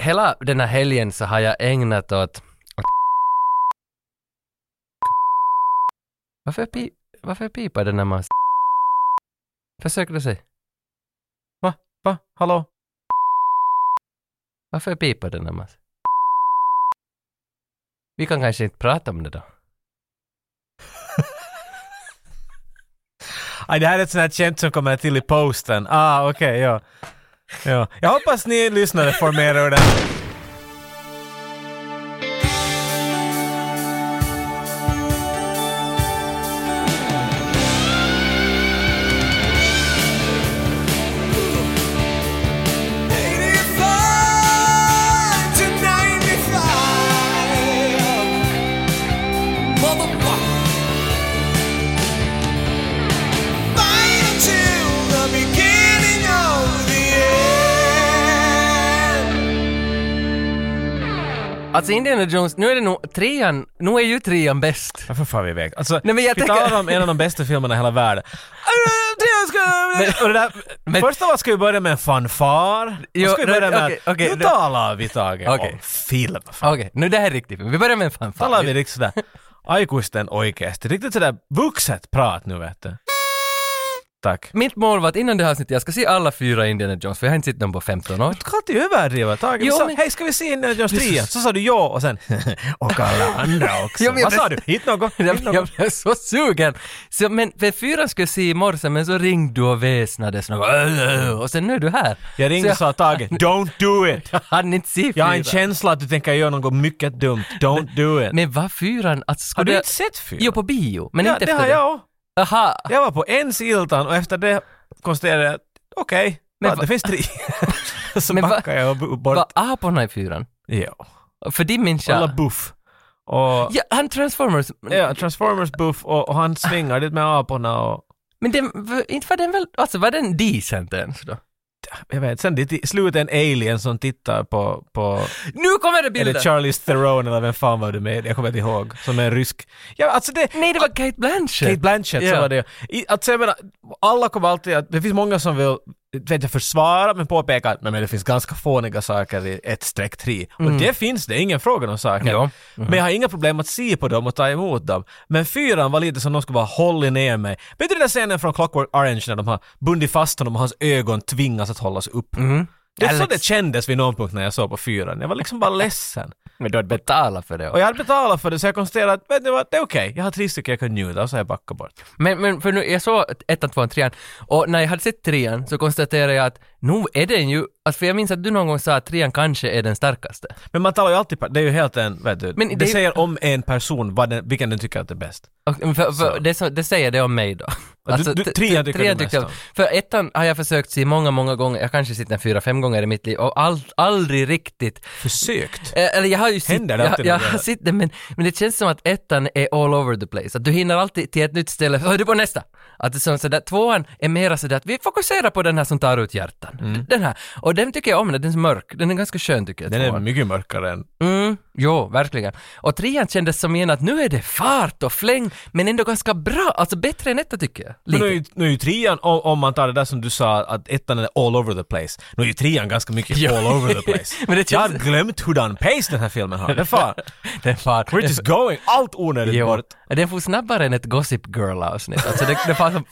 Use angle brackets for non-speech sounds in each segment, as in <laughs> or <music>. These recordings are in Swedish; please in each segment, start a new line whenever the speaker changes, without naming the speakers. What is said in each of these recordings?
hela den här helgen så har jag ägnat åt... åt varför, pi, varför pipar den när man... Försöker du säga?
Va? Va? Hallå?
Varför pipar den när man... Vi kan kanske inte prata om det då.
Aj, det här är ett sånt här skämt som kommer till i posten. Ah, okej, ja. ja. Jag hoppas ni lyssnare får mer ur den.
Alltså Indiana Jones, nu är det nog trean, nu är ju trean bäst.
Varför far vi iväg? Alltså,
Nej, men jag
vi
tänker-
talar om en av de bästa filmerna i hela världen. Och det där,
Men-
först av allt ska vi börja med en fanfar.
Jo,
och ska vi
nu-
börja med
okej,
att
okej,
nu
nu-
talar vi Tage
Okej.
om film. Fan.
Okej, nu det här är riktigt. Vi börjar med en fanfar.
Talar vi riktigt sådär aikuisten oikeasti. Riktigt sådär vuxet prat nu vet du. Tack.
Mitt mål var att innan det här avsnittet, jag ska se alla fyra Indiana Jones, för jag har inte sett dem på 15 år.
Du kan inte överdriva Tage. Du
Jo,
sa,
men-
hej ska vi se Indiana Jones 3? Så sa du ja och sen <laughs> och alla andra också.
Jo, men jag
Vad sa du?
bes-
Hit något?
Jag,
Hit
jag
något?
blev så sugen! Så, men för fyran skulle jag se i morse, men så ringde du och väsnades något, "Åh, åh", "Äh, och sen nu är du här.
Jag ringde och
så
sa <laughs> Tage, don't do it!
jag hann inte se
Jag har
fyran.
en känsla att du tänker göra något mycket dumt. Don't do it.
Men vad fyran? Alltså, skulle
har du
jag-
inte sett fyra?
Jo, på bio, men
ja,
inte
det
efter
har jag också.
det. Aha,
Jag var på en siltan och efter det konstaterade jag att okej,
Men
ja,
va-
det finns tre. <laughs> Så
Men va-
backade jag b- bort.
var aporna i fyran?
Ja.
För din människa...
Alla Eh. buff. Och,
Ja, han Transformers.
ja, Transformers buff och, och han svingar dit med aporna och
Men den, v- inte var den väl, alltså var den decent ens då?
jag vet, sen det är i slutet en alien som tittar på, på
Nu kommer det
eller
bilder!
Charlize Theron eller vem fan var du med? Jag kommer inte ihåg. Som är en rysk. Ja, alltså det,
Nej, det var Kate Blanchett!
Kate Blanchett
Ja.
så var det I, alltså jag menar, alla kommer alltid att, det finns många som vill vet jag, försvara men påpeka att men, men det finns ganska fåniga saker i 1-3. Och det finns det, ingen fråga om saker.
Mm. Ja. Mm.
Men jag har inga problem att se på dem och ta emot dem. Men fyran var lite som de skulle bara hålla ner mig. Vet du den där scenen från Clockwork Orange när de har bundit fast honom och hans ögon tvingas att hållas upp? Det är så
Mm. Alex.
det kändes vid någon punkt när jag såg på fyran. Jag var liksom bara ledsen.
Men du hade betalat för det.
Och jag hade betalat för det så jag konstaterade att vet ni vad, det är okej. Jag har tre stycken jag kan njuta och så har jag backat bort.
Men, men för nu, jag såg ettan, tvåan, trean och när jag hade sett trean så konstaterade jag att nu är den ju, alltså för jag minns att du någon gång sa att trean kanske är den starkaste.
Men man talar ju alltid, per- det är ju helt en, vet du,
Men
det,
det är ju-
säger om en person vad den, vilken den tycker att det är bäst.
Och för, för
Så.
det, så- det säger det om mig då. Alltså,
du- du-
t-
trean
t-
tycker du mest
jag-
om.
För ettan har jag försökt se många, många gånger, jag kanske sett den fyra, fem gånger i mitt liv och all, aldrig riktigt
Försökt.
Eh, Eller jag har ju
Händer det
jag,
alltid
jag
när du
har
gör
sett det, men, men det känns som att ettan är all over the place. Att du hinner alltid till ett nytt ställe, hör du på nästa? Att det är som sådär, tvåan är mera sådär att vi fokuserar på den här som tar ut hjärtan. Den här. Och den tycker jag om, den är mörk, den är ganska skön tycker jag.
Mm. Den är
tvåan.
mycket mörkare än...
mm, jo, verkligen. Och trean kändes som igen att nu är det fart och fläng, men ändå ganska bra, alltså bättre än ettan tycker jag.
Men nu är,
Lite.
ju, nu är ju trean, om, om man tar det där som du sa att ettan är all over the place. Nu är ju trean ganska mycket
Ja.
all over
<laughs>
the place.
Men det
Jag har
känns-
glömt hurdan pace den här filmen har. Det är fan,
Det är fart.
we're just going, allt onödigt
Jo,
bort.
den får snabbare än ett Gossip Girl-avsnitt. Alltså det, det
<laughs>
fanns som...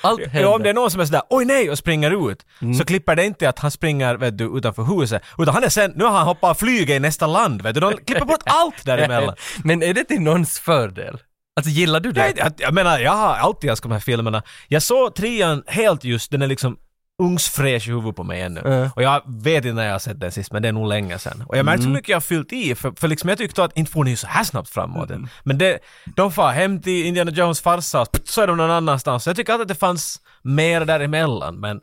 Allt händer. Mm.
Ja, om det är någon som är sådär oj nej och springer ut så klipper det inte att han springer vet du, utanför huset utan han är sen, nu har han hoppat och flugit i nästa land vet du. De klipper bort allt däremellan.
Men är det till någons fördel? Alltså gillar du det?
Nej, jag, jag menar, jag har alltid älskat de här filmerna. Jag såg trean helt just, den är liksom ungsfräsch i huvudet på mig ännu.
Mm.
Och jag vet inte när jag har sett den sist, men det är nog länge sedan. Och jag märkte hur mycket jag har fyllt i, för, för liksom jag tyckte att inte får ni så här snabbt framåt än. Men det, de far hem till Indiana Jones farsa och så är de någon annanstans. Så jag tycker alltid att det fanns mer däremellan, men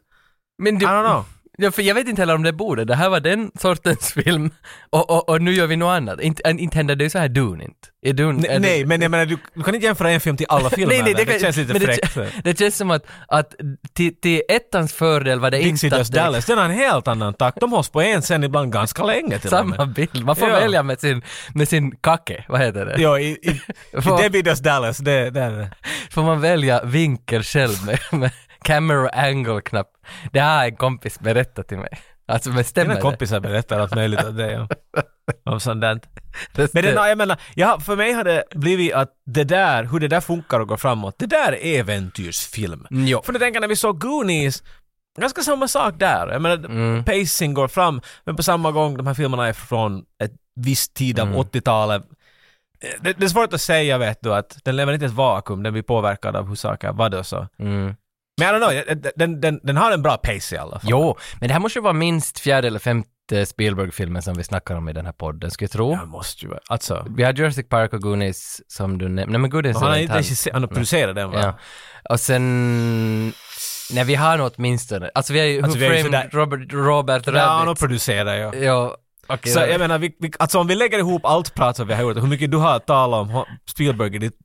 Men
I
du,
don't know.
ja, för jag vet inte heller om det borde. Det här var den sortens <laughs> film och, och, och nu gör vi något annat. Inte, äh, inte händer det ju så här Dune inte. Är Dune,
Nej,
är
nej,
det,
men jag menar du, du kan inte jämföra en film till <laughs> alla filmer.
nej, nej, det,
det,
kan-
känns lite
men det
fräckt. <laughs>
kän- <laughs> Det känns som att, att till, till ettans fördel var det
Dixie
inte
Does
att det
Dallas, den har en helt annan takt. De hålls på en scen ibland ganska länge till och med.
samma bild. Man får
Ja.
välja med sin, med sin kake, vad heter det?
Jo, i, i, i
Vad?
Debbie Does Dallas, det, det är det.
Får man välja vinkel själv med, med camera angle-knapp. Det här har en kompis berättat till mig. Alltså men stämmer
Mina
det?
kompisar berättar allt möjligt om det. Ja. Om sånt där.
det?
Men den, jag menar, ja, för mig har det blivit att det där, hur det där funkar och går framåt, det där är äventyrsfilm.
Mm, Jo.
För du tänker när vi såg Goonies, ganska samma sak där. Jag menar,
Mm.
pacing går fram, men på samma gång, de här filmerna är från ett visst tid av 80-talet. Det, det är svårt att säga vet du att den lever inte i ett vakuum, den blir påverkad av hur saker var då så.
Mm.
Men jag don't know, den, den, den, den har en bra pace i alla fall.
Jo, men det här måste ju vara minst fjärde eller femte Spielberg-filmen som vi snackar om i den här podden, skulle jag tro.
Jag måste ju, alltså.
Vi har Jurassic Park och Goonies som du nämnde. Nej men Goonies
Han har
är
inte
han.
regisserat, han har producerat den va?
Ja. Och sen... Nej, vi har nog åtminstone... Alltså vi har ju...
Alltså,
Who
vi har ju
Framed
sådär-
Robert, Robert
Ja, han har
Rabbit.
producerat ja.
Ja, okej.
Så jag menar, vi, vi, alltså om vi lägger ihop allt prat som vi har gjort, hur mycket du har talat om ho- Spielberg i ditt,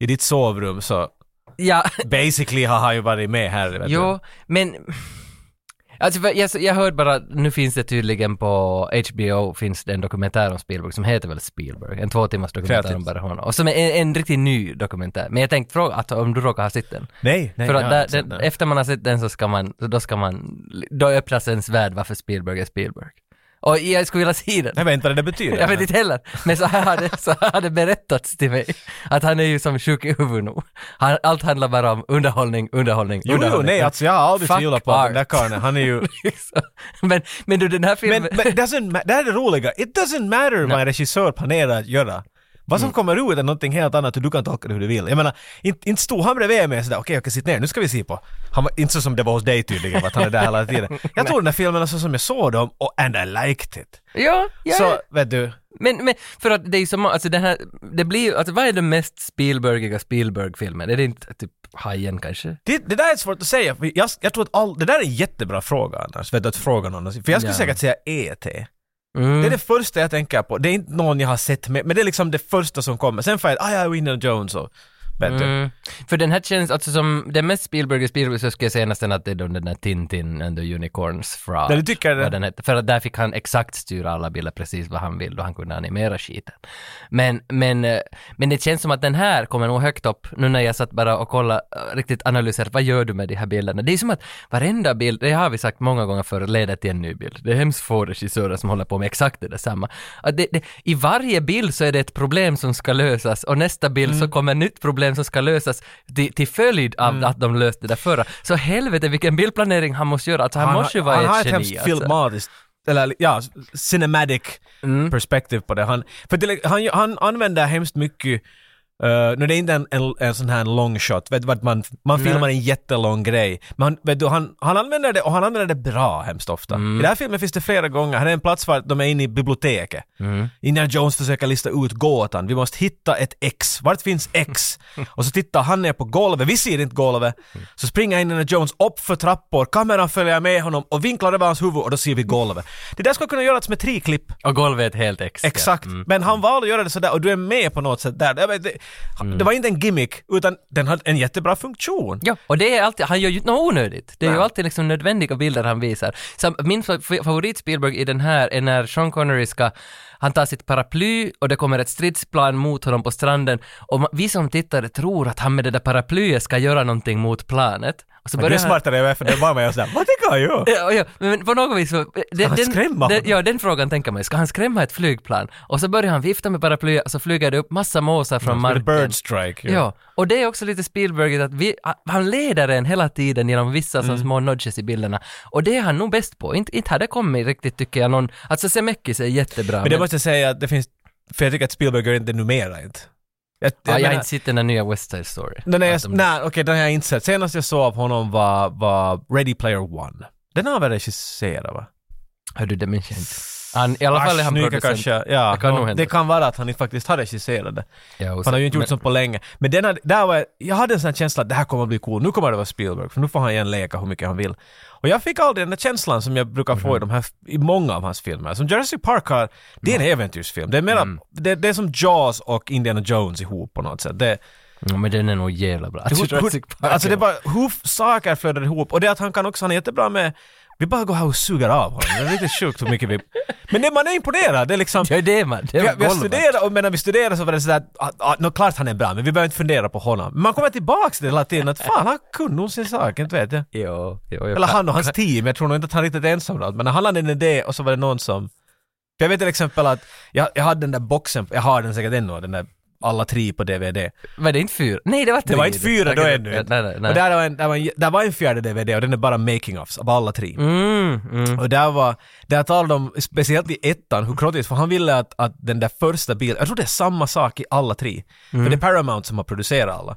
i ditt sovrum så
ja,
basically har han ju varit med här. Vet
jo, men... Alltså för jag, jag hörde bara, nu finns det tydligen på HBO finns det en dokumentär om Spielberg som heter väl Spielberg, en två timmars dokumentär om
Kreativt.
bara honom. Och som är en, en riktigt ny dokumentär. Men jag tänkte fråga att om du råkar ha sett den?
Nej, nej.
För
jag
att
har
där,
inte sett
den,
den.
efter man har sett den så ska man, så då ska man, då öppnas ens värld varför Spielberg är Spielberg. Och jag skulle vilja se den.
Jag vet inte vad det betyder.
Jag vet
men-
inte heller, men så här har det, så här har det berättats till mig. Att han är ju som sjuk i huvudet nu. Han, allt handlar bara om underhållning, underhållning,
Jo, jo,
underhållning.
nej, alltså jag har aldrig
Fuck
tvivlat på att den där
art.
karln, han är ju...
Liksom. Men, men du, den här
Men,
filmen...
men doesn't ma- det här är det roliga, it doesn't matter vad en regissör planerar att göra. Vad som
Mm.
kommer ut är någonting helt annat och du kan tolka det hur du vill. Jag menar, inte, inte stod han bredvid mig sådär, okej okej sitt ner, nu ska vi se på. Han var inte så som det var hos dig tydligen, att han är
<laughs>
där hela tiden. Jag tog den här filmen så som jag såg dem och and I liked it.
ja, ja,
Så, vet du,
Men, men för att det är ju som, alltså den här, det blir ju- alltså vad är den mest Spielbergiga Spielberg-filmen? Är det inte typ Hajen kanske?
det, det där är svårt att säga, för jag, jag tror att all, det där är en jättebra fråga annars, vet du, att fråga någon. För jag skulle
Ja.
säkert säga E.T.
Mm.
Det är det första jag tänker på. Det är inte någon jag har sett med, men det är liksom det första som kommer. Sen får jag, ah ja, Indiana Jones och... Vet du.
Mm. För den här känns, alltså som den mest Spielberg i Spielberg så skulle jag säga nästan att det är då den där Tintin and the Unicorns från...
Där du tycker
vad
det?
den hette. För att där fick han exakt styra alla bilder precis vad han vill och han kunde animera skiten. Men, men, eh, men det känns som att den här kommer nog högt upp nu när jag satt bara och kollade, eh, riktigt analyserade, vad gör du med de här bilderna? Det är som att varenda bild, det har vi sagt många gånger förr, leder till en ny bild. Det är hemskt få regissörer som håller på med exakt det där samma. Att det, det, I varje bild så är det ett problem som ska lösas och nästa bild så kommer ett nytt problem som ska lösas till, till följd av att de löste det där förra. Så helvete vilken bildplanering han måste göra, alltså han, måste ju vara
han har
ett
ett
geni. alltså.
hemskt filmatiskt, eller ja, cinematic
Mm.
perspektiv på det. Han, för till, han, han använder hemskt mycket Uh, nu det är inte en, en, en sån här long shot, vet, du vad man, man filmar en jättelång grej. Men han, vet du, han, han använder det och han använder det bra hemskt ofta.
Mm.
I den här filmen finns det flera gånger, här är en plats för de är inne i biblioteket.
Mm.
Indiana Jones försöker lista ut gåtan, vi måste hitta ett X, vart finns X?
<laughs>
och så tittar han ner på golvet, vi ser inte golvet.
Mm.
Så springer Indiana Jones upp för trappor, kameran följer med honom och vinklar över hans huvud och då ser vi golvet. Det där skulle kunna göras med tre klipp.
Och golvet är ett helt ex.
Exakt.
Mm.
Men han valde att göra det sådär och du är med på något sätt där. Det, det, det var inte en gimmick, utan den hade en jättebra funktion.
Mm. Ja, och det är alltid, han gör ju inte något onödigt. Det är ju
Nej.
alltid liksom nödvändiga bilder han visar. Så min fa- fa- favorit Spielberg i den här är när Sean Connery ska, han tar sitt paraply och det kommer ett stridsplan mot honom på stranden och ma- vi som tittare tror att han med det där paraplyet ska göra någonting mot planet. Och så
Men du är
han-
smartare än jag, för det var med och sådär, vad tänker han göra?
Ja, ja, men på något vis så... Ska
han skrämma
den,
honom?
Ja, den frågan tänker man ju. Ska han skrämma ett flygplan? Och så börjar han vifta med paraplyet och så flyger det upp massa måsar från
The
marken.
Mm, bird strike. ju.
Ja, och det är också lite Spielberg att vi, han leder en hela tiden genom vissa
Mm.
som små nudges i bilderna. Och det är han nog bäst på. Inte, inte hade kommit riktigt tycker jag någon, alltså Zemeckis är jättebra.
Men det måste jag säga att det finns, för jag tycker att Spielberg gör inte numera inte. Jag,
ja, jag har
menar-
inte sett den där nya West Side Story.
Den är,
Att de-
nej, okej, den har jag inte sett. Senast jag såg av honom var, var Ready Player One. Den har han väl regisserat va?
Hör du, det minns jag inte. Han, I alla fall är han
Snygga
producent.
kanske, ja.
Det kan nog
och
hända.
det kan vara att han inte faktiskt har regisserat det.
Ja, och
Han
så-
har ju inte gjort
men-
sånt på länge. Men den hade, där var jag, jag hade en sån här känsla att det här kommer att bli cool. Nu kommer det vara Spielberg, för nu får han igen leka hur mycket han vill. Och jag fick aldrig den där känslan som jag brukar få i,
Mhm.
de här, i många av hans filmer. Som Jurassic Park har, det är
Mm.
en äventyrsfilm. Det är, mera, det, det är som Jaws och Indiana Jones ihop på något
<laughs>
sätt. Det, alltså,
Ja, men den är nog jävla bra.
hur, hur, alltså det är bara hur f- saker flödar ihop och det att han kan också, han är jättebra med Vi bara går här och suger av honom. Det är riktigt sjukt hur mycket vi... Men det, man är imponerad. Det är liksom...
Ja, det är man. Det
Vi,
är
vi har
golvet.
studerat och medan vi studerade så var det sådär, ah, ah, nå klart han är bra men vi behöver inte fundera på honom. Men man kommer tillbaks till det hela tiden att fan han kunde nog sin sak, inte vet jag.
Jo, jo, jo.
Eller han och hans team, jag tror nog inte att han riktigt är ensam då. men han hade en idé och så var det någon som... För jag vet till exempel att jag, jag hade den där boxen, jag har den säkert ännu, den där alla tre på DVD.
Var det inte fyra? Nej, det var tre.
Det var inte fyra då
Okej,
ännu.
ja, Nej, nej,
Och
nej.
där var, en, där, var en, där var en fjärde DVD och den är bara making-offs av alla tre.
Mm, mm.
Och där var, där talade de speciellt i ettan hur krottigt, för han ville att, att den där första bilen, jag tror det är samma sak i alla tre. För det är Paramount som har producerat alla.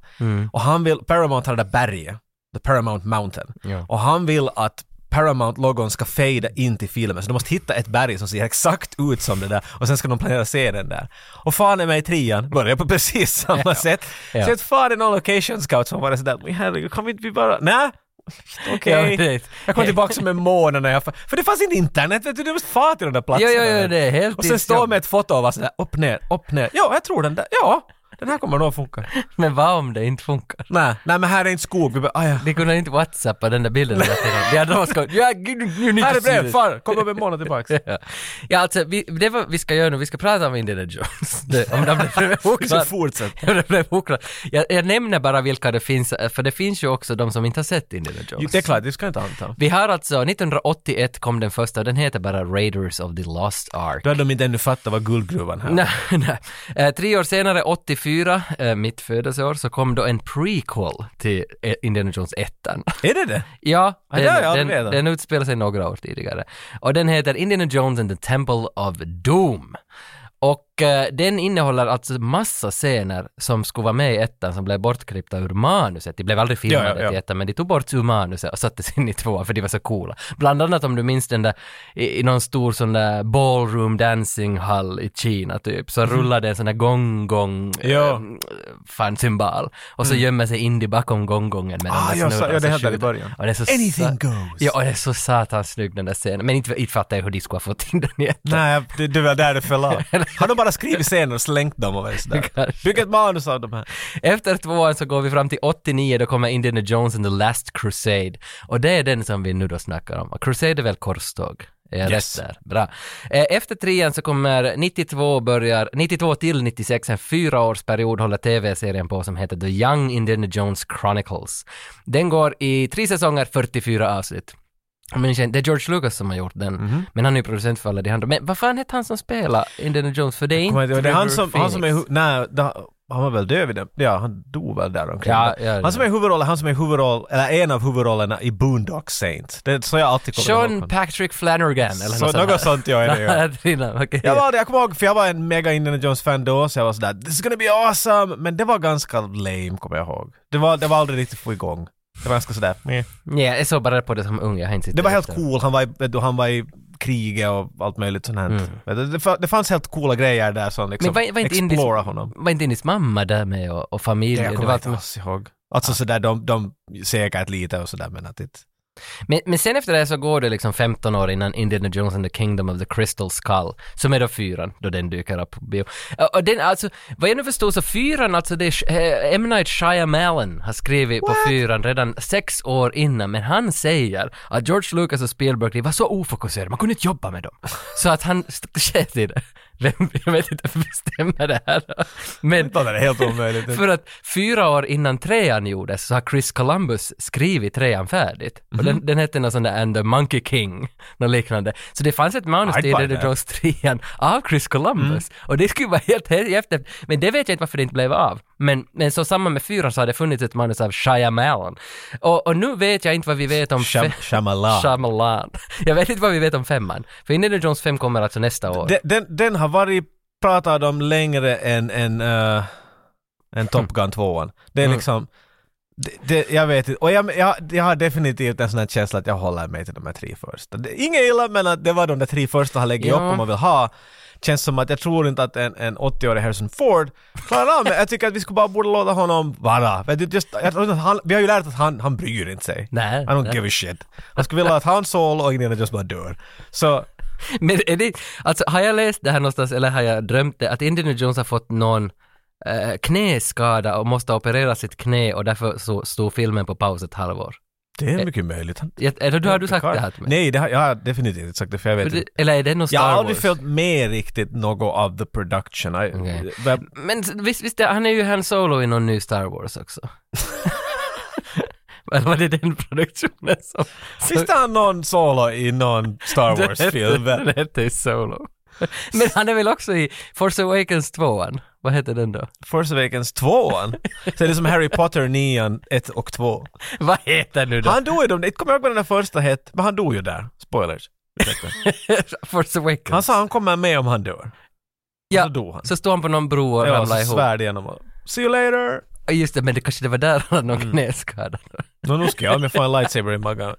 Och han vill, Paramount har det där berget, the Paramount Mountain.
Ja.
Och han vill att Paramount-logon ska fejda in till filmen, så de måste hitta ett berg som ser exakt ut som det där och sen ska de planera scenen där. Och fan är mig i trean börjar på precis samma sätt.
Ja.
Så att fan är någon location scout som var sådär, "Men herregud, kan vi inte vi bara, nej?
Ja,
Okej.
men det-
Jag kom tillbaka som en månad när jag... För det fanns inte internet, vet du. Du måste fara till de där
Jo,
platserna.
jo, jo, det är helt
och sen stå med ett foto och vara sådär upp, ner, upp, ner. Ja, jag tror den där. Ja, den här kommer nog funka.
Men vad om det inte funkar?
Nej, nej men här är inte skog. Vi bara, ah, ja.
De kunde inte whatsappa den där
<laughs>
bilden hela tiden. De hade någon skoj. Ja, gud, nu- nu- nu-
Här är brev, far. Kom om en månad tillbaks.
Ja. Ja, alltså vi, det var, vi ska göra nu, vi ska prata om Indiana Jones. Det, om det
<laughs>
blev
Så
oklart.
fortsätt.
<laughs> Om det blev oklart. Jag, jag nämner bara vilka det finns, eh, för det finns ju också de som inte har sett Indiana
Jo,
Jones.
Det är klart, du ska inte anta.
Vi har alltså, 1981 kom den första, och den heter bara Raiders of the Lost Ark.
Då hade de inte ännu fattat vad guldgruvan
<laughs>
här.
Nej, nej. Eh, tre år senare, 84, eh, mitt födelseår, så kom då en prequel till eh, Indiana Jones 1.
Är det det?
Ja,
Ja, det har jag
den,
aldrig
den,
vetat.
den utspelar sig några år tidigare. Och den heter Indiana Jones and the Temple of Doom. Och eh, den innehåller alltså massa scener som skulle vara med i ettan som blev bortklippta ur manuset. De blev aldrig filmade
Ja, ja, ja.
till ettan men de tog bort ur manuset och sattes in i tvåan för de var så coola. Bland annat om du minns den där i, i någon stor sån där ballroom dancing hall i Kina typ så rullade en sån där gong-gong
Mhm. Ja. Mm.
eh, fan cymbal och så gömmer sig Indy bakom gonggongen med
Ah,
den där
jag sa-
snurran
ja, det
som
hände i
skjuter.
början.
Och det är så
Anything
sa-
goes.
Ja, och det är så satans snygg den där scenen. Men inte, inte fattar jag hur de skulle ha fått in den i ettan.
Nej, det, det var där det föll <laughs> av. Har de bara skrivit scener och slängt dem och varit sådär?
Kanske.
Bygg ett manus av de här.
Efter tvåan så går vi fram till 89, då kommer Indiana Jones and the Last Crusade. Och det är den som vi nu då snackar om. Och Crusade är väl korståg? Är jag
Yes.
rätt där? Bra. Eh, Efter trean så kommer 92 börjar, 92 till 96, en fyraårsperiod håller tv-serien på som heter The Young Indiana Jones Chronicles. Den går i tre säsonger, 44 avsnitt. Jag minns inte, Det är George Lucas som har gjort den,
Mhm.
men han är ju producent för alla de andra. Men vad fan hette han som spelar Indiana Jones? För det är
Kommer
inte
jag inte ihåg. Det är han som, han som är,
Phoenix.
hu- nej, da, han var väl död vid det. Ja, han dog väl där omkring.
Ja, ja, ja.
han som är huvudrollen, han som är huvudroll, eller en av huvudrollerna i Boondock Saints. Det är så jag alltid kommer ihåg
Sean
honom.
Patrick Flanagan eller
Så
sånt här.
något sånt
<laughs>
jag <laughs> är det ja.
Innan, okej.
Jag var det, jag kommer ihåg, för jag var en mega Indiana Jones-fan då, så jag var sådär “This is gonna be awesome!” Men det var ganska lame, kommer jag ihåg. Det var, det var aldrig riktigt få igång. Det var ganska sådär, meh.
Nej, jag såg bara på Mm. det som ung, jag har inte sett
Det var helt
efter.
cool, han var i, vet du, han var i kriget och allt möjligt sånt här.
Mm.
Men Det, det, fa- det fanns helt coola grejer där som liksom
Men var- var inte indisk-
explora honom.
Var inte Indis mamma där med och, och familjen?
jag
det
kommer
var Ah.
inte
allt-
alls ihåg. Alltså sådär, de, de segrat lite och sådär men att det...
men, men sen efter det här så går det liksom 15 år innan Indiana Jones and the Kingdom of the Crystal Skull, som är då fyran, då den dyker upp på bio. Och- Och den alltså, vad jag nu förstår så fyran, alltså det är Sh- eh, M. Night Shyamalan har skrivit på fyran redan sex år innan, men han säger att George Lucas och Spielberg, de var så ofokuserade, man kunde inte jobba med dem. Så att han <laughs> st- sket i det. Vem, jag vet inte vem bestämmer det här. Men
Det är helt
<laughs>
omöjligt.
För att fyra år innan trean gjordes så har Chris Columbus skrivit trean färdigt. Och
Mhm.
den, den hette någon sån där And the Monkey King, något liknande. Så det fanns ett manus till
I'd buy
Indiana
that.
Jones trean av Chris Columbus.
Mm.
Och det skulle vara helt he- efter. Men det vet jag inte varför det inte blev av. Men, men så samma med fyran så har det funnits ett manus av Shyamalan. Och, och nu vet jag inte vad vi vet om...
Sham-
fe-
Shyamalan.
Shyamalan. <laughs> Jag vet inte vad vi vet om femman. För Indiana Jones 5 kommer alltså nästa år.
Den, den, den har varit pratad om längre än, än, eh,
<laughs>
än Top Gun 2. Det är
Mm.
liksom... Det, det, jag vet inte. Och jag, jag, jag har definitivt en sån här känsla att jag håller mig till de här tre första. Det, inget illa men att det var de där tre första han lägger
Ja.
upp om man vill ha. Känns som att jag tror inte att en, en 80-årig Harrison Ford klarar av det. Jag tycker att vi skulle bara borde låta honom vara. Vet du, Just, jag tror inte att han, vi har ju lärt att han, han bryr inte sig.
Nej,
I don't
nej.
give a shit. Han skulle vilja att han Solo och Indiana just bara dör. Så
Men är det, alltså har jag läst det här någonstans eller har jag drömt det? Att Indiana Jones har fått någon eh, knäskada och måste operera sitt knä och därför så stod filmen på paus ett halvår.
Det är mycket möjligt. Han-
Jag- Eller du har du sagt det här till mig?
Nej, det har, jag har definitivt inte sagt det för jag vet
För
inte.
det- Eller är det någon Star
Jag har aldrig
Wars?
följt med riktigt något av the production. I,
Okej.
Vad-
Men s- visst, visst är, han är ju Han Solo i någon ny Star Wars
<laughs>
också. Men var det den produktionen som...
Sist han någon solo i någon
<laughs>
Star Wars-film?
Den hette ju Solo. Men han är väl också i Force Awakens 2 Vad heter den då?
Force Awakens 2 Så det är som Harry Potter 9, 1 och 2.
Vad heter nu då?
Han dog ju, de- inte kommer jag ihåg vad den där första hette, men han dog ju där. Spoilers. Ursäkta.
<laughs> Force Awakens.
Han sa han kommer med om han dör.
Ja,
Så dog han.
Så står han på någon bro och
Ja,
ramlar
så
ihop.
svärd igenom och See you later!
Ja, Just det, men det kanske det var där han hade
Mm.
någon knäskada. <laughs>
Nå, nu ska jag, om jag får en lightsaber i magen.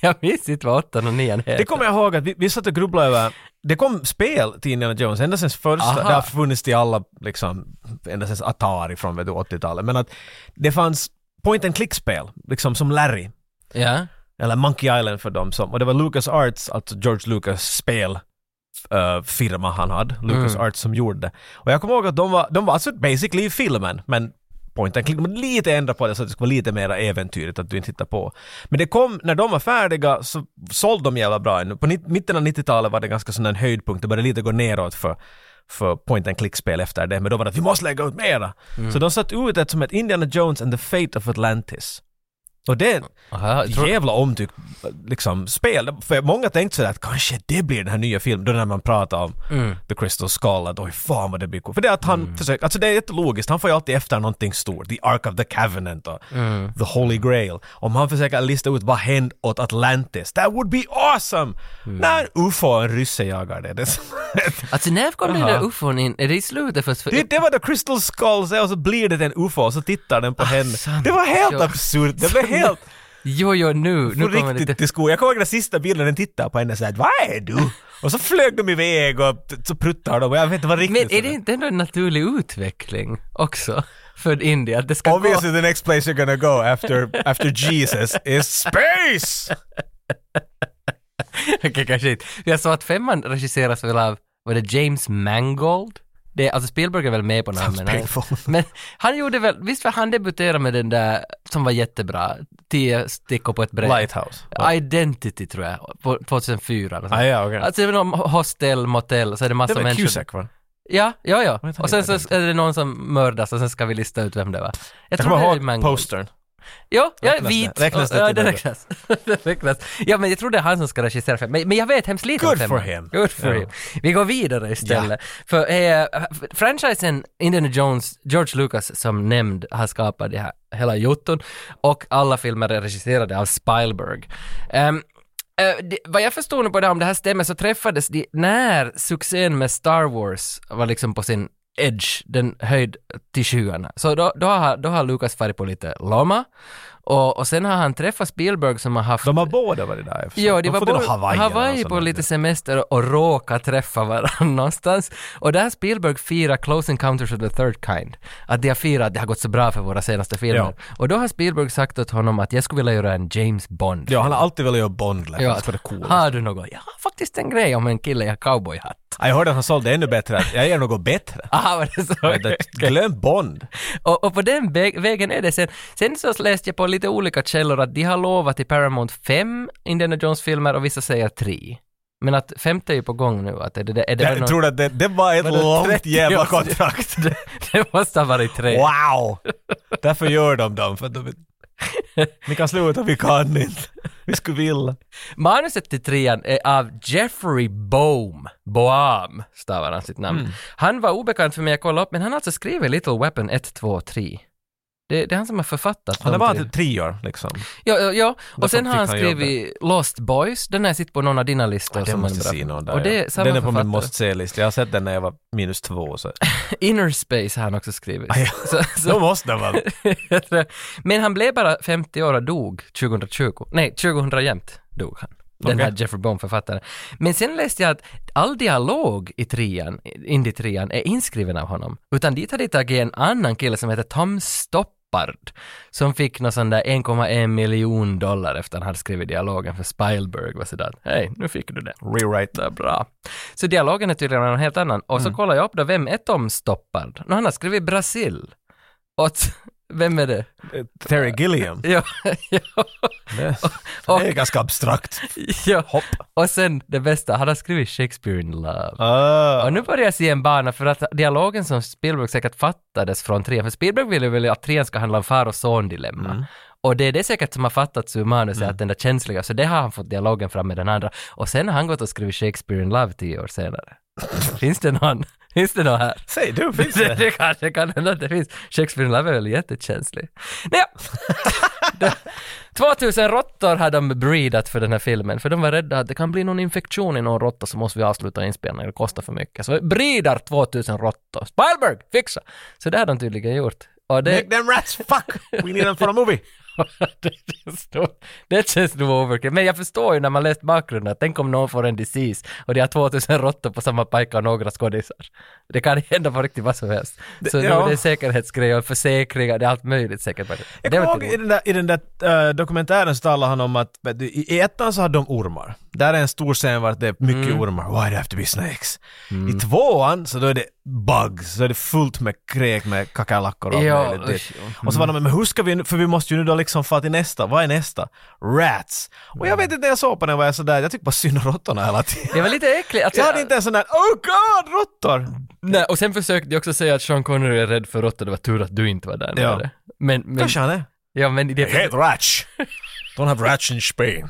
Jag minns inte vad åttan och nian heter.
Det kommer jag ihåg att vi, vi satt och grubblade över, det kom spel till Indiana Jones ända sen första,
Aha.
det har funnits till alla liksom, ända sen Atari från vet du, 80-talet, men att det fanns point and click-spel, liksom som Larry,
Ja.
eller Monkey Island för dem som, och det var Lucas Arts, alltså George Lucas spel eh, firma han hade, Lucas Arts som gjorde det. Och jag kommer ihåg att de var, de var alltså basically i filmen, men point and click, men lite ändra på det så att det skulle vara lite mer äventyrligt att du inte hittar på. Men det kom, när de var färdiga så sålde de jävla bra ännu. På ni- mitten av 90-talet var det ganska sån en höjdpunkt, det började lite gå neråt för för point and click-spel efter det, men då var det att vi måste lägga ut mera. Så de satte ut ett som ett Indiana Jones and the Fate of Atlantis. Och det,
Aha, jag tror...
jävla omtyckt liksom, spel. För många tänkte sådär att kanske det blir den här nya filmen, då när man pratar om
Mm.
The Crystal Skull, att oj fan vad det blir coolt. För det är att han försöker, alltså det är jättelogiskt, han får ju alltid efter någonting stort, The Ark of the Covenant och
Mm.
The Holy Grail. Om han försöker lista ut vad hände åt Atlantis, that would be awesome!
Mm.
När UFO och en rysse jagar det. Det, är som- <laughs>
Alltså när kom den
Aha.
där ufon in? Är det i slutet först? För...
det, det var The Crystal Skull, så- och så blir det en UFO och så tittar den på henne.
Ah, sant.
Det var helt
Ja.
absurt,
<laughs>
det blev helt
Jo, jo, nu, nu
på
kommer
riktigt
det
till skogen. Jag kommer ihåg den sista bilden den tittade på henne såhär, vad är du? Och så flög de iväg och t- så pruttade de och jag vet inte vad riktigt
Men är det inte ändå en naturlig utveckling också? <laughs> För Indien, att det ska
Obviously the next place you're gonna go after, after Jesus is space!
gå... <laughs> Okej, kanske inte. Jag sa att femman regisseras väl av, var det James Mangold? Det, alltså Spielberg är väl med på namnen. här.
painful.
Men han gjorde väl, visst för han debuterade med den där som var jättebra, Tio stickor på ett bräde.
Lighthouse.
Identity tror jag, på 2004. Eller så.
Ah, ja, okej.
Alltså det är någon hostel, motell, så är det
Det
massa
var
människor.
Cusack va?
Ja, ja, ja.
heter
Och
han?
sen så är det någon som mördas och sen ska vi lista ut vem det var. Jag
Jag
tror det
kommer
är
ihåg
Mangold.
postern.
Ja, jag är
Räknas det?
vit.
Räknas det
ja,
till
det
det?
räknas. <laughs> det räknas. Ja, men jag tror det är han som ska regissera filmen. Men, men jag vet hemskt lite om
Good
filmen.
for him.
Good for
Ja.
him. Vi går vidare istället. För eh, f- franchisen Indiana Jones, George Lucas som nämnd har skapat det här hela jotton och alla filmer är regisserade av Spielberg. Ehm, eh, det, vad jag förstod nu på det här, om det här stämmer, så träffades de när succén med Star Wars var liksom på sin edge, den höjd till skyarna. Så då, då, har, då har Lucas farit på lite lama och, och sen har han träffat Spielberg som har haft
De har båda varit där. jag förstår.
Ja, det var
liksom. får till
både Hawaii,
Hawaii, eller något
på
sånt.
lite semester och- och råka träffa varandra <laughs> någonstans. Och där Spielberg firar Close Encounters of the Third Kind. Att de har firat att det har gått så bra för våra senaste filmer.
Ja.
Och då har Spielberg sagt åt honom att jag skulle vilja göra en James Bond.
Ja, han har alltid velat göra Bond. Like,
Ja,
ja. Det cool.
har du något? Jag har faktiskt en grej om en kille i en cowboyhatt. <laughs>
Ah, Jag hörde att han sålde ännu bättre. Jag gör något <laughs> bättre.
Aha, var det så?
Glöm Bond.
Och, och på den väg, vägen är det sen. Sen så läste jag på lite olika källor att de har lovat i Paramount fem Indiana Jones-filmer och vissa säger tre. Men att femte är ju på gång nu. Att är det, är det väl
Jag
någon-
tror att det, det var ett
Var det
långt
30
jävla
år sedan?
kontrakt.
<laughs> Det måste ha varit tre.
Wow! Därför gör de dem, för att de... Ni kan sluta, vi kan inte. Vi skulle vilja.
Manuset till trean är av Jeffrey Boehm. Boam stavar han sitt namn.
Mm.
Han var obekant för mig, jag kollade upp, men han har alltså skrivit Little Weapon 1, 2, 3. Det, det är han som har författat
Han har
de
bara
tre.
typ trior, liksom.
Ja, ja, ja.
Därför
och sen har han
fick han jobbet.
skrivit Lost Boys, den här sitter på någon av dina listor
Det
som
måste
en
jag
bra
se
film.
någon där.
Och det är
ja.
samma
den är på
författare. Alltså.
min måste se-lista. Jag har sett den när jag var minus
<laughs>
två. Så.
Inner Space har han också skrivit.
Ah, ja.
Så- så-
Då måste den vara...
Jag tror- <laughs> Men han blev bara 50 år och dog 2020. Nej, 2000 jämt dog han. Den
Okej.
här Jeffrey Bohm författaren. Men sen läste jag att all dialog i trean, Indie-trean, är inskriven av honom. Utan dit har de tagit en annan kille som heter Tom Stoppard som fick någon sån där 1,1 miljon dollar efter han hade skrivit dialogen för Spielberg och sådär. Hej, nu fick du det.
Rewrite.
Det är bra. Så dialogen är tydligen en helt annan. Och så kollar jag upp då, vem är Tom Stoppard? Nå, han har skrivit Brasil åt <laughs> Vem är det?
eh, Terry
<laughs>
Gilliam.
Ja, ja,
Det
och-
det är ganska abstrakt.
ja.
Hopp.
Och sen det bästa, han har skrivit Shakespeare in Love.
Ah.
<laughs> Och nu börjar jag se en bana för att dialogen som Spielberg säkert fattades från trean, för Spielberg ville väl att trean ska handla om far och son-dilemma. Och det är det säkert som har fattats ur manuset, att den där känsliga, så det har han fått dialogen fram med den andra. Och sen har han gått och skrivit Shakespeare in Love tio år senare. finns det någon, finns det någon här?
Säg du,
<laughs>
finns
Det,
det?
det kanske kan hända att det finns. Shakespeare in Love är väl jättekänslig.
<laughs>
Naja. Det- 2000 råttor har de breedat för den här filmen, för de var rädda att det kan bli någon infektion i någon råtta så måste vi avsluta inspelningen, det kostar för mycket. Så breedar 2000 råttor. Spielberg, fixa! Så det har de tydligen gjort. Och det,
Make them rats fuck! We need them for a movie!
<laughs> det, känns nog, det känns nog overkill. Men jag förstår ju när man läst bakgrunden att tänk om någon får en disease och det har 2000 råttor på samma pajka och några skådisar. Det kan hända på riktigt vad som helst. Så
Det-
det,
ja.
det är säkerhetsgrejer, och försäkringar, det är allt möjligt säkert. Det
Jag
var
kommer ihåg
inte
i den där, i den där eh, dokumentären så talar han om att vet du, i i ettan så hade de ormar. Där är en stor scen vart det är mycket ormar. Why do you have to be snakes? I tvåan så då är det bugs, så är det fullt med kräk med kackerlackor och allt
Ja,
möjligt.
usch, ja.
Och så var de men hur ska vi nu, för vi måste ju nu då liksom få till nästa, vad är nästa? Rats! Och jag vet inte, när jag såg på den var jag sådär, jag tyckte bara synd om råttorna hela tiden.
det var lite äckligt. Alltså,
<laughs> Jag hade inte en sån där oh god, råttor!
nej, och sen försökte jag också säga att Sean Connery är rädd för råttor, det var tur att du inte var där.
Ja.
med det. Men, men,
Kanske han är.
ja, men det
I hate <laughs> rats! Don't have rats in Spain.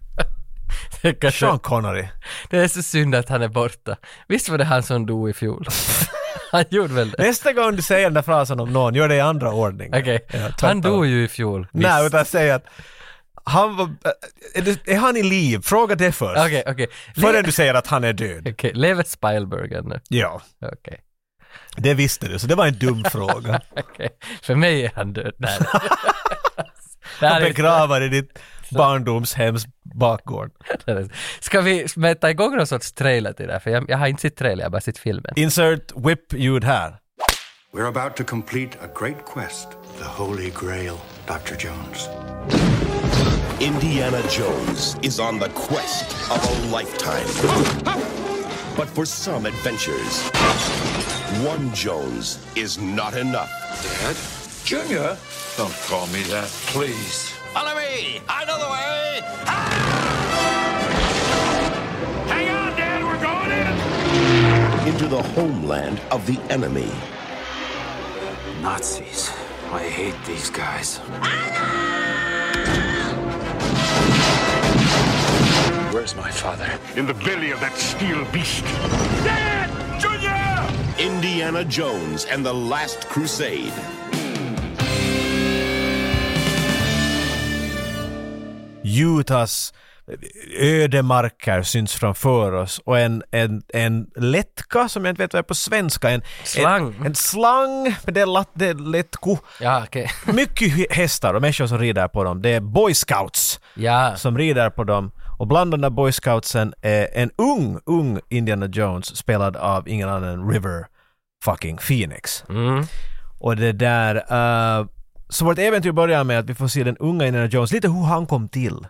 <laughs>
Sean Connery.
det är så synd att han är borta. Visst var det han som dog i fjol? <laughs> han gjorde väl det?
Nästa gång du säger den där frasen om någon, gör det i andra ordning.
Okej,
tvärtom.
han dog ju i fjol.
Nej,
visst.
utan säg att han var, eh, är, det, är han i liv? Fråga det först.
Okej, okej. Le-
Förrän du säger att han är död.
Okej, lever Spielberg ännu?
Ja,
Okej.
det visste du, så det var
<laughs>
en dum fråga.
okej. För mig är han död. <laughs> Nej. Det
Han
här är-
begravar i ditt barndomshems bakgård.
Ska vi mäta igång någon sorts trailer till det här? För jag, jag har inte sett trailer, jag har bara sett filmen.
Insert whip-ljud här.
We're about to complete a great quest the Holy Grail, Dr. Jones.
Indiana Jones is on the quest of a lifetime. But for some adventures, one Jones is not enough.
Dad? Junior? Don't call me that, please.
Follow me! I know the way!
Hang on, Dad, we're going in!
Into the homeland of the enemy.
Nazis. I hate these guys. Where's my father?
In the belly of that steel beast.
Dad! Junior!
Indiana Jones and the Last Crusade.
Utahs ödemarker syns framför oss och en, en, en lättka som jag inte vet vad är på svenska. En,
Slang.
En, en slang, men det är, lat, det är lättko.
Ja, okej.
Mycket hä- hästar och människor som rider på dem. Det är boy scouts
Ja.
som rider på dem. Och bland de där boy scoutsen är en ung, ung Indiana Jones spelad av ingen annan än River fucking Phoenix. Och det där... eh, så vårt äventyr börjar med att vi får se den unga Indiana Jones, lite hur han kom till.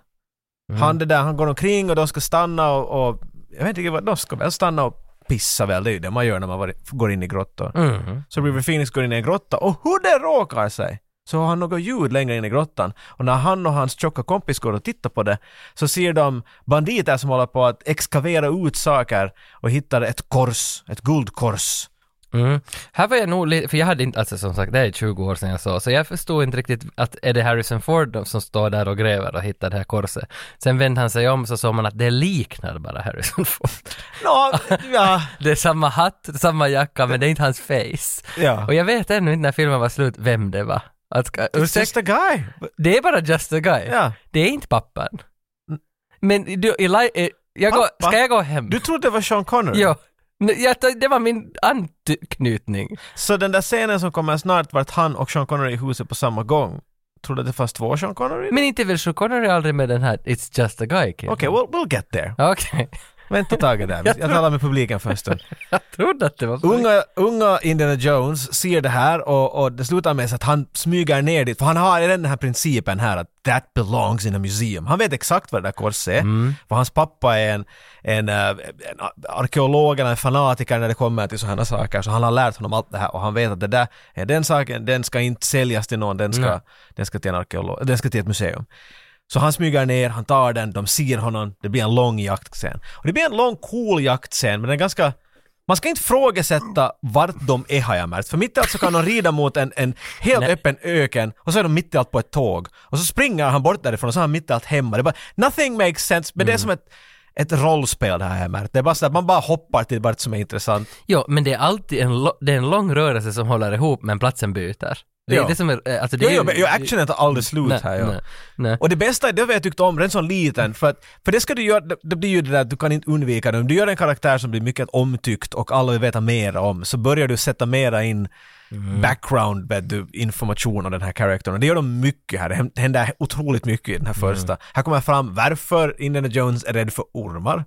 Han det där, han går omkring och de ska stanna och, och jag vet inte riktigt vad, de ska väl stanna och pissa väl, det är ju det man gör när man varit- går in i grottor.
Mm,
Så River Phoenix går in i en grotta och hur det råkar sig så har han något ljud längre in i grottan och när han och hans tjocka kompis går och tittar på det så ser de banditer som håller på att exkavera ut saker och hittar ett kors, ett guldkors.
Mm. Här var jag nog lite, för jag hade inte, alltså som sagt det är 20 år sedan jag såg, så jag förstod inte riktigt att är det Harrison Ford som står där och gräver och hittar det här korset. Sen vände han sig om så såg man att det liknar bara Harrison <laughs> Ford.
Nå, ja,
Det är samma hatt, samma jacka, men det är inte hans face.
ja.
Och jag vet ännu inte när filmen var slut vem det var. Att,
It's just
ursäkta,
a guy.
det är bara Just a Guy.
Ja.
Det är inte pappan. Men du, Eli, eh, jag går,
Pappa?
ska jag gå hem?
Du trodde det var Sean Connery?
Ja. Nej, Jag, tar- det var min anknytning.
Så den där scenen som kommer snart vart han och Sean Connery i huset på samma gång. Tror du att det fanns två Sean Connery?
Men inte väl så Connery aldrig med den här It's Just a Guy kid.
Okej, okay, well, we'll get there.
Okej. <laughs>
Vänta taget där. Jag talar med publiken för en stund.
Jag trodde att det var...
Unga, unga Indiana Jones ser det här och, och det slutar med så att han smyger ner dit, för han har den här principen här att that belongs in a museum. Han vet exakt vad det där korset är, för hans pappa är en, en, eh, en arkeolog eller en fanatiker när det kommer till sådana saker, så han har lärt honom allt det här och han vet att det där är den saken, den ska inte säljas till någon, den ska, den ska till en arkeolog, den ska till ett museum. Så han smyger ner, han tar den, de ser honom, det blir en lång jaktscen. Och det blir en lång cool jaktscen, men den är ganska man ska inte frågesätta vart de är har jag märkt, för mitt i allt så kan de rida mot en, en helt öppen öken och så är de mitt i allt på ett tåg. Och så springer han bort därifrån och så är han mitt i allt hemma. Det är bara, nothing makes sense, men det är som ett, ett rollspel det här har jag märkt. Det är bara så att man bara hoppar till vart som är intressant.
Jo, men det är alltid en, lo- det är en lång rörelse som håller ihop, men platsen byter. Det är
Ja.
det som är... eh, Alltså det
Jo,
är
jo,
ju-
men ju actionen tar aldrig slut
Nej,
här. Ja.
nej, nej.
Och det bästa, det har jag tyckt om redan som liten, för, att, för det ska du göra, det, det blir ju det där att du kan inte undvika det. Om du gör en karaktär som blir mycket omtyckt och alla vill veta mer om, så börjar du sätta mera in
Mm.
background, vet du, information om den här karaktären. Och det gör de mycket här, det häm- händer otroligt mycket i den här
Mm.
första. Här kommer fram varför Indiana Jones är rädd för ormar.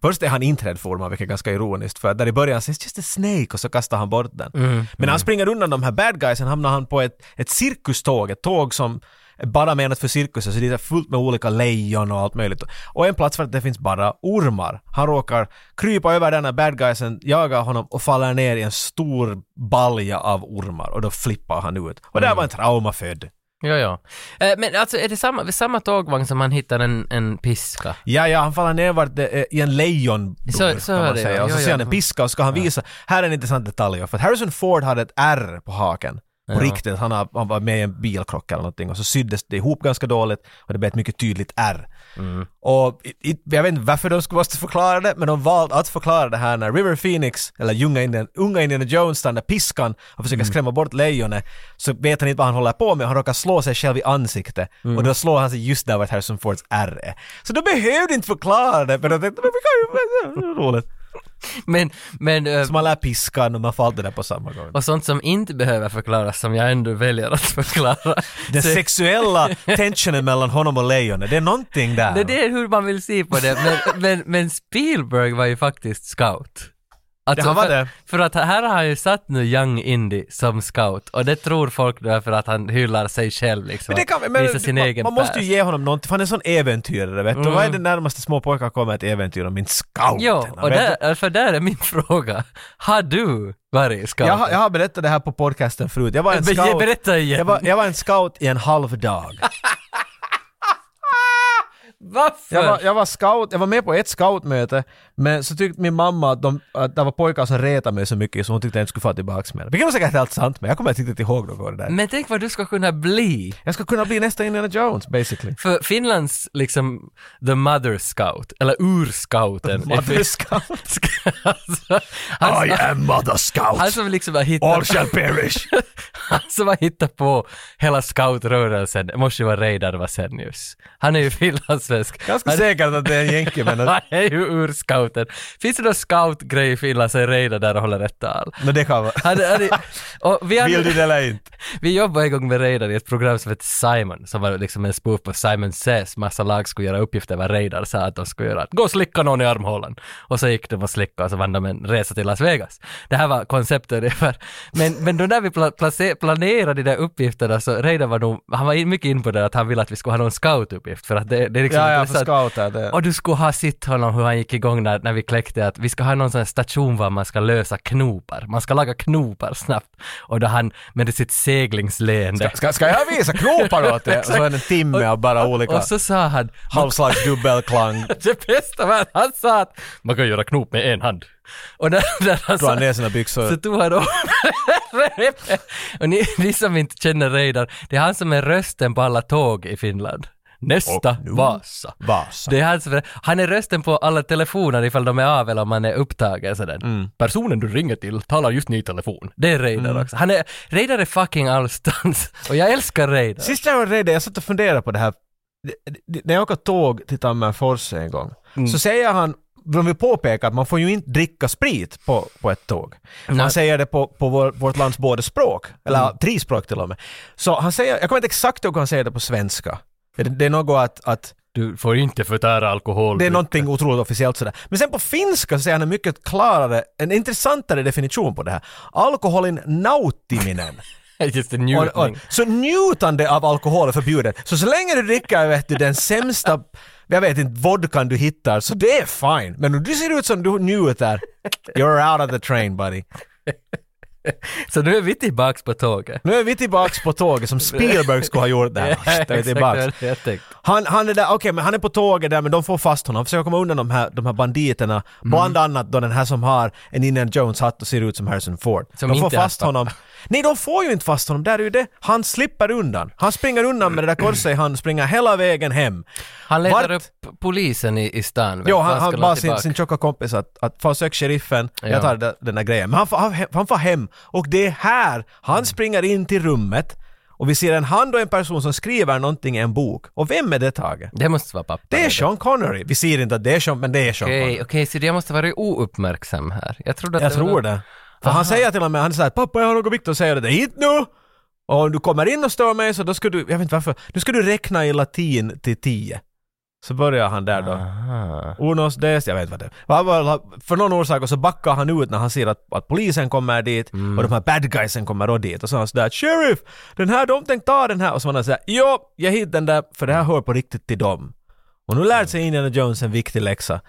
Först är han inte rädd för ormar, vilket är ganska ironiskt, för att där i början sägs just a snake och så kastar han bort den. Men när han springer undan de här bad guysen hamnar han på ett, ett cirkuståg, ett tåg som är bara menat för cirkusen, så det är fullt med olika lejon och allt möjligt. Och en plats för att det finns bara ormar. Han råkar krypa över den när bad guysen jagar honom och faller ner i en stor balja av ormar och då flippar han ut. Och där var en trauma född.
Ja, ja. Eh, Men alltså är det samma, samma tågvagn som han hittar en, en piska?
Ja, ja, han faller ner vart det, är i en lejonbur
Så- så
kan
är
man
det,
säga.
ja.
Och så
Ja,
ser
ja.
han en piska och ska han visa. Här är en intressant detalj. För att Harrison Ford hade ett R på haken. På
Ja.
riktigt. Han, har, han var med i en bilkrock eller någonting och så syddes det ihop ganska dåligt och det blev ett mycket tydligt R.
Mm.
Och i, i, jag vet inte varför de skulle måste förklara det, men de valde att förklara det här när River Phoenix, eller unga, Indian, unga Indiana Jones, stannar piskan och försöker
Mm.
skrämma bort lejonet, så vet han inte vad han håller på med och han råkar slå sig själv i ansiktet.
Mm.
Och då slår han sig just där vart Harrison Fords R är. Så de behövde inte förklara det, men de tänkte men vi kan ju... Roligt.
Men, men... eh,
Så man lär piskan och man får allt det där på samma gång.
Och sånt som inte behöver förklaras som jag ändå väljer att <laughs> förklara.
Den
Så- <laughs>
sexuella tensionen mellan honom och lejonet, det är någonting där.
det, det är hur man vill se på det, men, men, men Spielberg var ju faktiskt scout. Alltså
Ja, han var
för,
det.
för att här har han ju satt nu Young Indy som scout och det tror folk då är för att han hyllar sig själv liksom.
Men det kan,
att
men,
visa sin
man,
egen
man måste ju
pärl.
ge honom någonting, för han är en sån äventyrare vet du. Vad är det närmaste små pojkar kommer ett äventyr om inte scouten?
Jo, och
vet du?
där, för där är min <laughs> fråga. Har du varit scout?
jag, har- jag har berättat det här på podcasten förut. Jag var
<laughs>
en
Be-
scout,
berätta igen.
jag var, jag var en scout i en
<laughs>
halv dag.
Varför?
Jag var, jag var scout, jag var med på ett scoutmöte, men så tyckte min mamma att, de, att det var pojkar som retade mig så mycket så hon tyckte jag inte skulle få tillbaka med det. Vilket var säkert helt sant, men jag kommer inte riktigt ihåg något av det där.
Men tänk vad du ska kunna bli.
Jag ska kunna bli nästa Indiana
<laughs>
Jones basically.
För Finlands liksom the mother scout, eller urscouten.
Mother scout.
alltså, han,
am mother scout.
han som liksom har hittat, <laughs>
shall perish.
han som har hittat på hela scoutrörelsen, det måste ju vara Reidar Vasenius. Han är ju finlandssvensk.
Ganska
Han-
säkert att det är en jänke men
<laughs>
att-
Han är ju urscouten. Finns det någon scoutgrej i Finland så är Reidar där och håller ett tal.
men det kan vara.
Han, han är, och vi,
Vill du det
hade,
eller inte?
vi jobbade en gång med Reidar i ett program som hette Simon, som var liksom en spoof på Simon Says. Massa lag skulle göra uppgifter vad Reidar sa att de skulle göra. Gå och slicka någon i armhålan. Och så gick de och slickade och så vann de en resa till Las Vegas. Det här var konceptet <laughs> ungefär. Men, men då när vi pla- place- planerade de där uppgifterna så Reidar var nog, han var in- mycket in på det att han ville att vi skulle ha någon scoutuppgift för att det, det är liksom
Ja, ja, för
intressant.
scouter. Det.
Och du skulle ha sett honom hur han gick igång när, när vi kläckte att vi ska ha någon sån här station var man ska lösa knopar. Man ska laga knopar snabbt. Och då han med sitt seglingsleende.
Ska, ska jag visa knopar åt dig? Och så är det en timme av bara olika
Och så sa han,
halvslags <laughs> dubbelklang.
det bästa var att han sa att man kan göra knop med en hand. Och när, när han
Drar
sa,
ner sina
så
byxor.
tog han av <laughs> Och ni, ni som inte känner Reidar, det är han som är rösten på alla tåg i Finland. Nästa Vasa.
Vasa.
Det är han, som, han är rösten på alla telefoner ifall de är av eller om man är upptagen sådär.
Mm.
Personen du ringer till talar just nu i telefon. Det är Reidar också. Han är, Reidar är fucking allstans. <laughs> Och jag älskar Reidar.
Sist jag var rädd, jag satt och funderade på det här. Det- det- När jag åker tåg till Tammerfors en gång, så säger han, de vill påpeka att man får ju inte dricka sprit på, på ett tåg. Han säger det på, på vår, vårt lands båda språk, eller tre språk till och med. Så han säger, jag kommer inte exakt ihåg hur han säger det på svenska. Det, det är något att, att
Du får inte förtära alkohol. <laughs>
Det är någonting otroligt officiellt sådär. Men sen på finska så säger han en mycket klarare, en intressantare definition på det här. Alkoholin nautiminen.
Just en
Och, och,
njutning.
så njutande av alkohol är förbjudet. Så så länge du dricker vet du, den sämsta, jag vet inte, vodkan du hittar, så det är fine. Men om du ser ut som du njuter, you're out of the train buddy.
Så nu är vi tillbaks på tåget.
Nu är vi tillbaks på tåget som Spielberg skulle ha
<laughs>
gjort det här. Shit, vi är
Exakt
tillbaks.
vad jag tänkte.
Han, han är där, okej men han är på tåget där men de får fast honom, försöker komma undan de här, de här banditerna.
Mm.
Bland annat då den här som har en Indiana Jones-hatt och ser ut som Harrison Ford.
Som
de får
inte är
fast
hans
honom. Nej de får ju inte fast honom, där är ju det. Han slipper undan. Han springer undan med det där korset i han springer hela vägen hem.
Han letar
Vart-
upp polisen i, i stan. vet
Jo,
du,
han,
ska
han
nå
bara sin,
tillbaka.
sin tjocka kompis att, att fan sök sheriffen,
Ja.
jag tar den, den där grejen. Men han, får- han, han får hem och det är här
Mm.
han springer in till rummet och vi ser en hand och en person som skriver någonting i en bok. Och vem är det Tage?
Det måste vara pappa.
Det är Sean Connery. Vi ser inte att det är Sean, men det är Sean
Okej,
Connery.
okej, så jag måste vara ouppmärksam här. Jag trodde att
Jag
var-
tror det. För han säger till och med, han säger pappa jag har något viktigt att säga, det är hit nu! Och om du kommer in och stör mig så då ska du, jag vet inte varför, nu ska du räkna i latin till tio. Så börjar han där då.
Aha.
Unos des, jag vet inte vad det är. Han var- För någon orsak och så backar han ut när han ser att, att polisen kommer dit
Mm.
och de här bad guysen kommer då dit och så är han sådär “Sheriff! Den här, de tänkte ta den här” och så var han sådär “Jo, jag hittade den där för det
Mm.
här hör på riktigt till dem”. Och nu lärde sig Indiana Jones en viktig läxa.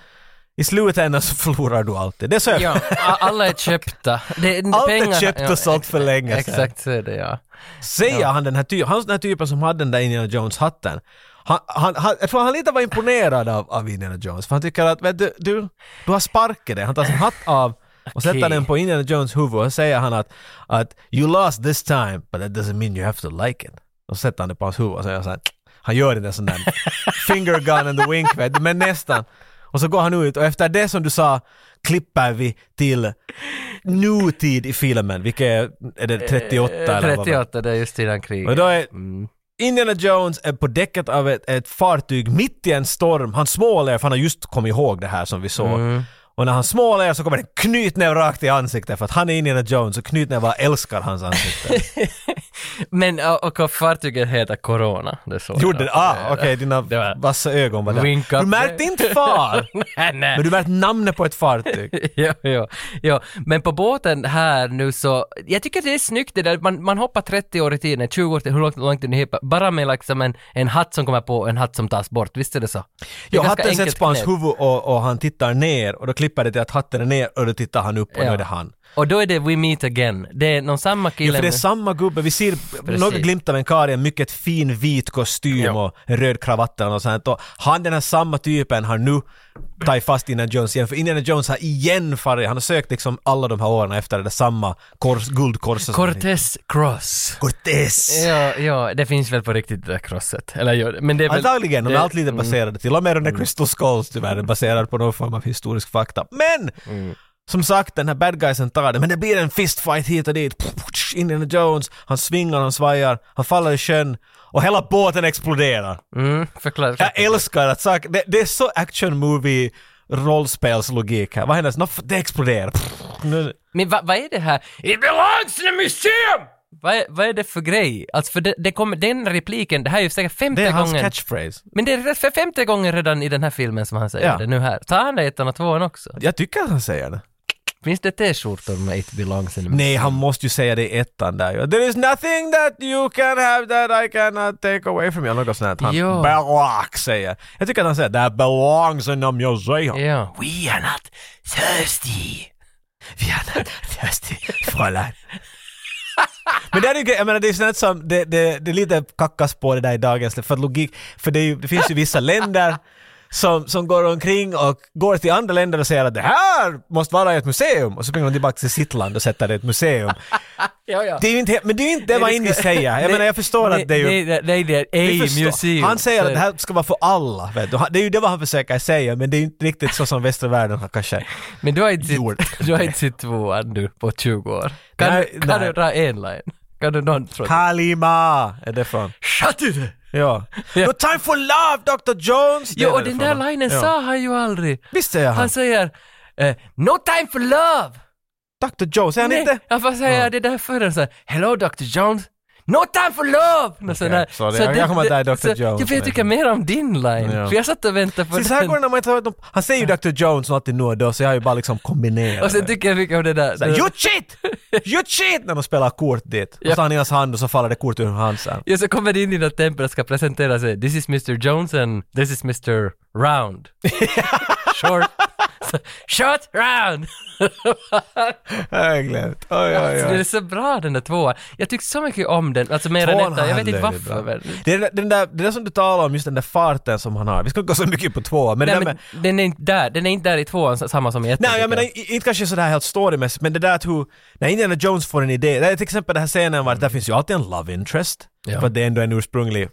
I slutändan så <laughs> förlorar du alltid. Det är så jag...
Ja, a- alla är köpta. Det,
Allt
pengarna-
är köpt
ja,
och sålt för länge sedan.
Exakt så är det ja.
Säger han den här typen, han den här typen som hade den där Indiana Jones-hatten. Han, han, han, jag tror han lite var imponerad av, av Indiana Jones, för han tycker att vet du, du, du har sparkat det. Han tar sin hatt av och sätter
Okej.
den på Indiana Jones huvud och säger han att, att “You lost this time, but that doesn't mean you have to like it”. Och så sätter han det på hans huvud och säger såhär, han gör inte en
<laughs>
sån där finger gun and the wink, vet du, men nästan. Och så går han ut och efter det som du sa klipper vi till nutid i filmen, vilket är, är det
Eh,
38 eller vad?
38, det är just innan kriget.
Och då är
Mm.
Indiana Jones är på däcket av ett, ett fartyg mitt i en storm. Han småler för han har just kommit ihåg det här som vi såg.
Mm.
Och när han småler så kommer det en knytnäve rakt i ansiktet för att han är Indiana Jones och knytnävar älskar
<laughs>
hans ansikte.
Men och, och fartyget heter Corona, det såg
Gjorde det? Ah, okej, dina
Det var-
vassa ögon var
Wink
där.
up
Du märkte
there.
inte far!
<laughs> nej, nej.
Men du märkte namnet på ett fartyg.
<laughs> ja, ja, ja, men på båten här nu så, jag tycker det är snyggt det där, man, man hoppar 30 år i tiden, 20 år till, hur långt, långt ni hoppar, bara med liksom en, en hatt som kommer på och en hatt som tas bort, visst är det så? Det är
Jag
ganska
hatten sätts
enkelt
på hans
knep.
huvud och, och han tittar ner och då klipper det till att hatten är ner och då tittar han upp och nu
Ja.
är det han.
Och då är det We Meet Again, det är någon samma kille
Ja, för det är
med-
samma gubbe. Vi ser några glimt av en karl i en mycket fin vit kostym
Ja.
och en röd kravatt och sånt. Och han, den här samma typen, har nu tagit fast Indiana Jones igen. För Indiana Jones har igen farit. Han har sökt liksom alla de här åren efter det där samma kors, guldkorset. som han hittade.
Cortez Cross.
Cortez!
Ja, ja, det finns väl på riktigt det där crosset. Eller ja, men Mm. det är väl...
Antagligen, de är
det-
allt lite baserade. Till och med den där Crystal Skulls tyvärr
Mm.
är baserad på någon form av historisk fakta. Men! Som sagt, den här bad guysen tar det, men det blir en fistfight hit och dit. Pff, pff, Indiana Jones, han svingar, han svajar, han faller i sjön och hela båten exploderar.
Mm, <laughs> förklara.
Jag älskar att saker, det, det är så action movie rollspelslogik här. Vad händer? Nå, f- Det exploderar. Pff, nu-
Men vad vad är det här? It belongs to the museum! Vad är, vad är det för grej? Alltså för det, det kommer, den repliken, det här är ju säkert femte
Det är hans
gången.
catchphrase.
Men det är re- för femte gången redan i den här filmen som han säger
Ja.
det nu här. Tar han det i ettan och tvåan också?
Jag tycker att han säger det.
Finns det t-skjortor med It belongs to the museum?
Nej, han måste ju säga det i ettan där ju. There is nothing that you can have that I cannot take away from you. Något sånt här. Han
Jo.
belong säger. Jag tycker att han säger that belongs in a museum.
Ja. We are not thirsty.
Vi är not thirsty, fräulein. <laughs> Men det är ju grej- jag menar det är sånt som, det, det, det är lite kackas på det där i dagens, för att logik, för det, är ju, det finns ju vissa länder som, som går omkring och går till andra länder och säger att det här måste vara i ett museum och så springer de tillbaka till sitt land och sätter det i ett museum.
Ja, ja.
Det är ju inte, he- men det är ju inte det vad
ska-
Indy säger. Jag menar jag förstår att det är ju...
Nej, nej, nej, det är
Vi
ej
förstår.
museum.
Han säger
Så
att det här ska vara för alla. Vet du. Han- Det är ju det vad han försöker säga, men det är ju inte riktigt så som västra världen har kanske...
Men du har inte
Gjort.
sett, du har inte sett tvåan du på 20 år. Kan,
Nej,
du, kan
nej.
du dra en line? Kan du någon tro?
Kalima är det från.
Shut it! <laughs>
Ja. No time for love, Dr. Jones! Det
Jo,
är
och
det
den
från.
där linen
Ja.
sa han ju aldrig.
Visst säger han.
Han säger eh, “No time for love”.
Dr. Jones, är han
Nej,
inte?
han får säga det där för den så här “Hello Dr. Jones, No time for love! Alltså, Nå, sån här.
sorry. Jag- jag kommer att säga Dr. Jones,
Jag, för jag tycker
men-
mer om din line.
Ja.
För jag satt och väntade på
Så så här går det när man inte har varit- Han säger ju Dr. Jones alltid nu och då, så jag har ju bara liksom kombinerat
Och sen
det.
tycker jag mycket om det där.
Så här, You cheat! You cheat! När de spelar kort dit. Och så har han i hans hand och så faller det kort ur hans hand.
Ja, så kommer det in i något tempel och ska presentera sig. This is Mr. Jones and this is Mr.
<laughs>
Round. Short. Så, Short round!
Jag glömt. Oj, oj,
Så
oj.
det är så bra den där tvåan. Jag tyckte så mycket om den, alltså mer än
Tvåan
ettan. Jag vet
handlar
inte
ju
varför.
ibland.
men-
Det är den- den där, det där som du talar om, just den där farten som han har. Vi ska inte gå så mycket på två, men,
Nej,
det där
men
med,
den är inte där, den är inte där i tvåan s- samma som i ettan.
Nej, jag
tycker
menar i- inte kanske sådär helt storymässigt, men det där att hur, när Indiana Jones får en idé, det är till exempel den här scenen var att där finns ju alltid en love interest,
Ja.
för att det är ändå en ursprunglig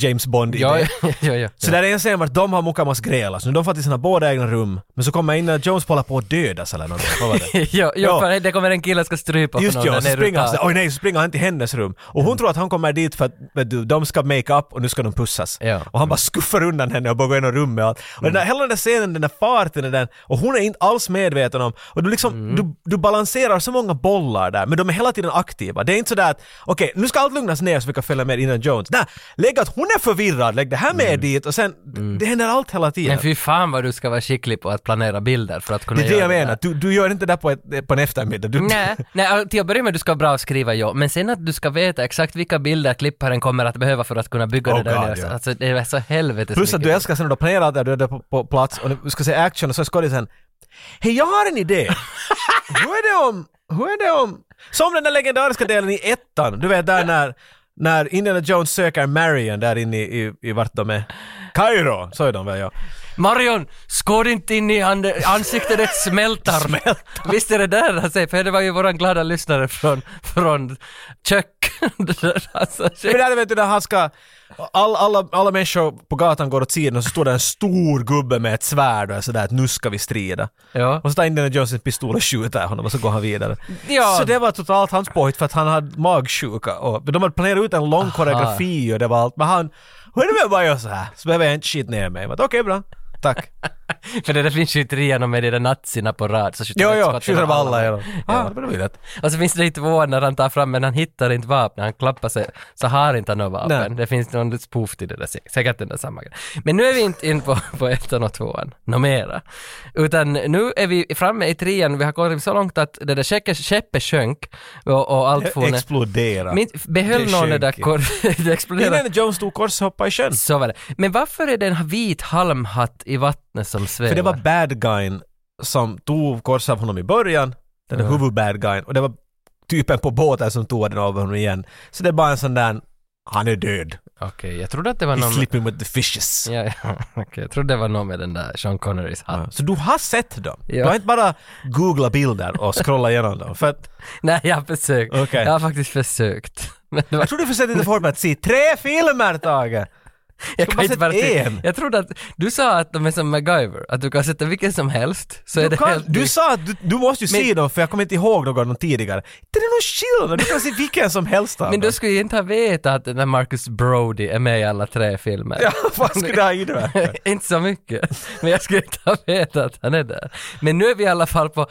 James Bond-idé.
Ja, <laughs> ja, ja.
Så där är en scen vart de har Mukamas grälas, nu de får till sina båda egna rum, men så kommer Indiana Jones på hålla på att dödas eller något. Vad var
<laughs>
det?
Ja, ja,
Ja.
för det kommer en kille som ska strypa på
Just
någon
ja,
där
så
nere
springer han
utan-
sådär, oj nej, så springer han till hennes rum. Och hon tror att han kommer dit för att vet du, de ska make up och nu ska de pussas.
Ja. Mm.
Och han bara skuffar undan henne och bara går igenom rummet och allt. Och den där, hela den där scenen, den där farten är den, och hon är inte alls medveten om, och du liksom,
Mm.
du, du balanserar så många bollar där, men de är hela tiden aktiva. Det är inte sådär att, okej, nu ska allt lugnas ner så vi kan följa med Indiana Jones. Nej, lägg att hon är förvirrad, lägg det här med dit och sen, det händer allt hela tiden.
Mm. Men fy fan vad du ska vara skicklig på att planera bilder för att kunna
Det är det
göra
jag
där.
menar, du, du gör inte det där på, ett, på en eftermiddag. Du,
Nej, nej, alltså, till att börja med du ska bra skriva ja, men sen att du ska veta exakt vilka bilder klipparen kommer att behöva för att kunna bygga
Oh
det där
God,
universum.
ja.
Alltså det är så helvetes
Plus att
mycket.
du älskar sen när du planerar där, du är där på, på plats och du ska se action och så är skådisen Hej, jag har en idé! hur är det om... Hur är det om... Som den där legendariska delen i ettan, du vet där när, när Indiana Jones söker Marion där inne i, i, i vart de är. Kairo, så är de väl ja.
Marion, skåd inte in i handen, ansiktet det smältar. Visst är det där han säger, för det var ju våran glada lyssnare från, från kök. Det där, <laughs> alltså,
Men där vet du när han ska... All, alla, alla människor på gatan går åt sidan och så står det en stor gubbe med ett svärd och är sådär att nu ska vi strida.
Ja.
Och så tar Indiana Jones en pistol och skjuter honom och så går han vidare.
Ja.
Så det var totalt hans påhitt för att han hade magsjuka och de hade planerat ut en lång koreografi och det var allt. Men han... Hur är det med att bara göra såhär? Så behöver jag inte skita ner mig. Jag bara, Okej, bra.
<laughs>
Tack.
för det där finns ju inte igenom med de där nazierna på rad. Så skjuter
Jo,
han ett
jo,
skott
skjuter de
genom
alla i dem. Ah,
Ja.
det var ju lätt.
Och så finns det inte tvåan när han tar fram, men han hittar inte vapen. Han klappar sig, så har inte han något vapen.
Nej.
Det finns någon spoof till det där, sä- säkert den där samma grejen. Men nu är vi inte in på, på ettan och tvåan, nå mera. Utan nu är vi framme i trean, vi har kommit så långt att det där skeppet, skeppet sjönk och, och allt for ner.
Explodera.
Min- Behöll
Det
någon det där
sjönk.
kor... <laughs> det exploderade.
Indiana Jones stod korshoppa i sjön.
Så var det. Men varför är det en vit halmhatt i vattnet som svävar?
För det var bad guyn som tog kors av honom i början, den där huvud-bad guyn, och det var typen på båten som tog den av honom igen. Så det är bara en sån där, han är död.
Okej, jag trodde att det var
He's
någon...
sleeping with the fishes.
Ja, ja, <laughs> okej, jag trodde det var någon med den där Sean Connerys hatt.
Ja. Så du har sett dem?
Ja.
Du har inte bara googlat bilder och scrollat igenom dem? För att,
<laughs> Nej, jag har försökt.
Okej.
Jag har faktiskt försökt. <laughs> Men det var,
jag tror du försökte lite för hårt med att se tre filmer, Tage!
jag,
bara
inte
sett
se-
en.
jag trodde att, du sa att de är som MacGyver, att du kan sätta vilken som helst så är
Du,
det
kan,
helt
du sa att du, du måste ju
Men-
se dem för jag kommer inte ihåg någon av dem tidigare. Det är någon skillnad, du kan se vilken som helst av
Men
dem.
du skulle ju inte ha vetat att den där Marcus Brody är med i alla tre filmer.
Ja, <laughs> vad skulle det
<laughs>
ha inneburit?
inte så mycket, men jag skulle inte ha vetat att han är där. Men nu är vi i alla fall på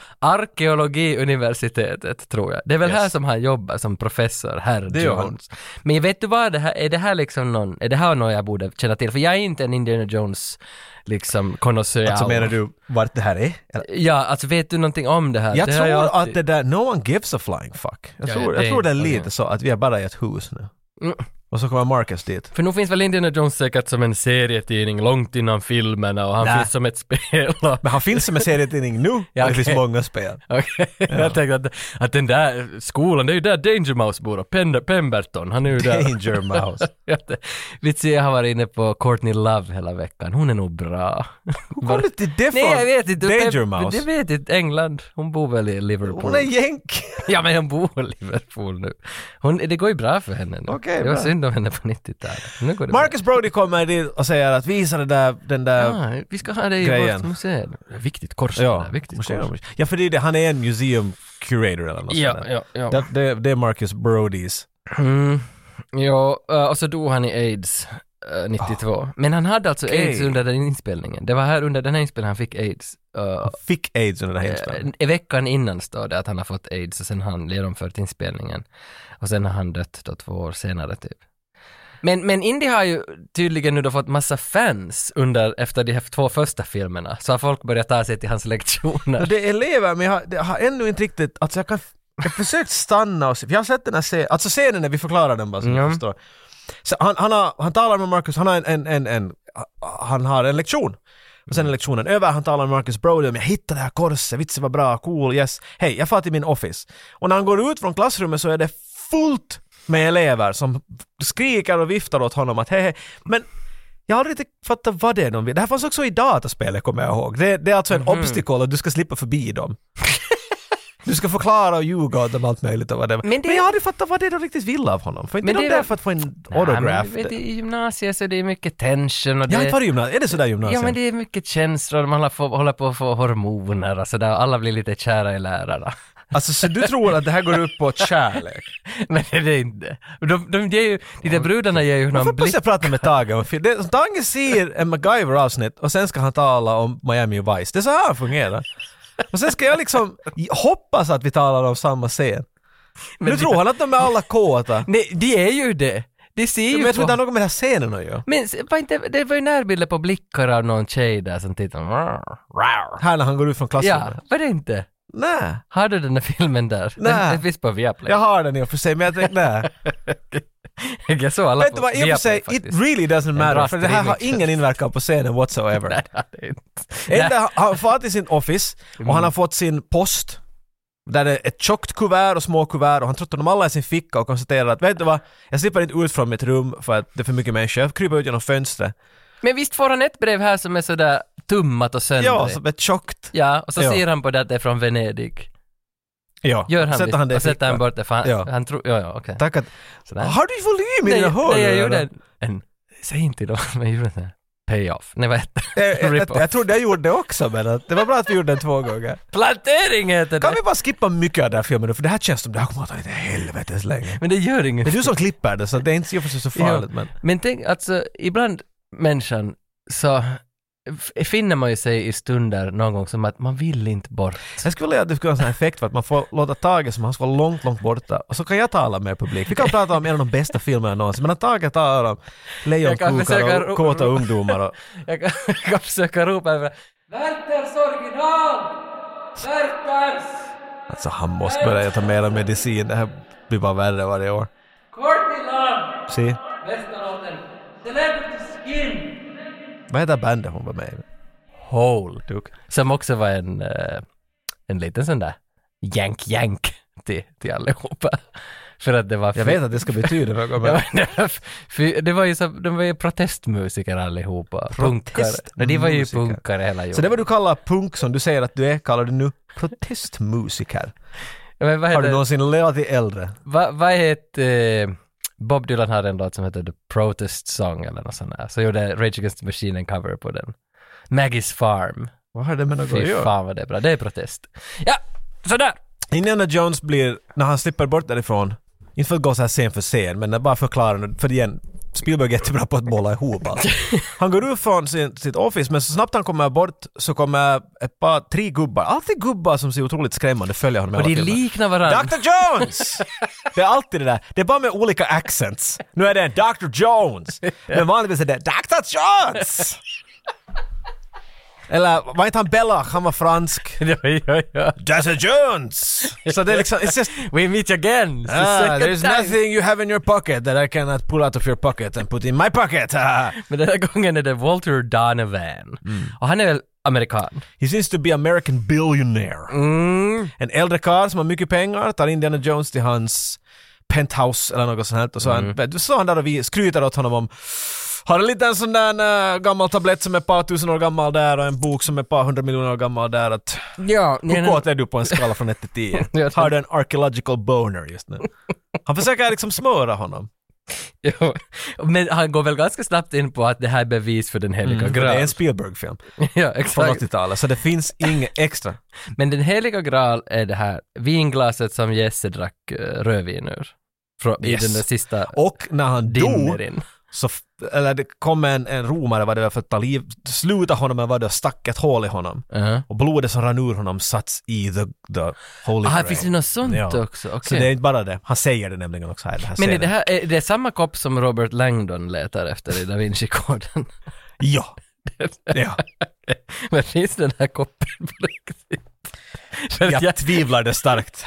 arkeologiuniversitetet, tror jag. Det är väl här som han jobbar som professor, herr
Det gör han.
Jones. Men vet du vad, det här, är det här liksom någon, är det här något jag borde känna till? För jag är inte en Indiana Jones, liksom, konnässör.
Alltså menar du vart det här är? Eller?
Ja, alltså vet du någonting om det här?
Jag
det har
tror
jag alltid-
att det där, no one gives a flying fuck. Jag
Ja,
tror,
det
jag
är
tror det är
inte-
lite
okej.
så att vi är bara i ett hus nu.
Mm.
Och så kommer Marcus dit.
För nu finns väl Indiana Jones säkert som en serietidning långt innan filmerna och han
Nä.
finns som ett spel. och-
Men han finns som en serietidning
<laughs>
nu,
Ja,
och det
okej.
finns
<laughs>
många spel.
Okej, jag tänkte att, att den där skolan, det är ju där Danger Mouse bor och Pend- Pemberton, han är ju där.
Danger Mouse.
<laughs> Jag vet inte. Vitsi, jag har varit inne på Courtney Love hela veckan, hon är nog bra.
Hur kom du till det
Nej
från?
jag vet inte.
Danger
Jag
Mouse.
vet inte, England. Hon bor väl i Liverpool.
Hon är jänk.
<laughs> Ja men hon bor i Liverpool nu. Hon, det går ju bra för henne nu.
Okej,
det var
bra.
synd om henne på 90-talet. Nu går det bra.
Marcus Brody kommer dit och säger att visa det där, den där...
Ah, vi ska ha det i
Grejen.
vårt museum. Viktigt kors det
Ja,
där, viktigt
museum.
kors.
ja, för det är det, han är en museum curator eller något
Ja,
sånt där.
ja, ja.
Det, det, det är Marcus Brodys.
Mm. Ja, eh, och så dog han i aids. eh, 92. Men han hade alltså
Ah, Okej.
aids under den inspelningen. Det var här under den här inspelningen han fick aids. eh,
Fick aids under den här
Eh,
inspelningen.
I veckan innan står det att han har fått aids och sen har han genomfört inspelningen. Och sen har han dött då två år senare typ. Men, men Indy har ju tydligen nu då fått massa fans under, efter de här två första filmerna. Så har folk börjat ta sig till hans
Ja,
lektioner.
<laughs> Det är elever, men jag har, det har ännu inte riktigt... Alltså jag, kan, jag har försökt stanna och se, för jag har sett den här scenen, alltså scenen när vi förklarar den bara så
Ja.
ni förstår. Så han, han, har, han talar med Marcus, han har en, en, en, en, han har en lektion. Och sen är lektionen över, han talar med Marcus Brody om jag hittade det här korset, vitsen var bra, cool, yes. Hej, jag far till min office. Och när han går ut från klassrummet så är det fullt med elever som skriker och viftar åt honom att hej, hej. Men jag har aldrig riktigt fattat vad det är de vill. Det här fanns också i dataspelet kommer jag ihåg. Det, det är alltså
Mhm.
en obstacle och du ska slippa förbi dem. du ska förklara och ljuga åt dem allt möjligt och vad det var.
Men
Men,
det-
jag har aldrig fattat vad det är de riktigt vill av honom. För inte
Men
de
det är
där
väl-
för att få en
Nej, men
autograf.
du vet, I gymnasiet så är det är mycket tension och
Jag har inte
det...
varit i gymnasiet. Är det sådär
Ja
gymnasiet?
men det är mycket känslor, man håller på, håller på att få hormoner och sådär, alla blir lite kära i lärarna. <laughs>
Alltså så du tror att det här går upp på kärlek?
Men det är det inte. De, de ger ju, de där brudarna ger ju
Varför
någon blick.
måste jag prata med Tage om film? Det- Tage ser en MacGyver-avsnitt och sen ska han tala om Miami Vice. Det är så här det fungerar. Och sen ska jag liksom hoppas att vi talar om samma scen. nu tror han att de är alla kåta.
<laughs> Nej, det är ju det. Det ser ju
Men jag tror
på-
inte det har något med den här scenen att göra.
Men se- var inte, det var ju närbilder på blickar av någon tjej där som tittar.
Här när han går ut från
Ja,
klassrummet.
var det inte?
Nej,
Har du den där filmen där? Den,
Nej.
den finns på Viaplay.
jag har den i och för sig men jag tänkte nej.
<laughs> Jag såg alla
Vet du
på
vad, i och
Viaplay
för sig,
<laughs>
it
faktiskt.
really doesn't matter
bra
för det här har
streaming.
ingen inverkan på scenen whatsoever.
Ja, det är inte-
Enda, han- han far till sin office och han har fått sin post där det är ett tjockt kuvert och små kuvert och han tröttnar dem alla i sin ficka och konstaterar att vet du vad, jag slipper inte ut från mitt rum för att det är för mycket människor, jag kryper ut genom fönstret.
Men visst får han ett brev här som är sådär tummat och
Ja,
söndrigt?
som är tjockt.
Ja, och så
Ja.
ser han på det att det är från Venedig.
Ja,
Gör han
sätter
det?
han det i
och sätter han
fickan.
bort det för han,
Ja.
han tror... Ja, ja, okej.
Tack att...
Sådär.
Har du volym i
Nej,
dina hörlurar?
nej, jag gjorde en... en säg inte då, <laughs> men jag gjorde en sån här pay-off. Nej, vad hette
Jag, <laughs> jag, jag,
Rip-off.
jag trodde jag gjorde det också men att det var bra att vi gjorde den två <laughs> gånger.
Plantering heter det!
Kan vi bara skippa mycket av den här filmen nu för det här känns som det här kommer att ta inte helvetes länge.
Men det gör inget. <laughs>
Det är du som klipper det så det är inte i och för sig så farligt men...
Men tänk, alltså ibland människan så f- finner man ju sig i stunder någon gång som att man vill inte bort.
Jag skulle vilja att det skulle ha en sån här effekt för att man får låta Tage som han ska vara långt, långt borta och så kan jag tala med publik.
<laughs>
Vi kan prata om en av de bästa filmerna någonsin men att Tage talar om
Jag kan försöka
lejonkokar
ro-
och kåta ungdomar och...
Jag kan, <laughs> jag kan försöka ropa över Werthers original! Werthers!
Alltså han måste börja ta mera medicin, det här blir bara värre varje år.
Courtney Love!
Se,
Bästa låten! Celebrity Skin!
vad heter bandet hon var med i?
Hole.
Duk.
Som också var en, eh, en liten sån där jank-jank till, till allihopa. <laughs> För att det var...
Jag vet att det ska betyda något men...
<laughs> Ja, men det, var, för det var ju så, de var ju protestmusiker allihopa. Punkare. Nej, de var ju
Protestmusiker.
punkare hela jorden.
Så det var du kallar punk som du säger att du är, kallar du nu protestmusiker.
ja, men vad
Har du
heter,
någonsin lärt dig äldre?
vad, vad heter, eh, Bob Dylan hade en låt som hette The Protest Song eller något sånt där. Så gjorde Rage Against the Machine en cover på den. Maggie's Farm.
Vad har det med något att
Fy
göra?
fan vad det är bra. Det är protest. Ja, sådär!
Indiana Jones blir, när han slipper bort därifrån, inte för att gå så här scen för scen, men jag bara förklarar, för igen, Spielberg är jättebra på att bolla ihop allt. Han går ut från sin, sitt office, men så snabbt han kommer bort så kommer ett par, tre gubbar, alltid gubbar som ser otroligt skrämmande följer honom i
Och
alla
de
filmer.
liknar varandra.
Dr Jones! Det är alltid det där. Det är bara med olika accents. Nu är det en Dr Jones. Men vanligtvis är det Dr Jones! Eller var inte han Bella? Han var fransk.
<laughs> ja, ja, ja.
Dr Jones! Så det är liksom, it's just
We meet again! It's the
Ah,
second
there's
time.
nothing you have in your pocket that I cannot pull out of your pocket and put in my pocket. Ah.
Men den här gången är det Walter Donovan.
Mm.
Och han är väl amerikan?
He seems to be American billionaire.
Mm.
En äldre karl som har mycket pengar tar Indiana Jones till hans penthouse eller något sånt här och så mm. han, så han där och vi skryter åt honom om har en liten sån där äh, gammal tablett som är ett par tusen år gammal där och en bok som är ett par hundra miljoner år gammal där att
Ja,
hur
<laughs>
kåt är du på en skala från 1 till 10?
Jag tror-
Har du en archaeological boner just nu? Han försöker liksom smöra honom.
Jo, men han går väl ganska snabbt in på att det här är bevis för den heliga
För Mm. det är
graal.
en Spielberg-film.
<laughs> ja,
från
exakt.
80-talet, så det finns inget extra.
Men den heliga graal är det här vinglaset som Jesse drack eh, rödvin ur. Frå- I
Yes.
den där sista
Och när han dog
dimmerin.
så, f- eller det kom en, en romare vad det var för att ta liv, sluta honom eller vad det var, stack ett hål i honom.
Uh-huh.
Och blodet som rann ur honom satts i the, the holy
Ah,
grail.
finns det något sånt
Ja.
också? Okej.
Så det är inte bara det, han säger det nämligen också här i den här
Men är
scenen.
det, här, är det samma kopp som Robert Langdon letar efter i Da Vinci-koden? <laughs>
Ja. ja.
Men finns den här koppen på riktigt? För att jag,
Jag tvivlar det starkt.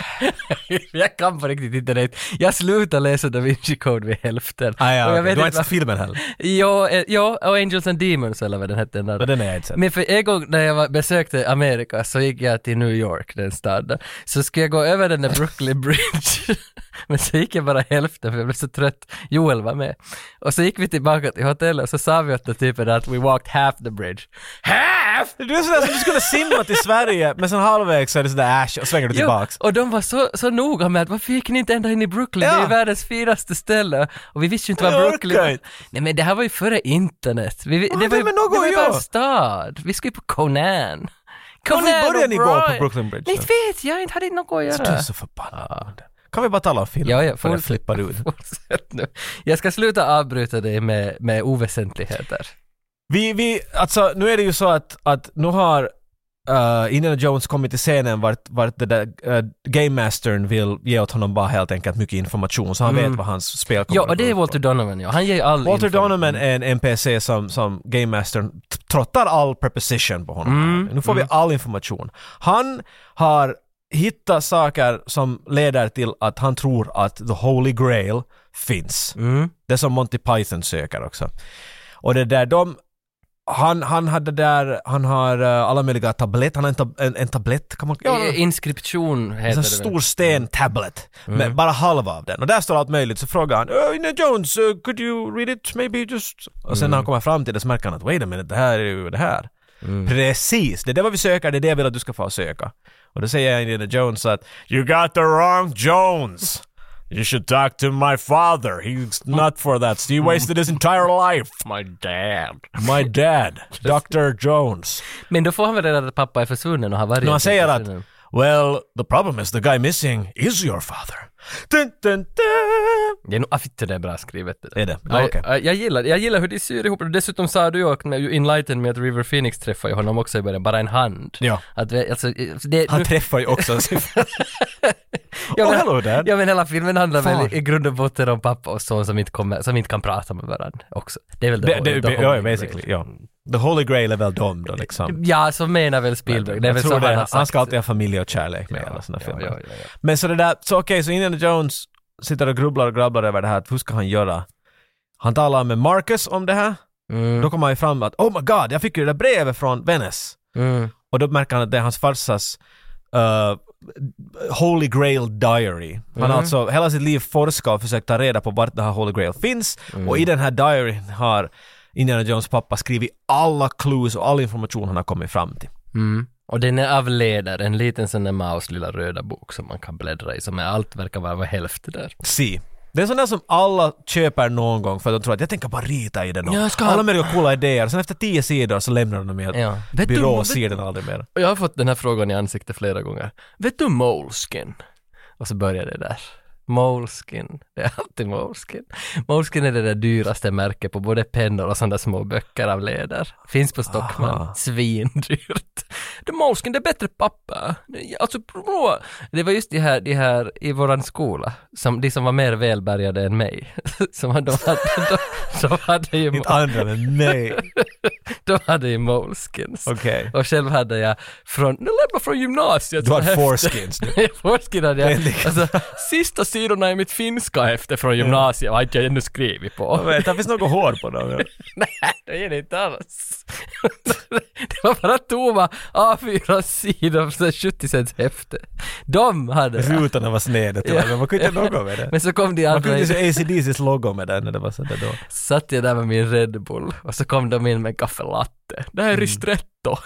jag kan på riktigt inte det. Jag slutar läsa Da Vinci-kod vid hälften.
Ah, ja,
och jag
okej. du har inte
inte
sett filmen heller.
jo, eh, jo, och Angels and Demons eller vad den hette. Den där.
Men den har jag inte sett.
Men för en gång när jag var, besökte Amerika så gick jag till New York, den stad där. Så skulle jag gå över den där
<laughs>
Brooklyn Bridge. Men så gick jag bara hälften för jag blev så trött. Joel var med. Och så gick vi tillbaka till hotellet och så sa vi åt den typen att we walked half the bridge. Half?
Du är sådär som du skulle simma till Sverige, men sen halvvägs så är det sådär äsch och svänger du tillbaks.
och de var så, så noga med att varför gick ni inte ända in i Brooklyn? Det är
Ja.
världens finaste ställe. Och vi visste ju inte vad
Jag orkar
Brooklyn var.
inte.
Nej men det här var ju före internet. Vi, vi-
men
det var ju
det är väl något
det var ju
att
bara en
göra.
stad. Vi skulle ju på Conan. Conan
Varför började ni gå
O'Brien.
på Brooklyn Bridge?
Inte vet jag, inte hade inte något att
Du är
göra.
så förbannad. Kan vi bara tala om filmen?
Ja, ja,
för den
fortsätt.
flippar ut.
Fortsätt nu. Jag ska sluta avbryta dig med, med oväsentligheter.
Vi, vi, alltså nu är det ju så att, att nu har eh, Indiana Jones kommit till scenen vart, vart det där eh, Game Mastern vill ge åt honom bara helt enkelt mycket information så han vet vad hans spel kommer
Mm. Ja, och det är
gå ut på.
Walter Donovan ja. Han ger ju all
Walter
info. Mm.
Donovan är en NPC som, som Game Mastern t- trottar all preposition på honom.
Mm.
Nu får vi all information. Han har hittat saker som leder till att han tror att the Holy Grail finns.
Mm.
Det som Monty Python söker också. Och det där de han, han hade där, han har eh, alla möjliga tabletter, han har en, tab- en, en tablett kan man
I- Eh, Inskription heter det. väl.
en
Mm.
sån Alltså, stor sten-tablet, men bara halva av den. Och där står allt möjligt, så frågar han "Ö, Indiana Jones, uh, could you read it maybe just... Och sen när
Mm.
han kommer fram till det så märker han att wait a minute, det här är ju det här.
Mm.
Precis, det är det vad vi söker, det är det jag vill att du ska få söka. Och då säger Indiana Jones att You got the wrong Jones! You should talk to my father, he's not for that. He wasted his entire life. My dad. My dad, Dr. Jones.
Men då får han väl reda på att pappa är försvunnen och har varit...
No, han säger att
försvunnen.
“Well, the problem is the guy missing is your father”. Dun, dun, dun.
Det är nog, ah, fitt, det är bra skrivet det där.
Är det? Ja, okej.
jag, jag, gillar, jag gillar hur de syr ihop det. Dessutom sa du ju också med ju Enlighten med att River Phoenix träffar ju honom också i början, bara en hand.
Ja.
Att, vi- alltså, det,
Han träffar ju också <laughs> sin
Ja,
Oh,
men-
hello dad.
Ja men hela filmen handlar
Fan.
väl i- i grund och botten om pappa och son som inte, kommer, som inte kan prata med varandra också. Det är väl the
Det-
whole-
det-
the
be-
whole
Ja,
great.
basically. Ja. The Holy Grail är väl dom då liksom.
Ja, så menar väl Spielberg. Det är
Jag
väl
tror
så
det.
han har sagt.
Han ska alltid ha familj och kärlek med i alla sina
ja,
filmer.
ja, ja, ja.
Men så det där, så okej, så Indiana Jones sitter och grubblar och grabblar över det här, att hur ska han göra? Han talar med Marcus om det här,
Mm,
då kommer han ju fram att “Oh my god, jag fick ju det där brevet från Venice”.
mm.
Och då märker han att det är hans farsas eh, Holy Grail Diary. Han
Mm.
har alltså hela sitt liv forskat och försökt ta reda på vart den här Holy Grail finns.
Mm.
Och i den här diaryn har Indiana Jones pappa skrivit alla clues och all information han har kommit fram till.
Mm. Och den är av läder, en liten sån där Maus lilla röda bok som man kan bläddra i, som är allt verkar vara vara hälften där.
Si. Det är en sån där som alla köper någon gång för att de tror att jag tänker bara rita i den. och
Jag ska-
Alla möjliga coola idéer. Sen efter tio sidor så lämnar de dem i en
Ja. Vet du-
byrå
vet-
och ser den aldrig mer.
Och jag har fått den här frågan i ansiktet flera gånger. Vet du Moleskin? Och så börjar det där. Moleskin. Det är alltid Moleskin. Moleskin är det där dyraste märket på både pennor och sådana små böcker av läder. Finns på Stockman. Svindyrt. Det Moleskin, det är bättre papper. Det- Alltså prova. Det var just de här, de här i våran skola, som, de som var mer välbärgade än mig. <laughs> Som hade, de hade, de, de hade ju,
Inte andra, men nej.
de hade ju Moleskins.
Okej.
Och själv hade jag från, nu lämnar från gymnasiet.
Du
så <laughs>
har
häftigt.
foreskins.
Jag forskade
Det är
jag.
lika
Alltså, sista sidorna i mitt finska häfte från gymnasiet har inte jag ännu skrivit
Jag
på.
vet, det finns något hår på dem. ja.
Nej, det är det inte alls. <laughs> Det var bara tomma A4-sidor från 70 cents häfte. De hade det.
Rutorna var sneda till och med, men man kunde inte göra något med det.
Men så kom de
Man kunde
andra
inte
in,
se ACDCs logo med den när det var sådär då.
satt jag där med min Red Bull och så kom de in med en kaffelatte. Det här
Mm.
är ristretto. <laughs>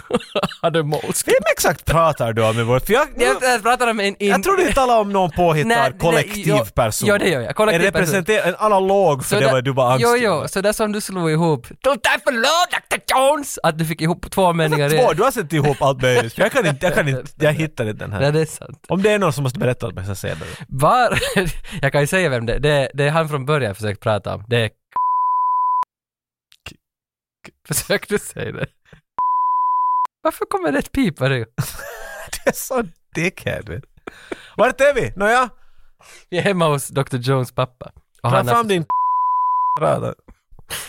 Hade molskin.
Vem exakt pratar du om i vår... För jag,
Jag, jag pratade om en... in-
jag tror du talar om någon
Nej, nej,
påhittad kollektiv
jo-
person.
jo, det gör jag. Kollektiv
en representer- en analog för det
där-
var du var angst
Jo, jo, så där som du slog ihop “Don't die for love, Dr. Jones!” Att du fick ihop två meningar
Två, du har sett ihop allt möjligt. Jag kan inte, jag kan inte, jag hittar inte den
Nej,
här.
det är sant.
Om det är någon som måste berätta åt mig så säger jag det.
<laughs> Var... jag kan ju säga vem det är. Det, är- det är han från början jag försökt prata om. Det är Försök du säga det. Varför kommer det ett pip varje gång?
<laughs> Det är så dickhead vet du. Ah, Vart är vi? Nåja,
Vi är hemma hos Dr. Jones pappa. Och
dra
han
fram
har...
din radar.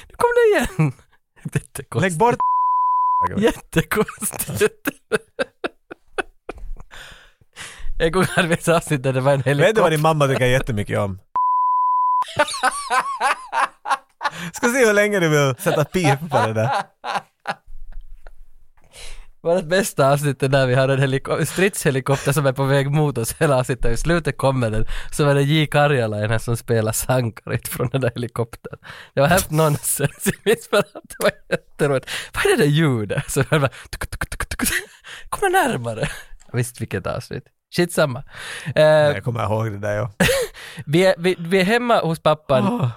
Nu kom det igen! <laughs> Jättekonstigt.
Lägg bort
Jättekonstigt. Jag går hade vi ett avsnitt där det var en
Vet du vad din
helikopter.
mamma tycker jättemycket <laughs> om? Ska se hur länge du vill sätta pip på det där.
Vårt bästa avsnitt är där vi har en heliko- stridshelikopter som är på väg mot oss hela avsnittet. I slutet kommer den, så var det J. Karjalainen som spelar Sankarit från den där helikoptern. Det var helt nonsens. Jag minns bara att det var jätteroligt. Vad är det där ljudet? Så jag bara... tuk, tuk, tuk, tuk. Kommer närmare. Visst, vilket avsnitt. Skitsamma. Eh,
Jag kommer ihåg det där ja.
vi, är, vi, vi är hemma hos pappan.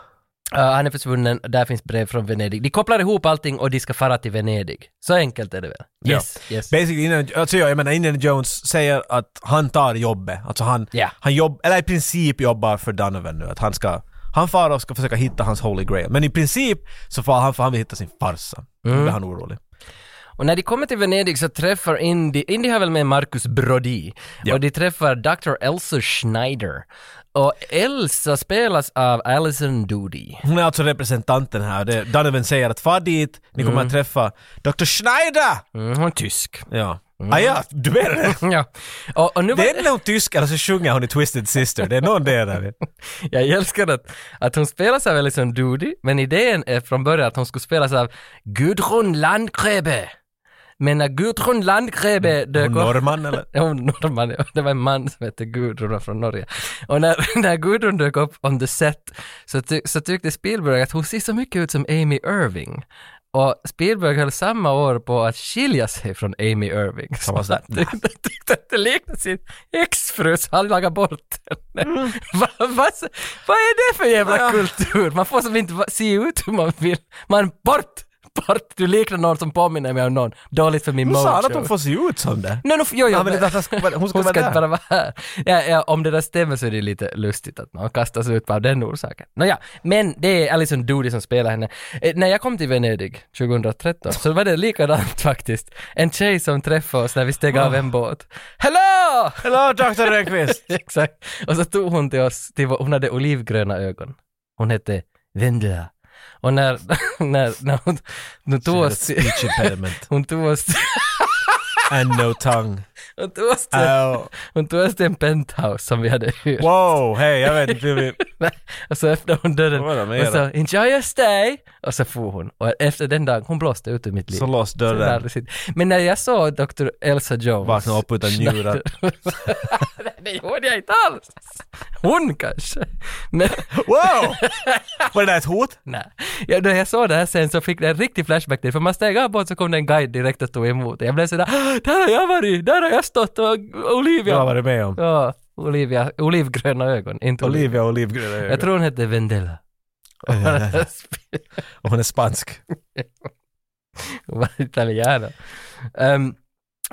Uh, han är försvunnen, där finns brev från Venedig. De kopplar ihop allting och de ska fara till Venedig. Så enkelt är det väl? Yes, yes.
Basically, Indiana, alltså jag, jag menar Indiana Jones säger att han tar jobbet. Alltså han,
Ja.
han jobb, eller i princip jobbar för Donovan nu. Att han ska, han far och ska försöka hitta hans holy grail. Men i princip så far han för han vill hitta sin farsa.
Mm.
Då blir han orolig.
Och när de kommer till Venedig så träffar Indy, Indy har väl med Marcus Brody, och de träffar Dr. Elsa Schneider. Och Elsa spelas av Alison Doody.
Hon är alltså representanten här. Det, Donovan säger att far dit, ni kommer att träffa Dr. Schneider!
Mm, hon är tysk.
Ja. Ah, ja, du menar
<laughs>
det?
Ja. Och, och nu var
Det är någon tysk, eller så sjunger hon i Twisted Sister. Det är någon del av det.
<laughs> Jag älskar att, att hon spelas av Alison Doody, men idén är från början att hon skulle spelas av Gudrun Landgräbe. Men när Gudrun Landgräbe dök
Hon norrman eller?
Ja, hon norrman, <laughs> ja. det var en man som hette Gudrun och var från Norge. Och när, <laughs> när Gudrun dök upp on the set så, ty, så tyckte Spielberg att hon ser så mycket ut som Amy Irving. Och Spielberg höll samma år på att skilja sig från Amy Irving. Så
var
han
sådär,
<laughs> tyckte, tyckte att det liknade sin exfru, så han lagade bort henne.
Mm.
<laughs> Va, va, vad är det för jävla kultur? Man får som inte va- se ut hur man vill. Man, bort! Bort! Du liknar någon som påminner mig om någon. Dåligt för min
Hon
mojo.
sa att hon får se ut som det.
Nej, nu, jo, jo,
Han vill inte att han ska vara- hon ska vara
inte
där.
bara vara här. Ja, ja, om det där stämmer så är det lite lustigt att någon kastas ut av den orsaken. Nåja, men det är Alison Doody som spelar henne. Eh, när jag kom till Venedig 2013 så var det likadant <laughs> faktiskt. En tjej som träffade oss när vi steg av en båt. Hello! <laughs>
Hello Dr. Rönnqvist!
Exakt. Och så tog hon till oss, till, vår- hon hade olivgröna ögon. Hon hette Vendela. Och när, <laughs> när, när hon, hon tog
She had a
oss till, <laughs>
speech impediment.
hon tog oss till, <laughs>
And no tongue.
hon tog oss till,
Oh.
Hon tog oss till en penthouse som vi hade hyrt.
Wow, hej, jag vet inte hur
<laughs>
vi...
Och så öppnade hon dörren
Vad är det med
och sa “Enjoy your stay” och så for hon. Och efter den dagen, hon blåste ut ur mitt liv.
Så låst
Så det är
dörren.
aldrig sitt. Men när jag såg Dr. Elsa Jones...
Vakna upp utan njurar.
<laughs> Nej, det gjorde jag inte alls! Hon kanske. Men <laughs>
Wow! Var det där ett hot?
nej. Ja, när jag såg det här sen så fick jag en riktig flashback till För man steg av båten så kom det en guide direkt och tog emot Jag blev sådär "Ah, “Där har jag varit! Där har jag stått och
Jag har
Olivia!”
varit med om.
Ja, Olivia, olivgröna ögon, inte Olivia.
Olivia olivgröna
Jag
ögon.
tror hon hette
<laughs>
Vendela. <laughs>
Och hon är spansk.
Hon var <laughs> italienare. Ehm,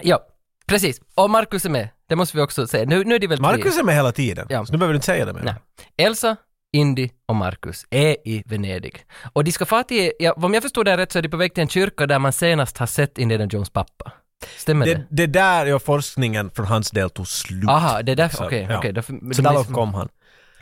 ja, precis. Och Marcus är med. Det måste vi också säga. Nu, nu är det väl tre.
Marcus är med hela tiden.
Ja.
Så nu behöver du inte säga det
Nej.
mer.
Elsa, Indy och Marcus är i Venedig. Och de ska fara till, ja, om jag förstod det här rätt så är de på väg till en kyrka där man senast har sett Indiana Jones pappa. Stämmer det?
Det, det där är forskningen från hans del tog slut.
Aha, det är därför,
Så,
okej.
ja.
okej, då-
Så
då-
därav kom han.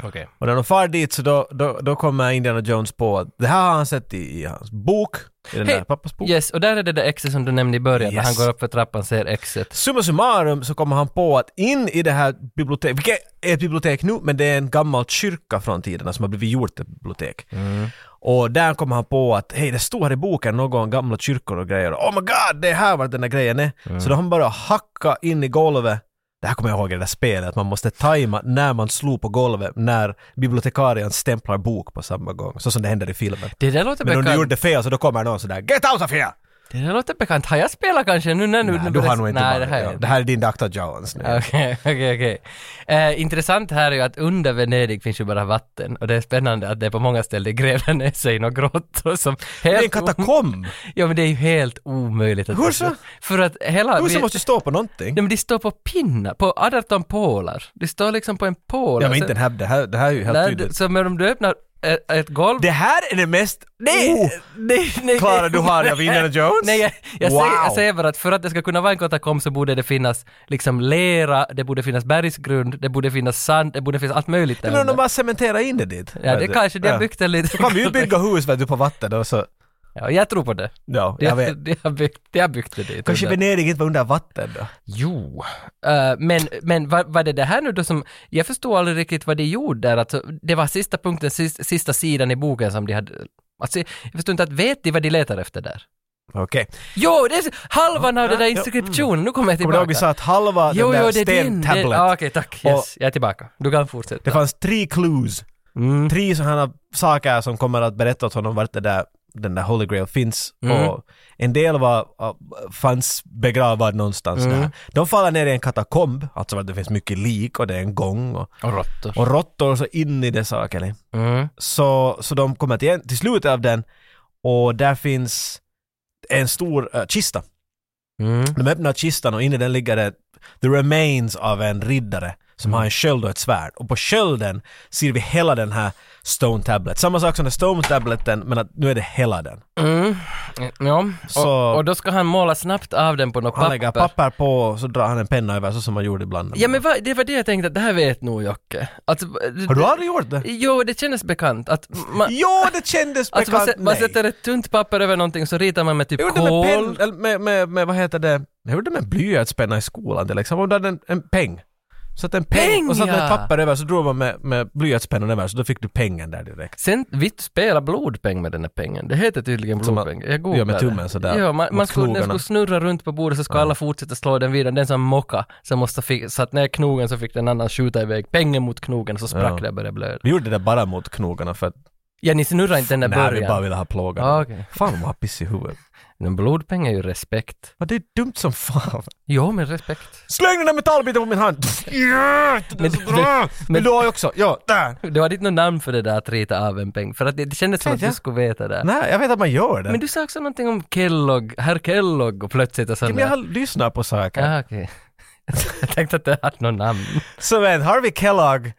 Okej.
Och när de far dit så då, då, då kommer Indiana Jones på att det här har han sett i, i hans bok, i den
Hej.
där pappas bok.
Yes, och där är det där exet som du nämnde i början, när
Yes.
han går upp för trappan och ser exet.
Summa summarum så kommer han på att in i det här biblioteket, vilket är ett bibliotek nu, men det är en gammal kyrka från tiderna som har blivit gjort till bibliotek.
Mm.
Och där kommer han på att hej, det står här i boken någon om gamla kyrkor och grejer. Oh my god, det är här var den där grejen är.
Mm.
Så då har han bara hacka in i golvet. Det här kommer jag ihåg i det där spelet, att man måste tajma när man slog på golvet, när bibliotekarien stämplar bok på samma gång. Så som det händer i filmen.
Det där låter
Men om du
bekant.
gjorde fel så då kommer någon sådär “Get out of here!”
Det där låter bekant. Har jag spelat kanske nu när nu?
Nej, du har nog inte
Nej,
varit-
det här,
ja,
är-
det här är din Dr. Jones nu.
Okej, <laughs> okej, okej. Eh, Intressant här är ju att under Venedig finns ju bara vatten och det är spännande att det på många ställen gräver ner sig i några grottor som
Det är en
helt... o- <laughs>
katakomb!
Ja men det är ju helt omöjligt att...
Hur så?
För att hela...
Huset
vi-
måste stå på någonting.
Nej men de står på pinnar, på 18 pålar. De står liksom på en pål.
Ja men
Alltså,
inte den här, det här, det här är ju helt
när du-
tydligt.
Så men om du öppnar ett, ett golv.
Det här är det mest
Nej,
oh,
nej, nej,
Klara
nej.
du har av Indiana Jones?
Nej, jag, jag,
Wow.
säger, jag säger bara att för att det ska kunna vara en katakomb så borde det finnas liksom lera, det borde finnas bergsgrund, det borde finnas sand, det borde finnas allt möjligt där
Men om
under.
de bara cementerar in det dit?
Ja, det kanske de har byggt en liten...
Då kan vi ju bygga hus vet du, på vatten och så...
<laughs> Ja, jag tror på det.
Ja,
De
jag
har,
vet.
de har, byggt, de har byggt det dit.
Kanske
under.
Venedig inte var under vatten då?
Jo. Eh, men men vad var det det här nu då som... Jag förstår aldrig riktigt vad de gjorde där. Alltså, det var sista punkten, sista, sista sidan i boken som de hade... Alltså, jag förstår inte att vet de vad de letar efter där?
Okej.
Jo, det är halvan av den där
ja,
inskriptionen, nu kommer jag
Kommer du ihåg vi
tillbaka.
sa att halva
Jo,
den
jo,
där
det är din. Det,
stentablet,
ah, okej, tack.
Och-
Yes, jag är tillbaka. Du kan fortsätta.
det fanns tre clues.
Mm.
Tre sådana saker som kommer att berätta åt honom vart det där, den där Holy Grail finns.
Mm.
Och en del var, fanns begravad någonstans
Mm.
där. De faller ner i en katakomb, alltså var det finns mycket lik och det är en gång. Och,
Och råttor.
och råttor så in i det saken. är.
Mm.
Så, så de kommer till, till slutet av den och där finns en stor eh, kista.
Mm.
De öppnar kistan och inne i den ligger det the remains av en riddare som
Mm.
har en sköld och ett svärd. Och på skölden ser vi hela den här Stone Tablet. Samma sak som den Stone Tableten men att nu är det hela den.
Mm. Ja,
Så-
och, och då ska han måla snabbt av den på något
Han lägger
papper.
papper på och så drar han en penna över så som man gjorde ibland.
Ja men vad- det var det jag tänkte att det här vet nog Jocke. Alltså,
Har du aldrig gjort det?
Jo, det kännes bekant att man,
Jo, det kändes
alltså, man,
bekant.
sä- man
Nej.
sätter ett tunt papper över någonting så ritar man med typ
Jag gjorde med,
kol.
penn, eller med, med, med, vad heter det, jag gjorde med blyertspenna i skolan till exempel. Om du hade en, en peng. Så att en peng,
Peng,
och så med
ja.
ett papper över så drog man med, med blyertspennan över så då fick du pengen där direkt.
Sen, vi spelar blodpeng med den här pengen. Det heter tydligen
Som man
blodpeng. Jag
gör med
googlade.
tummen sådär,
Ja, man,
mot
man skulle, den
knogarna.
skulle snurra runt på bordet så ska alla fortsätta slå den vidare. Den som mocka så måste fick, satt ner knogen så fick den annan skjuta iväg pengen mot knogen så sprack
Ja.
det och började blöda.
Vi gjorde det bara mot knogarna för att
Ja, ni snurrar inte den där
nej, vi bara
början.
ville ha plågan.
Ah, okej.
Fan vad man har piss i huvudet.
Men blodpeng är ju respekt.
Vad det är dumt som fan.
Jo, men respekt.
Släng den där metallbiten på min hand! Ja, det är så
Men-
bra!
men-
Vill du ha också? Ja, där!
Du hade inte något namn för det där att rita av en peng, för att det, det kändes som
Nej,
att
ja.
du skulle veta det.
Nej, jag vet att man gör det.
Men
Men,
du sa också någonting om Kellogg, herr Kellogg och plötsligt och sånt
jag
där.
har lyssnat på saker.
Ja, okej. <laughs> jag tänkte att det hade något namn.
Så men, Harvey Kellogg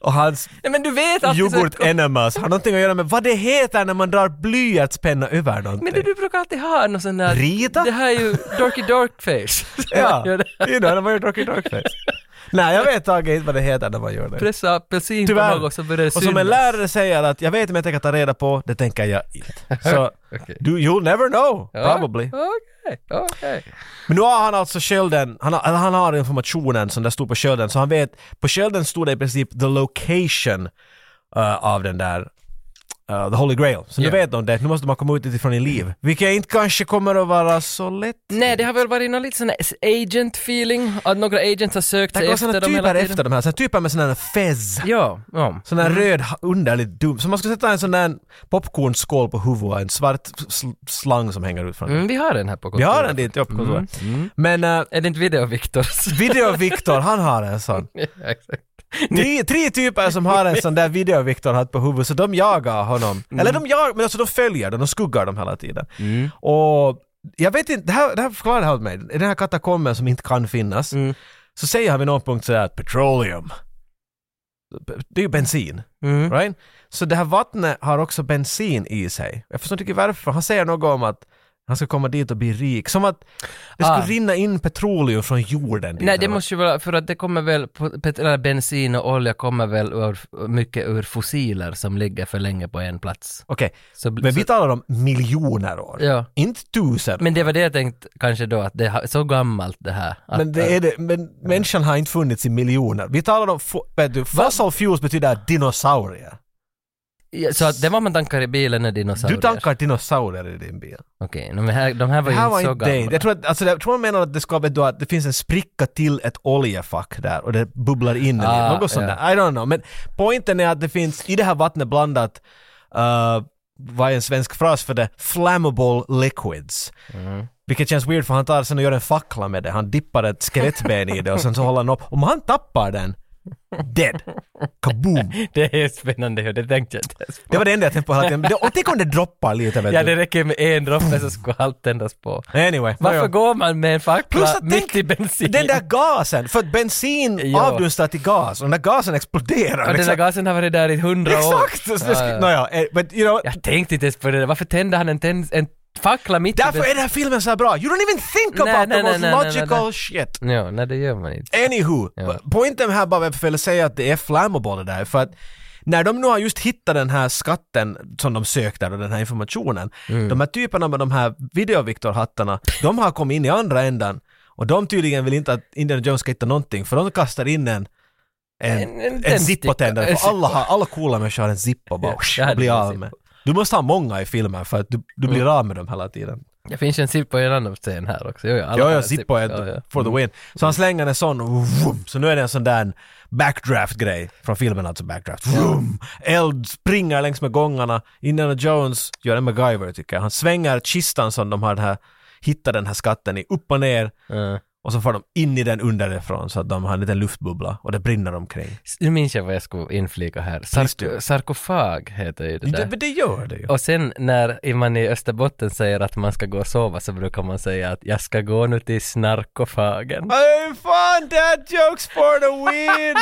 och hans
Nej men du vet alltid så-
yoghurt enemas har någonting att göra med vad det heter när man drar blyertspenna över någonting.
Men du, du brukar alltid ha någon sån där...
Rita?
Det här är ju Dorky Dork Face.
<laughs>
<laughs>
Ja,
Gör det.
you know, när man gör Rocky Darkface. Nej, jag vet taget inte vad det heter när man gör det.
Pressa apelsin på
Tyvärr.
något så börjar det
Och som en
synas.
lärare säger att jag vet inte om jag tänker ta reda på, det tänker jag inte.
<laughs>
Så,
Okej.
du, you'll never know,
Ja,
probably.
Okej, okej.
Men nu har han alltså skölden, han har, eller han har informationen som där stod på skölden, så han vet, på skölden stod det i princip the location eh, av den där eh, The Holy Grail. Så
Ja.
nu vet de det, nu måste man komma ut utifrån i liv. Vilket inte kanske kommer att vara så lätt.
Nej, det har väl varit någon liten sån här agent-feeling, att några agents har sökt
Det
sig
går såna
efter dem hela
typer
tiden. Mm.
efter de här, såna typer med såna här fez.
Ja, ja.
Sån här röd, ha- underligt dum. Så man skulle sätta en sån där popcornskål på huvudet och en svart sl- slang som hänger ut från den.
Mm, vi har den här på
Vi
kontoret.
har den dit upp på kontoret. Men eh,
Är det inte video, Viktors?
Video-Viktor, han har en sån.
<laughs> ja, exakt.
Tre, tre typer som har en sån där video-Viktor hatt på huvudet, så de jagar honom.
Mm.
Eller de jagar, men alltså de följer dem, de skuggar dem hela tiden. Och jag vet inte, det här, det här förklarade han åt mig. I den här katakomben som inte kan finnas,
Mm.
så säger han vid någon punkt sådär att petroleum, det är ju bensin.
Mm.
Right? Så det här vattnet har också bensin i sig. Jag förstår inte riktigt varför. Han säger något om att han ska komma dit och bli rik. Som att det skulle
Ah.
rinna in petroleum från jorden. dit.
Nej, det måste ju vara, för att det kommer väl, på- pet- eller bensin och olja kommer väl ur, mycket ur fossiler som ligger för länge på en plats.
Okej,
Så,
men
så,
vi talar om miljoner år.
Ja.
Inte tusen. Men,
Men det var det jag tänkte kanske då, att det är så gammalt det här. Att,
det är det, men människan har inte funnits i miljoner. Vi talar om, fo- vet du, fossil fuels betyder dinosaurier.
Ja, Så att det var man tankar i bilen är
Du
dinosaurier?
tankar dinosaurier i din bil.
Okej, de här, de här var
Det
ju
här
inte
var
så
inte dig.
gamla.
Jag tror att, alltså, jag tror man menar att det ska vet du, att det finns en spricka till ett oljefack där och det bubblar in en
Ah,
del. Något sånt
ja.
där. I don't know. Men poängen är att det finns i det här vattnet blandat eh, vad är en svensk fras för det? Flammable liquids.
Mm.
Vilket känns weird för han tar sen och gör en fackla med det. Han dippar ett skelettben i det och sen så håller han upp. Om han tappar den, dead. Kaboom!
<laughs> Det är spännande, ja, det tänkte jag inte ens på.
Det var det enda jag tänkte på hela tiden. Det- Och tänk om det droppar lite vet
Ja,
du.
det räcker med en droppe så ska allt tändas på.
Anyway.
Varför
nåja.
går man med en fackla
Plus att
mitt
tänk,
i bensin?
den där gasen, för att bensin
Ja.
avdunstar till gas och när gasen exploderar.
och den där
liksom.
gasen har varit där i hundra år.
Exakt! Så det
Ja,
ska-
ja.
Nåja, eh, but you know,
Jag tänkte inte ens på det där. Varför tände han en, tänd, en fackla mitt
därför
i
är den här filmen så här bra. You don't even think
Nej,
about
nej,
the most
nej, nej, nej,
logical
nej.
shit.
bensin? Ja, nej det gör man inte.
Anywho,
Ja.
poängen här bara varför jag vill säga att det är flammable det där, för att när de nu har just hittat den här skatten som de sökte och den här informationen,
Mm.
de här typerna med de här videoviktorhattarna, de har kommit in i andra änden och de tydligen vill inte att Indiana Jones ska hitta någonting för de kastar in en en,
En- en
en,
tändstick-
zippotändare,
en
för alla,
zippo.
har, alla coola människor har en zippo bara,
Ja, jag
och
hade
blir
en
av
zippo. Mm.
med. Du måste ha många i filmen för att du, du blir av med dem hela tiden.
Det finns ju en zippo i en annan scen här också. Jo, jo, alla
Ja,
har en
ja, Zippo är
Ja, Mm. ja.
for the win. Så han slänger en sån, och vroom, så nu är det en sån där backdraft-grej från filmen alltså, backdraft. Vroom, eld springer längs med gångarna. Indiana Jones gör en MacGyver tycker jag. Han svänger kistan som de har den här, hittar den här skatten i, upp och ner.
Ja.
Och så får de in i den underifrån så att de har en liten luftbubbla och det brinner omkring.
Nu minns jag vad jag skulle inflika här.
Minns
Sark-
du?
sarkofag heter ju det
Det,
där.
men det gör det ju.
Och sen när man i Österbotten säger att man ska gå och sova så brukar man säga att jag ska gå nu till snarkofagen.
Oj fan, dad jokes for the win!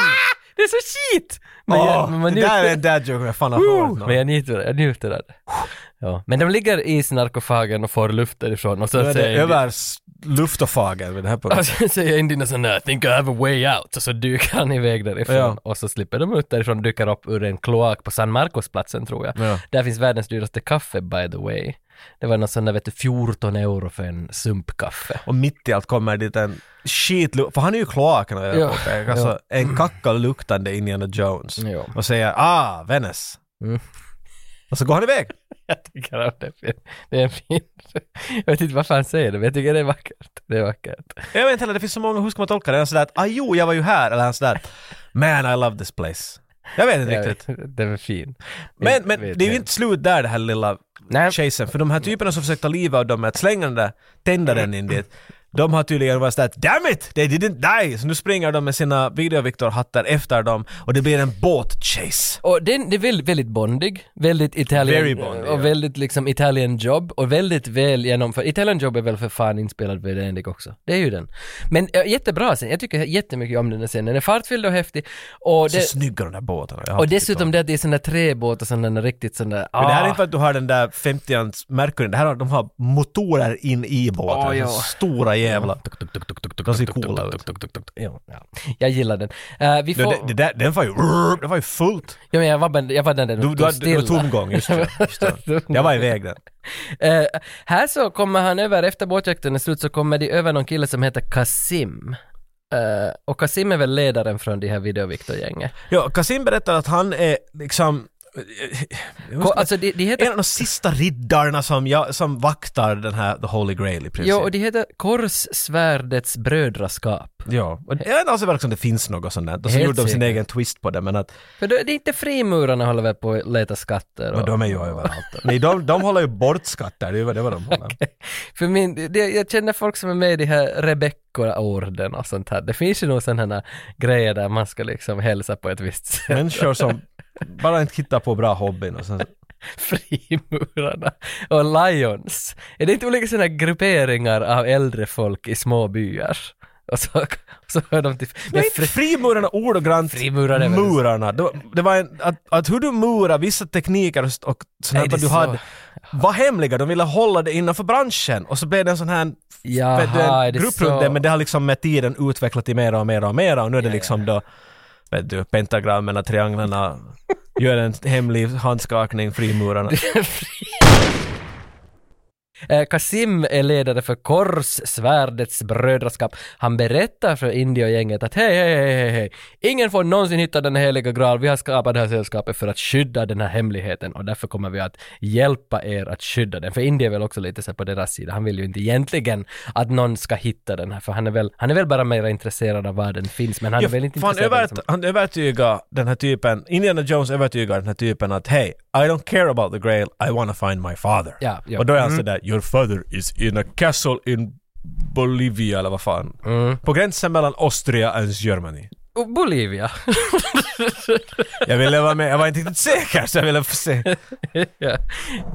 Det är så skit! <laughs> Men jag- men
Åh,
man
det där
njuter-
är en dad joke jag fan har hört
Woo!
någon.
Men jag njuter, jag njuter av det. Ja. Men de ligger i snarkofagen och får luft därifrån och
Nu
så
är det
säger, Alltså-
över s- luftofagen vid den här punkten.
och så säger Indina sån där, I think I have a way out, och så dyker han iväg därifrån
Ja.
och så slipper de ut därifrån och dyker upp ur en kloak på San Marcos-platsen tror jag.
Ja.
Där finns världens dyraste kaffe by the way. Det var någon sån där vet du 14 euro för en sumpkaffe. <laughs>
Och mitt i allt kommer dit en skitlukt, för han är ju kloaken har
Ja,
jag påpekat, alltså en kackaluktande Indiana Jones
Ja.
och säger ah, Venice.
Mm.
Och så går han iväg.
Jag tycker att det är fin. Det är en fin. Jag vet inte varför han säger det, men jag tycker det är vackert. Det är vackert.
Jag vet inte heller, det finns så många, hur ska man tolka det? Han sådär att ah, jo, jag var ju här, eller han sådär man I love this place. Jag vet inte
Jag
riktigt.
vet, den är fin.
Men,
Jag
men
vet
det är ju
inte.
inte slut där det här lilla
Nej.
chasen, för de här typerna som försökte ta livet av dem med att slänga den där, tända den in dit, de har tydligen varit sådär damn it, they didn't die! Så nu springer de med sina videoviktorhattar efter dem och det blir en båtchase.
Och den, det är väldigt, väldigt bondig, väldigt
Very
Italian
bondig, ja.
och väldigt liksom Italian job och väldigt väl genomförd. Italian job är väl för fan inspelad vid Endic också. Det är ju den. Men ja, jättebra scen, jag tycker jättemycket om den här scenen. Den är fartfylld och häftig och,
Så
det,
snygga de där båtarna. Jag har
och
inte tyckt om
dessutom
dem.
det att det är sådana träbåtar som den är riktigt sån där...
Men det här är
ah.
inte för att du har den där 50-ans Mercury, det här har, de har motorer in i båten.
Åh, ja.
Stora jävla. De ser coola ut.
Ja, ja. Jag gillar den. Eh, vi
Det,
får...
det, det där, den var ju, det var ju fullt.
Ja, men jag var, bara- jag var den där
Du,
och
du,
stod
hade, det var
stilla.
tomgång,
<laughs>
just det. Just det. Jag var iväg där.
Eh, här så kommer han över, efter båtjakten är slut så kommer de över någon kille som heter Kasim. Eh, och Kasim är väl ledaren från det här videoviktorgänget.
Ja, Kasim berättar att han är liksom... eh,
Ko- Alltså de, de
En
heter...
av de sista riddarna som, jag, som vaktar den här The Holy Grail i princip.
Ja, och de heter Korssvärdets brödraskap.
ja. Och jag är inte alls överraskad om det finns något sånt där. Och så
Helt
gjorde de sin
säkert.
egen twist på det, men att
För då, det är inte frimurarna håller väl på att leta skatter?
men
Och,
de är ju överallt. Nej, de, de håller ju bort skatter, det är ju- det är vad
<laughs>
de håller.
<laughs> för min, det, jag känner folk som är med i de här Rebecca-orden och sånt här. Det finns ju nog sådana här grejer där man ska liksom hälsa på ett visst sätt.
Människor som bara inte hittar på bra hobbyn och sen...
<laughs> frimurarna och Lions. Är det inte olika sådana grupperingar av äldre folk i små byar? Och så, och så hör de till... Men
Nej,
fri,
frimurarna ordagrant
Frimurar är väl-
murarna. Det var, det var en, att, att hur du murar vissa tekniker och, s- och
Nej,
sånt
det
här
är
du
så.
hade var hemliga, de ville hålla det innanför branschen och så blev det en sån här
Jaha,
vet du,
är
en
det
grupp
så?
runt det men det har liksom med tiden utvecklat till mera och mera och mera och nu är det liksom då vet du, pentagrammen och trianglarna gör en hemlig handskakning, frimurarna.
eh, Kasim är ledare för Korssvärdets brödraskap. Han berättar för Indiogänget att hej, hej, hej, hej, hej. Ingen får någonsin hitta den heliga graal. Vi har skapat det här sällskapet för att skydda den här hemligheten och därför kommer vi att hjälpa er att skydda den. För Indien är väl också lite så här på deras sida. Han vill ju inte egentligen att någon ska hitta den här, för han är väl, han är väl bara mer intresserad av var den finns, men han är väl inte
fan,
intresserad av
övert,
liksom-
han övertygar den här typen, Indiana Jones övertygar den här typen att hej, I don't care about the grail, I wanna find my father.
Ja, ja.
Och då är han sådär, your father is in a
Mm.
castle in Bolivia eller vad fan. På gränsen mellan Austria and Germany.
Bolivia.
Jag ville vara med, jag var inte riktigt säker så jag ville
<laughs>
få se.
ja.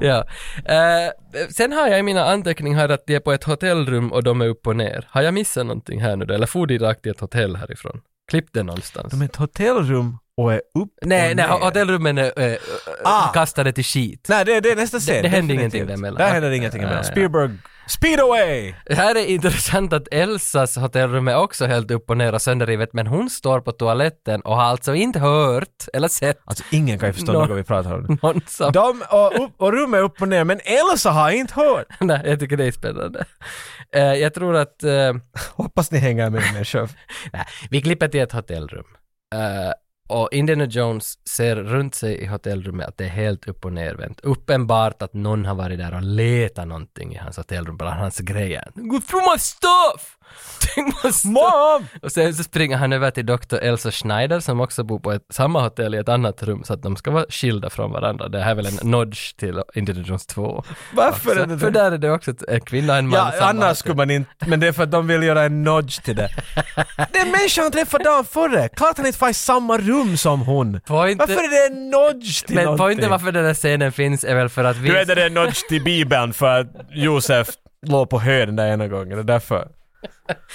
ja. Eh, sen har jag i mina anteckningar att de är på ett hotellrum och de är upp och ner. Har jag missat någonting här nu då? Eller for de rakt till ett hotell härifrån? Klipp det någonstans.
De är ett hotellrum och är upp
Nej,
och
nej,
ner.
hotellrummen är eh,
Ah.
kastade till skit.
Nej, det, det är nästa scen.
det händer
definitivt.
ingenting däremellan.
Där händer ingenting
Ja,
emellan.
ja.
Spielberg, speed away!
Här är intressant att Elsas hotellrum är också helt upp och ner och sönderrivet, men hon står på toaletten och har alltså inte hört eller sett
Alltså ingen kan ju förstå
Nå-
något vi pratar om.
någon som...
Alltså, De och, upp, och rummet är upp och ner, men Elsa har inte hört.
Nej, jag tycker det är spännande. Eh, jag tror att... eh,
Hoppas ni hänger med min chef.
Nej, vi klipper till ett hotellrum. Eh, och Indiana Jones ser runt sig i hotellrummet att det är helt upp och nervänt. Uppenbart att någon har varit där och letat någonting i hans hotellrum, bland hans grejer. Go through my stuff! <laughs> Tänk på stuff!
Mom!
Och sen så springer han över till Dr. Elsa Schneider som också bor på ett, samma hotell i ett annat rum så att de ska vara skilda från varandra. Det här är väl en nudge till Indiana Jones 2.
Varför
Så-
är det det?
För där är det också ett- en kvinna och en man.
Ja,
i samma hotell.
annars skulle man inte, men det är för att de vill göra en nudge till <laughs> det. Den människan han träffade dagen före, klart han inte var i samma rum som hon.
Pointen-
Varför är det en nudge till
Men
någonting?
poängen varför den här scenen finns är väl för att vi...
Du vet att det är en nudge till Bibeln för att Josef låg på hö den där ena gången, det är därför.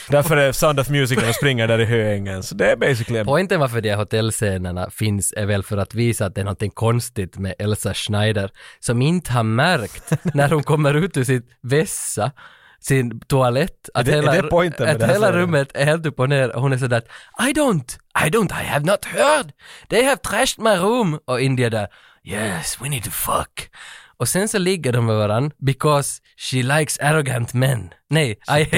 Därför är Sound of Music när de springer där i höängen, så det är basically en...
Poängen varför de här hotellscenerna finns är väl för att visa att det är någonting konstigt med Elsa Schneider som inte har
<laughs>
märkt när hon kommer ut ur sitt vässa sin toalett, att,
det- är
hela,
det pointen med
att
det här
hela
serien?
rummet är helt upp och ner och hon är sådär att I don't, I don't, I have not heard, they have trashed my room och India där yes, we need to fuck. Och sen så ligger de med varandra because she likes arrogant men. Nej, I hate.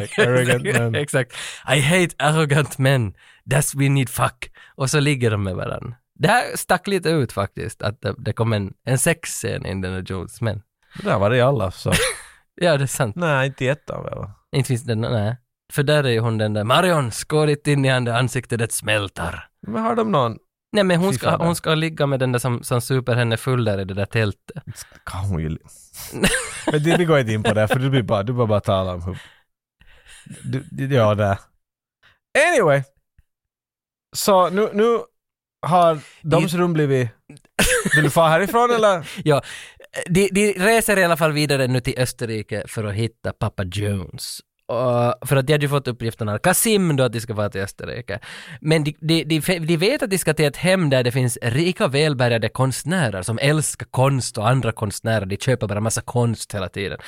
<laughs>
like arrogant men.
Exakt. I hate arrogant men. That's we need fuck. Och så ligger de med varandra. Det här stack lite ut faktiskt, att det, det kom en, en sexscen i Indiana Jones, men
Det där var det i alla så.
ja, det är sant.
Nej, inte i ettan väl? va?
Inte finns det, nej. För där är ju hon den där, Marion, skårit in i handen, ansiktet det smälter.
Men har de någon...
Nej men hon
Fy
ska,
fan.
hon ska ligga med den där som, som super henne full där i det där tältet.
Kan hon ju... <laughs> Men det, vi går inte in på det, för du blir bara, du bara, bara tala om hur... Du, du- ja, det. Anyway. Så nu, nu har doms rum blivit... Vill du fara härifrån eller?
Ja, de, de reser i alla fall vidare nu till Österrike för att hitta pappa Jones. Och, för att de hade ju fått uppgiften av Kasim då att de ska vara till Österrike. Men de, de, de, de vet att de ska till ett hem där det finns rika välbärgade konstnärer som älskar konst och andra konstnärer. De köper bara massa konst hela tiden.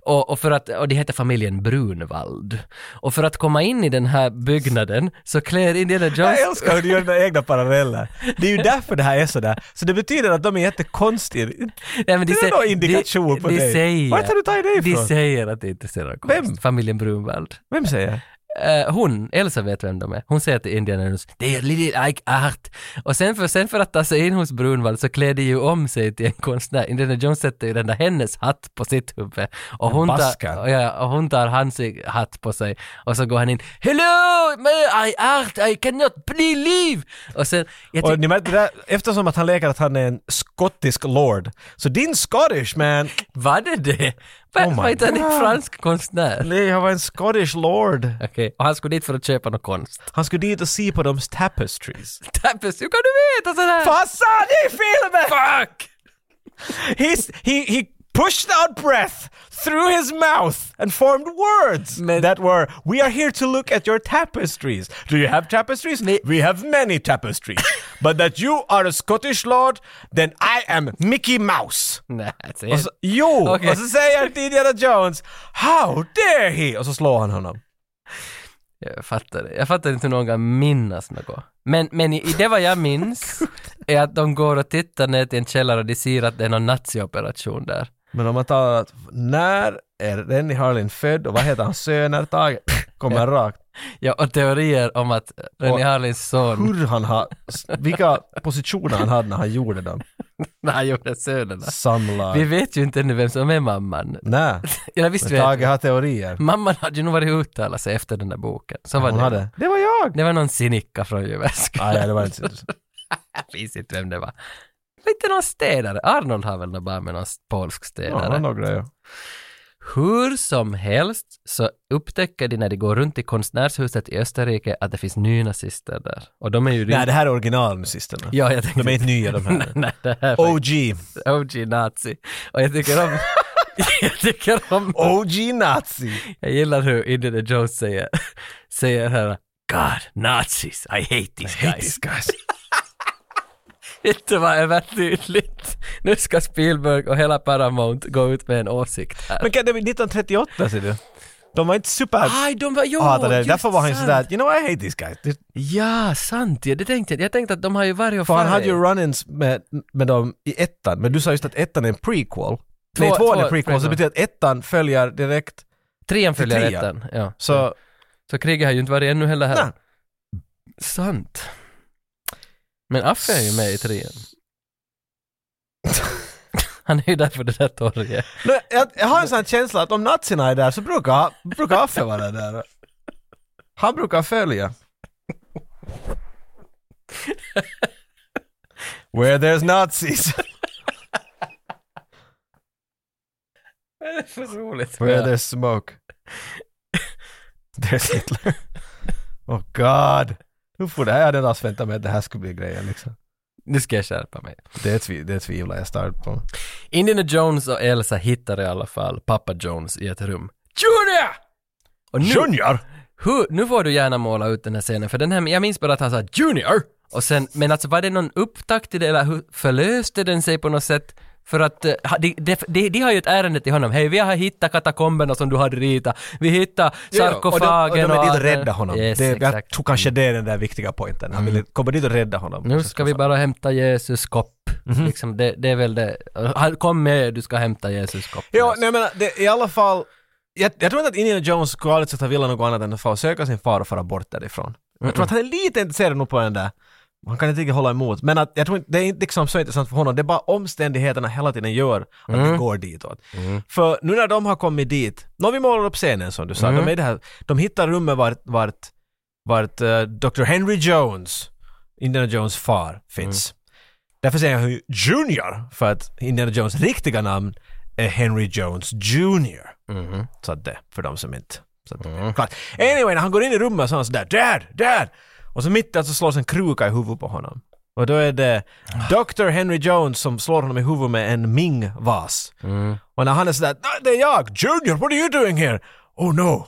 Och, och, för att, och de heter familjen Brunwald. Och för att komma in i den här byggnaden så klär Indiana Jones...
Jag älskar hur du gör dina egna paralleller. Det är ju därför det här är sådär. Så det betyder att de är jättekonstiga.
Nej, men
Det är
sä-
någon indikation
de,
på
de
dig.
Säger,
Vart har du tagit det ifrån?
De säger att det inte ser någon konst.
Vem?
Familjen Brunwald.
Vem säger?
Eh, hon, Elsa vet vem de är. Hon säger till Indiana Jones, det är lite like art. Och sen för, sen för att ta sig in hos Brunwald så klär de ju om sig till en konstnär. Indiana Jones sätter ju den där hennes hatt på sitt huvud. Och hon,
baskar.
tar, och, ja, och hon tar hans hatt på sig. Och så går han in, hello, my, I art, I cannot believe. Och sen, jag
Och
tyck-
ni märkte det där, eftersom att han leker att han är en skottisk lord. Så din Scottish man
var det det? Var,
Oh my
var inte han en
God.
fransk konstnär?
<laughs> Nej, han var en Scottish lord.
Okej, och han skulle dit för att köpa någon konst. <laughs>
Han skulle dit och se på de <laughs> tapestries.
Tappes, hur kan du veta sådär?
Farsan i filmen!
Fuck!
He's, he, he pushed out breath through his mouth and formed words
Men-
that were We are here to look at your tapestries. Do you have tapestries?
Men-
We have many <laughs> tapestries. But that you are a Scottish lord, then I am Mickey Mouse.
Nej, alltså,
Och så, <laughs> jo!
Okej.
Och så säger Indiana Jones How dare he! Och så slår han honom.
jag, jag fattar det. Jag fattar inte hur någon kan minnas något. Men, men i, i det vad jag
<laughs>
minns är att de går och tittar ner till en källare och de ser att det är någon nazioperation där.
Men om man talar att när är Rennie Harlin född och vad heter hans söner? Tage kommer rakt.
Ja, och teorier om att Rennie
Och-
Harlins <laughs> son,
Hur han har, vilka positioner han hade när han gjorde dem.
när han gjorde sönerna.
Samlag.
Vi vet ju inte ännu vem som är mamman.
Nej,
Eller visst <laughs>
men
vet
Tage
vi?
har teorier.
Mamman hade ju nog varit och uttalat sig efter den där boken. Så var
Hon
det.
hade. Det var jag!
Det var någon sinikka från Jyväskylä.
Nej, det var inte så.
Jag minns inte vem det var. Det var inte någon städare. Arnold har väl något barn med någon polsk
Ja, det var
städare.
några ja.
Hur som helst så upptäcker de när de går runt i konstnärshuset i Österrike att det finns nynazister där. Och de är ju...
Nej, det här är originalnazisterna.
Ja, jag tänkte...
De är inte nya de här.
<laughs> Nej, det här är
OG.
OG nazi. Och jag tycker
<laughs>
om... jag tycker om...
OG nazi.
Jag gillar hur Indiana Jones säger, säger här God, nazis, I hate these guys. <laughs>
guys.
Vet du vad övertydligt? Nu ska Spielberg och hela Paramount gå ut med en åsikt här.
Men kan det bli 1938 ser du? De var inte super...
Aj, de var... Ah, Jo,
hatade det.
just
Därför var han ju
sant.
sådär, you know I hate these guys. Det-
Ja, sant ja, det tänkte jag. Jag tänkte att de har ju varje
För han hade ju run-ins med, med dem i ettan, men du sa just att ettan är en prequel. Nej,
Två-
tvåan är
två-
prequel, så det
prequel.
betyder att ettan följer direkt.
Trean följer
trean.
ettan. Ja.
Så
Så kriget har ju inte varit ännu heller här.
Nej.
Sant. Men Affe är ju med i
<laughs>
trean. Han är ju där på det där torget.
nu, jag, jag har en sån här känsla att om nazierna är där så brukar, brukar Affe vara där. Han brukar följa. Where there's nazis.
Det är för roligt.
Where there's smoke. There's Hitler. Oh God. Hur får det här? Jag hade inte alls väntat mig att det här skulle bli grejen liksom.
Nu ska jag skärpa mig.
Det, tvi, det tvivlar jag starkt på.
Indiana Jones och Elsa hittar i alla fall pappa Jones i ett rum. Junior! Och nu,
Junior!
hur, nu får du gärna måla ut den här scenen, för den här, jag minns bara att han sa Junior! Och sen, men alltså var det någon upptakt i det eller hur, förlöste den sig på något sätt? För att eh, ha- de, de, de, de har ju ett ärende till honom. Hej, vi har hittat katakomberna som du hade ritat. Vi hittar sarkofagen
Och de, och de är dit och
allt det-
rädda honom.
Yes,
det, jag
exakt. Mm.
tror kanske det är den där viktiga pointen. Han ville komma dit och rädda honom.
Nu ska vi bara hämta Jesus kopp.
Mhm.
Liksom, det, det är väl det. Han, kom med, du ska hämta Jesus kopp.
Ja, nej men det, i alla fall. Jag, jag tror inte att Indiana Jones skulle aldrig sätta vilja något annat än att få söka sin far och fara bort därifrån. Jag tror att han är lite intresserad nog på den där. Han kan inte riktigt hålla emot. Men att, jag tror inte, det är inte liksom så intressant för honom. Det är bara omständigheterna hela tiden gör att det går ditåt. För nu när de har kommit dit. När vi målar upp scenen som du sa. De, är i det här, de hittar rummet vart, vart, vart eh, Dr. Henry Jones, Indiana Jones far, finns. Därför säger jag ju Junior, för att Indiana Jones riktiga namn är Henry Jones Junior. Så att det, för de som inte... Så att,
Mm.
klart. Anyway, när han går in i rummet så är han sådär ”Dad! Dad!” och så mitt i allt så slås en kruka i huvudet på honom. Och då är det Dr. Henry Jones som slår honom i huvudet med en Ming-vas.
Mm.
Och när han är sådär "Nej, ”Det är jag! Junior, what are you doing here?” ”Oh no!”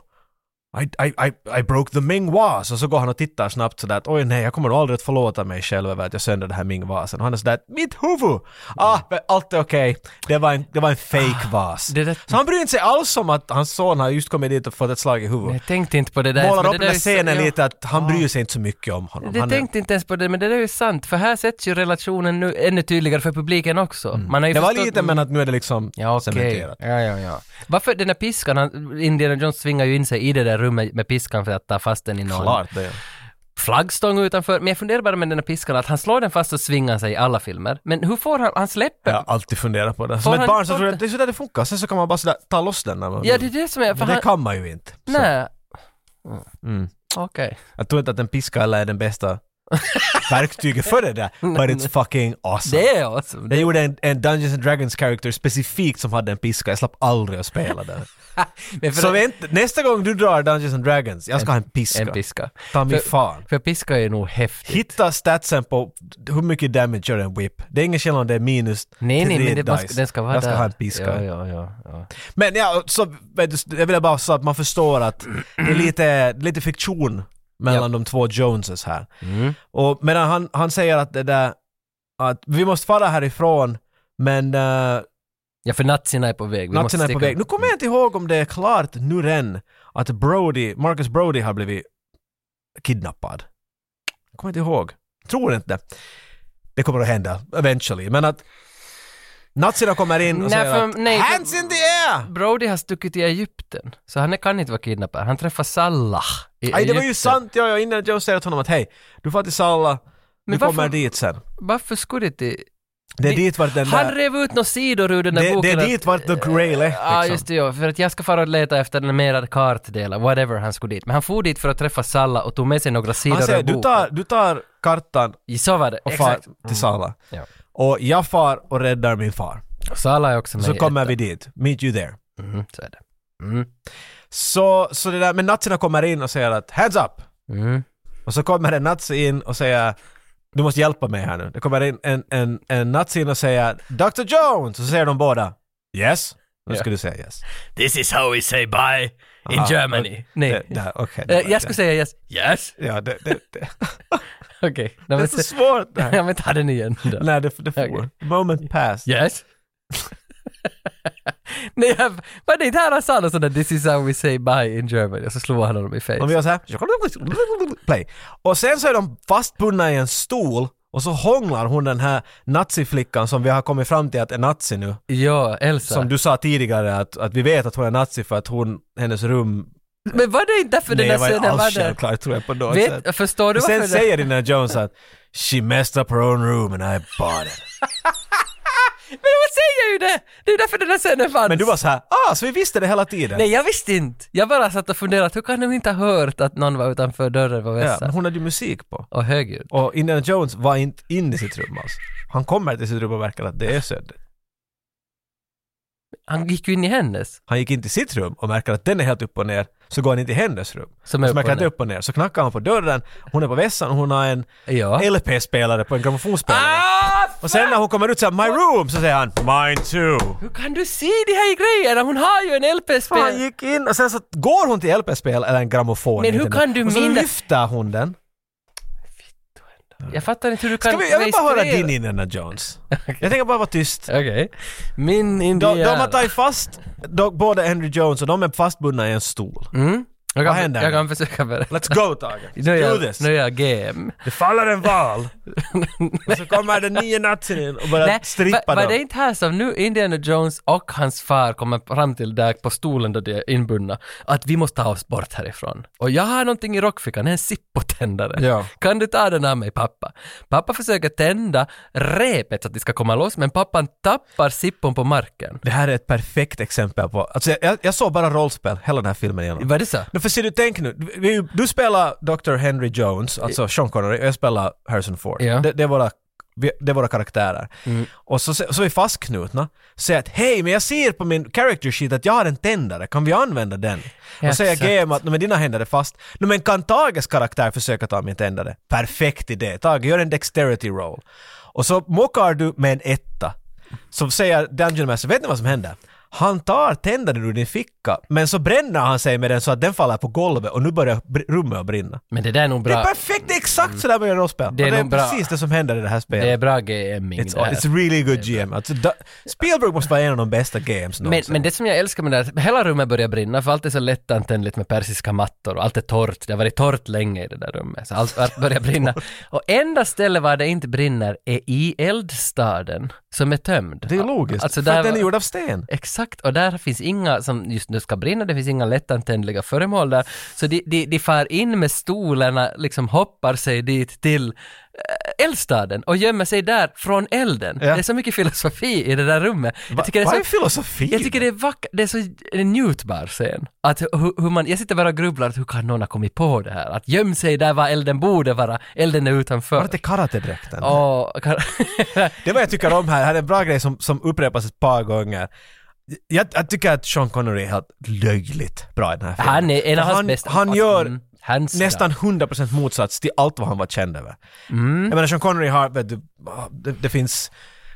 I, I, I, I broke the Ming vas och så går han och tittar snabbt sådär att oj nej jag kommer nog aldrig att förlåta mig själv över att jag sönder den här Ming vasen och han är sådär mitt huvud! Ah, men allt är okej. Det var en, det var en fake vas.
Ah, det där-
Så han bryr inte sig alls om att hans son har just kommit dit och fått ett slag i
Men
huvudet.
Jag tänkte inte på det där.
Målar
men
upp
det där
den
är
där
så-
scenen
ja.
lite att han bryr sig inte så mycket om honom.
Jag
Han är-
tänkte inte ens på det, men det där är ju sant, för här sätts ju relationen nu ännu tydligare för publiken också. Man har ju
Mm. det var
förstått-
lite men att nu är det liksom
Ja, okej.
cementerat.
Ja, ja, ja. Varför den där piskan, han, Indiana Jones svingar ju in sig i det där rummet med piskan för att ta fast den i någon
Klart det.
flaggstång utanför. Men jag funderar bara med den där piskan, att han slår den fast och svingar sig i alla filmer. Men hur får han, han släpper?
Jag
Ja,
har alltid funderat på det.
Får
Som ett
han-
barn så
får
tror jag
han-
att det är sådär det funkar. Sen så kan man bara sådär ta loss den när man
det är
vill.
det som är... För
Men det Mm.
han,
kan man ju inte. Så.
nej. Okej.
Jag tror inte att en piska eller är den bästa
<laughs>
verktyget för det där, but it's fucking awesome.
Det är alltså awesome.
Jag gjorde en, en Dungeons and Dragons character specifikt som hade en piska, jag slapp aldrig att spela
<laughs>
den.
Men för
Så vänta, nästa gång du drar Dungeons and Dragons, jag ska ha en piska.
En piska.
Ta mig
För-
fan.
För piska är nog häftigt.
Hitta statsen på hur mycket damage gör en whip. Det är ingen skillnad om det är minus
Nej, nej,
tre
men det, man, ska-
dice.
den ska vara
Jag ska
där.
ha en piska.
Ja, ja, ja, ja.
Men ja, så, vet du, jag vill bara så att man förstår att det är lite, lite fiktion mellan
Ja. Mm.
de två Joneses här. Och medan han, han säger att det där, att vi måste fara härifrån, men uh,
ja för nazierna är på väg. Vi måste
nazierna är på
sticka.
väg. Nu kommer jag inte ihåg om det är klart nu än att Brody, Marcus Brody har blivit kidnappad. Jag kommer inte ihåg. Tror inte. Det kommer att hända, eventually. Men att nazierna kommer in
Nej,
och säger
för-
att
nej, för-
”Hands in the air!”
Mm. Brody har stuckit till Egypten, så han kan inte vara kidnappad. Han träffar Salah i
Nej, det var ju
Egypten.
sant. Ja, ja, innan Joe säger till honom att hej, du får till Salla, du
Men
kommer
varför-
dit sen.
Varför skulle det...
Det är
Det-
dit vart den
Han
där...
rev ut några sidor ur den där
Det,
boken.
det är
att-
dit vart the grail är.
Ja,
liksom.
just det, ja. För att jag ska fara och leta efter den mera kartdelen, whatever han skulle dit. Men han for dit för att träffa Salah och tog med sig några sidor
Han säger,
ur
du
boken.
tar, du tar kartan
Så var det,
och far
exakt.
till Salla.
Mm. Ja.
Och jag far och räddar min far.
Salah är också med
Så
i
kommer
detta.
vi dit. Meet you there.
Mhm, så är det.
Så, så det där, men nazierna kommer in och säger att “Heads up!”
Mm.
Och så kommer en nazi in och säger “Du måste hjälpa mig här nu”. Det kommer in en, en, en nazi in och säger “Dr. Jones!” Och så säger de båda “Yes?” Nu ska du säga yes.
This is how we say bye in
Aha,
Germany. Ah. Nej.
Det, det, okay,
Eh, jag skulle säga yes. Yes!
Ja, det, det, det.
<laughs> Okej.
det
Nej, <laughs>
är
men
så
se-
svårt det här.
Ja men ta den igen då.
Nej, det, det får.
Okej.
Moment passed.
Yes. <laughs> Nej, jag, var det inte här han sa något sånt där “This is how we say bye in Germany” och så slog han honom i face.
Om vi gör så här. Play. Och sen så är de fastbundna i en stol och så hånglar hon den här naziflickan som vi har kommit fram till att är nazi nu.
Ja, Elsa.
Som du sa tidigare att, att vi vet att hon är nazi för att hon, hennes rum...
Men var det inte därför
Nej, det
den där
var inte
scenen var
alls
där?
självklart tror jag på något sätt.
Vet, förstår du
Och sen
varför?
säger Indiana Jones att “She messed up her own room and I bought it”.
det? Men hon säger ju det! Det är därför den där scenen fanns.
Men du var så här, ah, så vi visste det hela tiden.
Nej, jag visste inte. Jag bara satt och funderade, hur kan de inte ha hört att någon var utanför dörren var
ja,
vässad?
men hon hade ju musik på.
Och högljudd.
Och Indiana Jones var inte inne i sitt rum alls. Han kommer till sitt rum och märker att det är sönder.
Han gick ju in i hennes.
Han gick in till sitt rum och märker att den är helt upp och ner. Så går han in till hennes rum.
Som
och
är
så
upp
märker
och
att det är
ner.
upp och ner. Så knackar han på dörren, hon är på vässan och hon har en
Ja.
LP-spelare på en grammofonspelare.
Ah!
Och sen när hon kommer ut så här, “My room” så säger han “Mine too”.
Hur kan du se de här grejerna? Hon har ju en
Han
LP-spel.
gick in och sen så går hon till LP-spel eller en grammofon.
Men
inte
hur
nu.
kan du
Och så
minna-
lyfter hon den.
Jag fattar inte hur du kan
Ska vi, jag vill bara höra
registrera-
din Indiana Jones.
<laughs>
Jag tänker bara vara tyst.
Okej. Min
De, de
Indiana.
har tagit fast de, både Henry Jones och de är fastbundna i en stol.
Mm. Jag
Vad
kan,
händer?
Jag kan försöka berätta.
Let's go Tage!
<laughs> Nu är
Do
jag,
this!
nu är jag game.
Det faller en val! och så kommer den nio natten in och börjar strippa
var, var
dem.
det inte här som nu Indiana Jones och hans far kommer fram till där på stolen där de är inbundna, att vi måste ta oss bort härifrån. Och jag har någonting i rockfickan, en sippotändare.
Ja.
Kan du ta den av mig pappa? Pappa försöker tända repet så att de ska komma loss, men pappan tappar sippon på marken.
Det här är ett perfekt exempel på... Alltså jag, jag, jag såg bara rollspel hela den här filmen igenom.
Vad är det så?
Men för ser du, tänk nu. Du, vi- du spelar Dr. Henry Jones, alltså Sean Connery, och jag spelar Harrison Ford.
Ja. Mm.
Det, det, är våra, vi- det är våra karaktärer. Och så, så är vi fastknutna. Säger att hej, men jag ser på min character sheet att jag har en tändare, kan vi använda den? Och säger
Exakt.
GM att "Nej, men dina händer är fast. "Nej, men kan Tages karaktär försöka ta min tändare? Perfekt idé. Tage, gör en dexterity roll. Och så mockar du med en etta. Så säger Dungeon Master, vet ni vad som händer? Han tar tändaren ur din ficka, men så bränner han sig med den så att den faller på golvet och nu börjar br- rummet att brinna.
Men det där är nog
Det
bra.
är perfekt, det är exakt sådär man gör rollspel. Och Det
är
är, det är
nog bra.
precis det som händer i det här spelet.
Det är bra GMing
It's,
det här.
it's really good GM. Alltså, da, Spielberg måste vara en av de bästa GMs
Men,
någonsin.
men det som jag älskar med det här, hela rummet börjar brinna för allt är så lättantändligt med persiska mattor och allt är torrt. Det har varit torrt länge i det där rummet, så allt, allt börjar
<laughs>
brinna. Och enda stället var det inte brinner är i eldstaden som är tömd.
det är logiskt,
Alltså,
för
där
att den är
var-
gjord av sten.
Exakt, och där finns inga som just nu ska brinna, det finns inga lättantändliga föremål där. Så de, de, de far in med stolarna, liksom hoppar sig dit till eh, eldstaden och gömmer sig där från elden.
Ja.
Det är så mycket filosofi i det där rummet.
Va,
Jag tycker det är
vad
så
är filosofi?
jag tycker det är vackert, det är så en njutbar scen. Att hur, hur man, jag sitter bara och grubblar att hur kan någon ha kommit på det här? Att göm sig där var elden borde vara, elden är
Var det
utanför.
inte karatedräkten?
Och, kan,
Det är vad jag tycker om här, här är en bra grej som, som upprepas ett par gånger. Jag, jag tycker att Sean Connery är helt löjligt bra i den här filmen.
han är en av
För
hans
han,
bästa.
Han gör
Mm, hans
nästan 100% motsats till allt vad han var känd över.
Mm.
Jag menar Sean Connery har, vet du, det, det finns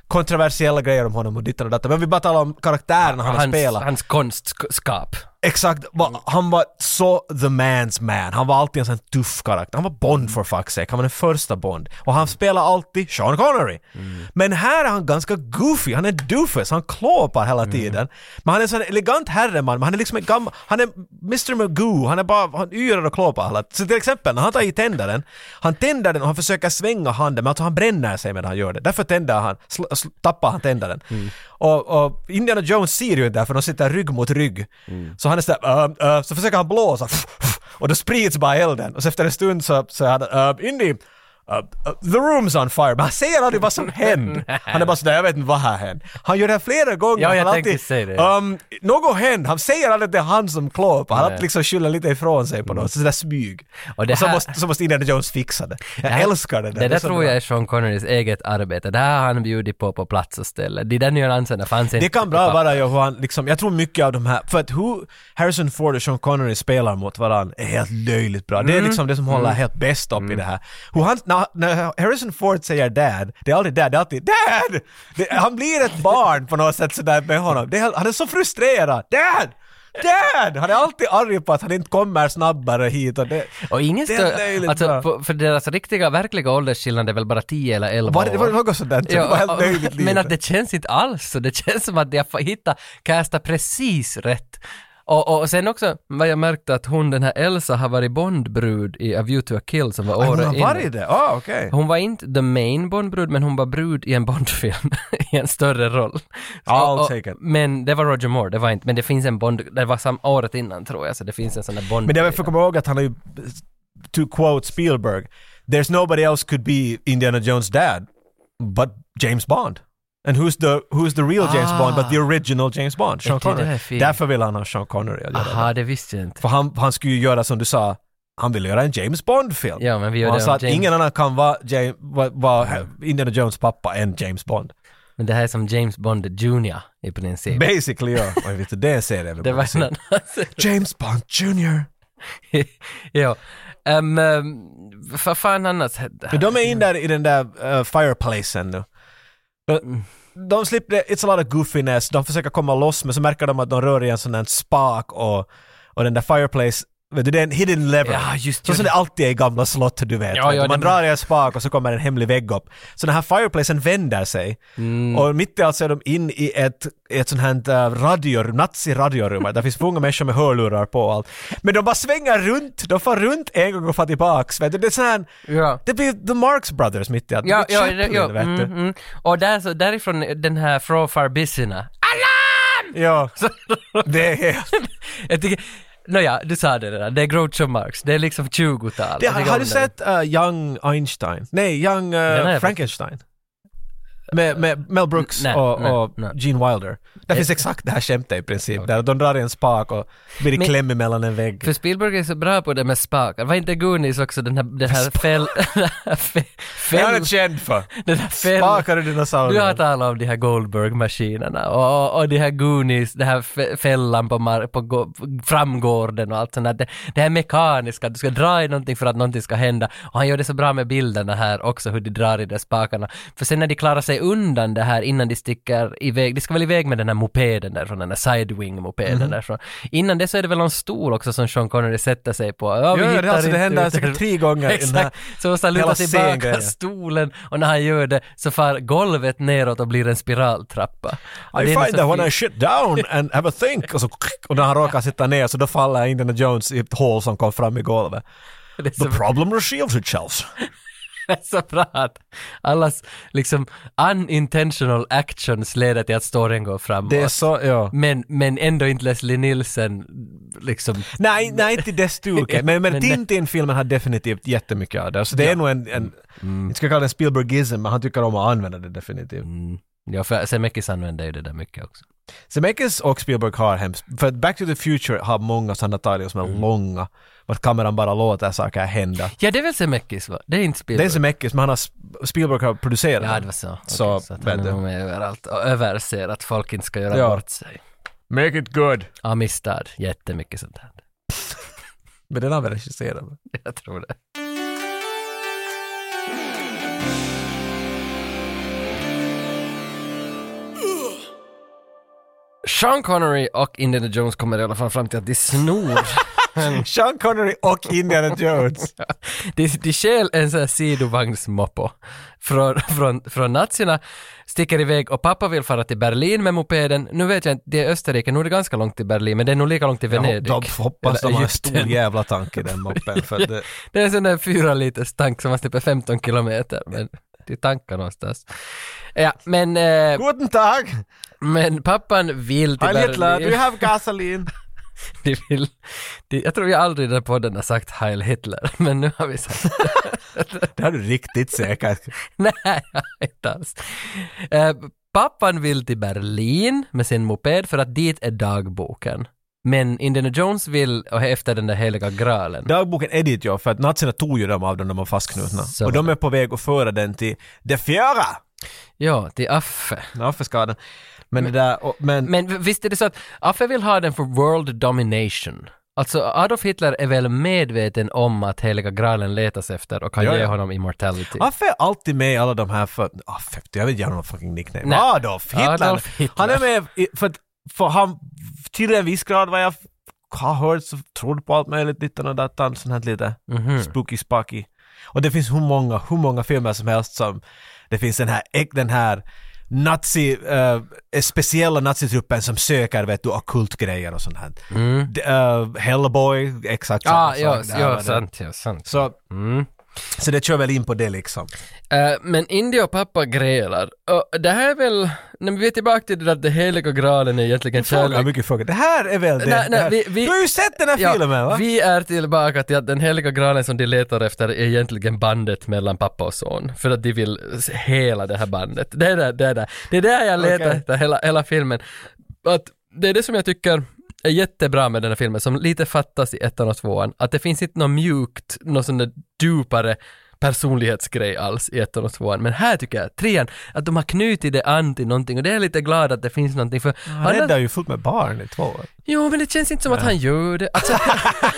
kontroversiella grejer om honom och dittan och datan. Men vi bara talar om karaktärerna han har
hans,
spelat.
hans konstskap.
Exakt, va- han var så the man's man. Han var alltid en sån tuff karaktär. Han var Bond for fuck's sake, han var den första Bond. Och han spelar alltid Sean Connery. Men här är han ganska goofy, han är doofus, han klåpar hela tiden. Men han är en sån elegant herreman, men han är liksom en gammal, han är Mr. Magoo, han är bara, han yrar och klåpar hela Så till exempel när han tar i tändaren, han tänder den och han försöker svänga handen, men alltså han bränner sig medan han gör det. Därför tänder han, sl- sl- tappar han tändaren.
Mm.
Och, och Indiana Jones ser ju inte det här, för de sitter rygg mot rygg.
Mm.
Så han är sådär, um, uh, <laughs> så försöker han blåsa, och då sprids bara elden. Och så efter en stund så, så är han, um, Indy, uh, uh, the room's on fire, men han säger aldrig vad som
<laughs>
hände. Han är bara sådär, jag vet inte vad här hände. Han gör det här flera gånger.
Ja, jag
han
tänkte
alltid,
säga det.
Um, något hände, han säger aldrig att det är han som klår på. Han alltid liksom skyller lite ifrån sig på något, sådär smyg.
Mm. Och det
så,
här-
måste, så måste Indiana Jones fixa det. Jag
här-
älskar det där.
Det
är
där
så
tror
bra.
jag är Sean Connerys eget arbete. Det här har han bjudit på på plats och ställe. De där nyanserna fanns inte.
Det kan
på
bra
papper.
vara ju hur han liksom, jag tror mycket av de här, för att hur Harrison Ford och Sean Connery spelar mot varandra är helt löjligt bra.
Mm.
Det är liksom det som håller helt bäst upp i det här. Hur han, när, när Harrison Ford säger dad, det är aldrig dad, det är alltid dad! Det, han blir ett barn på något sätt sådär med honom. Det, är- han är så frustrerad. Dad! Dad! Han är alltid arg på att han inte kommer snabbare hit och det...
Och ingen
Det är
stör,
löjligt
alltså,
bra.
på, för deras riktiga, verkliga åldersskillnad är väl bara 10 eller 11
Var det, var det
år.
något sådant? det var helt
och-
löjligt
men
lite.
att det känns inte alls så. Det känns som att de har hittat, castat precis rätt. Och, och, och sen också, vad jag märkte att hon, den här Elsa, har varit Bondbrud i A View to a Kill som var
Aj,
året
hon har
innan.
varit det? Ah, okej.
Hon var inte the main Bondbrud, men hon var brud i en Bondfilm, <laughs> i en större roll.
Ja,
Och- och-
säkert.
Men det var Roger Moore, det var inte, men det finns en Bond, det var sam, året innan tror jag, så det finns en sån där Bond.
Men det är väl för att komma ihåg att han har ju, to quote Spielberg, “There's nobody else could be Indiana Jones dad, but James Bond”. And who's the, who's the real James
Ah.
Bond, but the original James Bond, Sean
det där
Connery.
är Ah. fint.
Därför vill han ha Sean Connery att göra det.
Aha, det visste jag inte.
För han, han skulle ju göra som du sa, han ville göra en James Bond-film.
Ja, men vi gör
Och han
det
sa
om
att
James-
ingen annan kan vara James, vara vara Indiana Jones pappa än James Bond.
Men det här är som James Bond Jr. i princip.
Basically ja. Oj, vet du, det ser jag
det var en annan.
James Bond Jr.
<laughs> ja. Um, vad fan annars hände?
Men de är in där i den där uh, fireplacen nu. De,
Mm.
de slipper, it's a lot of goofiness, de försöker komma loss men så märker de att de rör i en sån där spak och, och den där fireplace, vet du det är en hidden lever.
Ja, just-
så som det alltid är i gamla slott du vet.
Ja,
vet du.
ja,
Man
det-
drar i en spak och så kommer en hemlig vägg upp. Så den här fireplacen vänder sig
Mm.
och mitt i allt så är de in i ett, ett sånt här uh, radio, nazi-radiorum där finns unga människor med hörlurar på och allt. Men de bara svänger runt, de får runt en gång och far tillbaks. Vet du. Det är sån här
Ja.
det blir The Marx Brothers mitt i allt.
Ja,
Ja,
ja,
Chaplin,
ja,
vet
mm,
du.
mm. Och där, så, därifrån den här Fro Farbissina.
Ja,
<laughs>
det är...
jag tycker, nåja, du sa det redan, det är Groucho Marx, det är liksom 20-tal.
Det,
Jag tycker
har
om
du
det.
sett uh, Young Einstein? Nej, Young uh,
har jag
Frankenstein? Med, med Mel Brooks
Nej,
och,
nej,
och
nej. Eh,
Gene Wilder. Där finns exakt det här skämtet i princip. Där de drar i en spak och blir i
Men-
kläm mellan en vägg.
För Spielberg är så bra på det med spakar. Var inte Goonies också den här, den här fäll... <laughs> den här fä-
Det är han
fäll... <laughs>
känd för.
Den här fäll...
Spakar och dinosaurier.
Du har talat om de här Goldberg-maskinerna och, och de här Goonies, den här fä- fällan på, mar- på gå- framgården och allt sånt där. Det, det här mekaniska, att du ska dra i någonting för att någonting ska hända. Och han gör det så bra med bilderna här också, hur de drar i de där spakarna. För sen när de klarar sig undan det här innan de sticker iväg, de ska väl iväg med den här mopeden därifrån, den här sidewing-mopeden
Mhm.
därifrån. Innan det så är det väl någon stol också som Sean Connery sätter sig på. Ja, vi
Ja, ja, det-
hittar
alltså, det
inte
händer
ut-
säkert tre gånger i den
<laughs>
här
Exakt. Så måste han luta
hela
tillbaka
scengrejen.
stolen och när han gör det så far golvet neråt och blir en spiraltrappa. Och
I
det är nog
find
så
that when I
fint.
shit down and have a think. Och, så, och när han råkar sitta ner så då faller Indiana Jones i ett hål som kom fram i golvet.
<laughs> Det är så,
The problem reveals itself.
så bra att allas liksom unintentional actions leder till att storyn går framåt.
Det är så, ja.
Men, men ändå inte Leslie Nielsen liksom.
Nej, nej inte i
<laughs>
det stuket. Men,
Men-
men Tintin-filmen har definitivt jättemycket av det. Så det är nog en,
Mm.
en jag ska kalla det en Spielbergism, men han tycker om att använda det definitivt.
Mm. Ja, för Zemeckis använder ju det där mycket också.
Zemeckis och Spielberg har hemskt, för att Back to the Future har många sådana detaljer som är
Mm.
långa, vart kameran bara låter saker hända.
Ja, det är väl Zemeckis va? Det är inte Spielberg.
Det är Zemeckis, men han har, Spielberg har producerat
Ja,
den.
det var så. Okej,
Så,
så att han
vet
är
du.
nog med överallt och överser att folk inte ska göra
Ja.
bort sig.
Make it good!
Amistad, jättemycket sånt här.
Men den har väl regisserat?
<laughs> Jag tror det. Sean Connery och Indiana Jones kommer i alla fall fram till att de snor.
Sean Connery
<laughs>
och Indiana Jones!
de, de stjäl en sån här sidovagnsmoppo från, från, från nazierna, sticker iväg och pappa vill fara till Berlin med mopeden. Nu vet jag inte, det är Österrike, nu är det ganska långt till Berlin, men det är nog lika långt till Venedig.
De hoppas de
Eller
har en
Egypten.
stor jävla tank i den
<laughs>
moppen, för att det,
Det är en sån där fyra liters tank som man släpper 15 kilometer, men det tankar någonstans. Ja, men, eh,
Guten Tag!
men pappan vill till
Heil Hitler, do you
Berlin. <laughs>
have gasoline?
<laughs> De vill, de, jag tror jag aldrig i den här podden har sagt Heil Hitler, men nu har vi sagt det.
<laughs> Det har du riktigt säkert.
<laughs> Nej, inte alls. Eh, pappan vill till Berlin med sin moped för att dit är dagboken. Men Indiana Jones vill och efter den där heliga graalen.
Dagboken är dit ja, för att nazierna tog ju dem av dem de var fastknutna.
Så
Och de är på väg att föra den till det fjärra!
Ja, till Affe.
Ja, för skadan. Men det där, och, men,
Men visst är det så att Affe vill ha den för world domination. Alltså Adolf Hitler är väl medveten om att heliga graalen letas efter och kan
Ja, Ah,
ge
ja.
honom immortality.
Affe är alltid med i alla de här för... Affe, jag vill ge honom fucking nickname.
Nej.
Adolf Hitler.
Adolf Hitler.
Han är med i, för att för han, till en viss grad vad jag f- har hört så trodde på allt möjligt, ditten och dattan, sånt här lite
Mhm.
spooky spucky. Och det finns hur många, hur många filmer som helst som det finns den här, äk- den här nazi, eh, speciella nazitruppen som söker vet du ockult grejer och sånt här. D- eh, Hellboy, exakt samma
Mm. ah,
sak
ja, Mm.
där, va,
ja,
det-
sant, ja, sant.
Så, så det kör väl in på det liksom.
Eh, men India och pappa grälar. Och det här är väl, när vi är tillbaka till det där att det heliga graalen är egentligen
Fråga,
kärlek.
mycket fråga. Det här är väl det?
Nej,
det
nej,
här.
vi- vi-
du har ju sett den här
Ja,
filmen va?
Vi är tillbaka till att den heliga graalen som de letar efter är egentligen bandet mellan pappa och son. För att de vill s- hela det här bandet. Det är där, det är där. Det är där jag letar
Okej.
efter hela, hela filmen. Att det är det som jag tycker är jättebra med den här filmen, som lite fattas i ettan och tvåan. Att det finns inte något mjukt, något sån där djupare personlighetsgrej alls i ettan och tvåan. Men här tycker jag, trean, att de har knutit det an till någonting och det är jag lite glad att det finns någonting för
Han räddar ju fullt med barn i två år.
Jo, men det känns inte som att han gör det. Alltså, <laughs>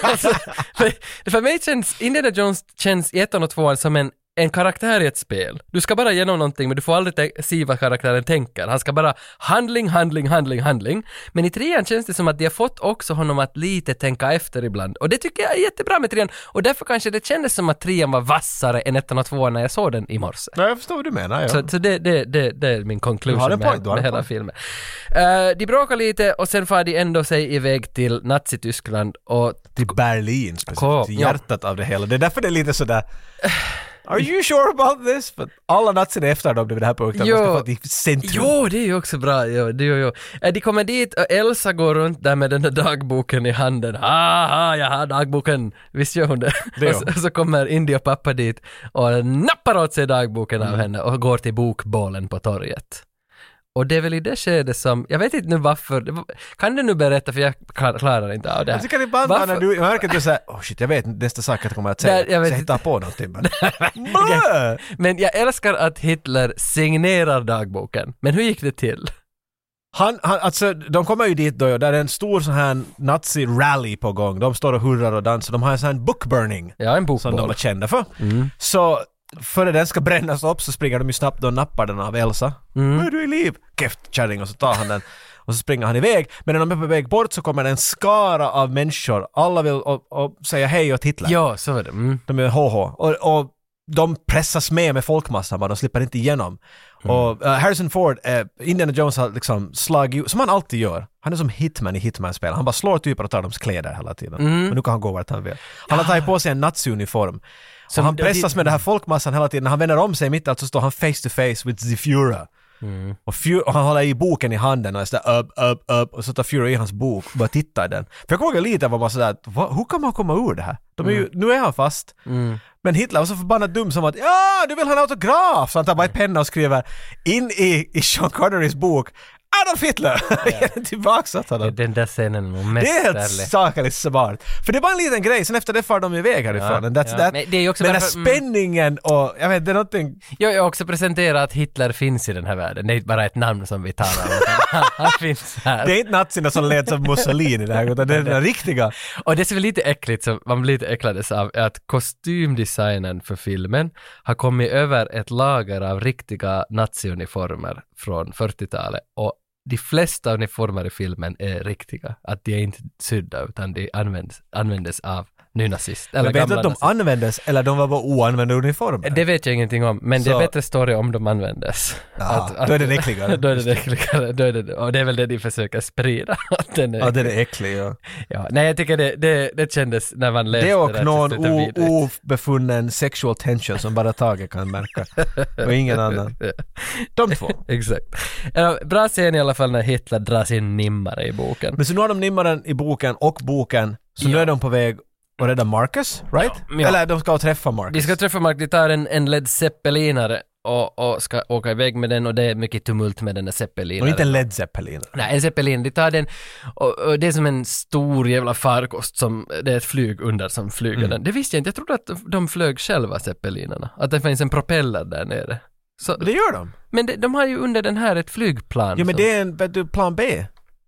alltså, för, för mig känns Indiana Jones känns i ettan och tvåan som en, en karaktär i ett spel. Du ska bara igenom någonting, men du får aldrig te- se vad karaktären tänker. Han ska bara handling, handling, handling, handling. Men i trean känns det som att de har fått också honom att lite tänka efter ibland. Och det tycker jag är jättebra med trean. Och därför kanske det kändes som att trean var vassare än ettan och tvåan när jag såg den i morse.
Nej, jag förstår vad du menar. Ja.
Så, så det, det, det, det är min
Du har
conclusion
en
med,
point, du har
med
en
hela
point.
filmen. Eh, de bråkar lite och sen far de ändå sig iväg till Nazityskland och
Till
Kom,
Berlin specifikt, till
ja.
hjärtat av det hela. Det är därför det är lite sådär... Are you sure about this? För alla nazierna efter dem vid den här punkten.
Jo.
Man ska få till centrum.
Jo, det är ju också bra. Jo, det, jo, jo. Eh, De kommer dit och Elsa går runt där med den där dagboken i handen. Haha, jag har dagboken. Visst gör hon det?
Det gör
och, så,
hon.
och så kommer Indy och pappa dit och nappar åt sig dagboken
Mm.
av henne och går till bokbålen på torget. Och det är väl i det skedet som, jag vet inte nu varför, det var- kan du nu berätta för jag klar- klarar inte av det här.
Jag tycker det är ibland bara när
Varför-
Alltså, du jag märker att du säger oh shit, jag vet nästa sak jag kommer att säga.
Nej, jag vet
så jag hittar
inte.
på
<laughs>
någonting bara. Blö!
Men jag älskar att Hitler signerar dagboken. Men hur gick det till?
Han, han, alltså, de kommer ju dit då, ja, där är en stor sån här nazi-rally på gång. De står och hurrar och dansar. De har en sån här bookburning.
Ja, en
som de
bokboll.
var kända för. Så före den ska brännas upp så springer de ju snabbt och nappar den av Elsa. Mm. Är du i liv? Keft kärring och så tar han den. Och så springer han iväg. Men när de är på väg bort så kommer det en skara av människor. Alla vill och, och säga hej åt Hitler.
Ja, så var det. Mm.
De är HH. Och, och de pressas med med folkmassan bara, de slipper inte igenom. Och eh, Harrison Ford, eh, Indiana Jones har liksom slagit, som han alltid gör, han är som hitman i Hitman-spel. Han bara slår typer och tar deras kläder hela tiden. Och nu kan han gå vart han vill. Han har tagit på sig en nazi-uniform. Så han
det-
pressas med den här folkmassan hela tiden. När han vänder om sig mitt i allt så står han face to face with the Führer. Och, Fu- och han håller i boken i handen och är sådär upp, upp, upp och så tar Fury i hans bok och bara tittar i den. För jag kommer ihåg lite var man sådär, att, "Va? hur kan man komma ur det här? De är
Mm.
ju, Nu är han fast. Men Hitler var så förbannat dum som att ja, du vill ha en autograf! Så han tar bara en penna och skriver in i, i Sean Connerys bok Adolf Hitler! <laughs> Ger den tillbaks åt honom.
Den där scenen var
Det är helt
mästerlig.
sakerligt smart. För det var en liten grej, sen efter det far de iväg härifrån. And that's
ja.
that.
Men det är ju också
den här
därför- mm.
spänningen och, jag vet, det är någonting...
Jag har också presenterat att Hitler finns i den här världen. Det är inte bara ett namn som vi talar om. <laughs> utan Han finns här.
Det är inte nazierna som leds av Mussolini där, utan det är den riktiga.
Och det som är lite äckligt, som man blir lite äcklades av, är att kostymdesignen för filmen har kommit över ett lager av riktiga naziuniformer från 40-talet. Och de flesta uniformer i filmen är riktiga. Att de är inte sydda, utan de används, användes av nynazister. Eller
Men vet du
gamla
att de
nazister.
användes eller de var bara oanvända uniformer?
Eh, Det vet jag ingenting om, men det är
Så-
bättre story om de användes. Att- att-
då är den
<laughs>
äckligare.
då är det äckligare. Då är det, och det är väl det de försöker sprida. <laughs> Att den är
Ja, den är äcklig ja.
Ja, nej jag tycker det, det, det kändes när man läste
Det
det
och
där,
någon
kändes lite
o-
vidrigt. <laughs>
obefunnen sexual tension som bara Tage kan märka.
<laughs>
Och ingen annan. De två.
Exakt. Ja, Bra scen i alla fall när Hitler drar sin nimmare i boken.
Men så nu har de nimmaren i boken och boken, så nu
Ja.
är de på väg Var det där Marcus? Right?
Ja.
Eller de ska träffa Marcus.
Vi ska träffa Mark, de tar en, en Led Zeppelinare och, och ska åka iväg med den och det är mycket tumult med den där
och
Zeppelinaren.
inte en Led Zeppelin.
Nej, en Zeppelin, de tar den och, och det är som en stor jävla farkost som, det är ett flyg under som flyger
Mm.
den. Det visste jag inte, jag trodde att de flög själva Zeppelinerna, att det finns en propeller där nere. Så,
Det gör de.
men de, de har ju under den här ett flygplan.
Jo men
som-
det är en vet du, plan B.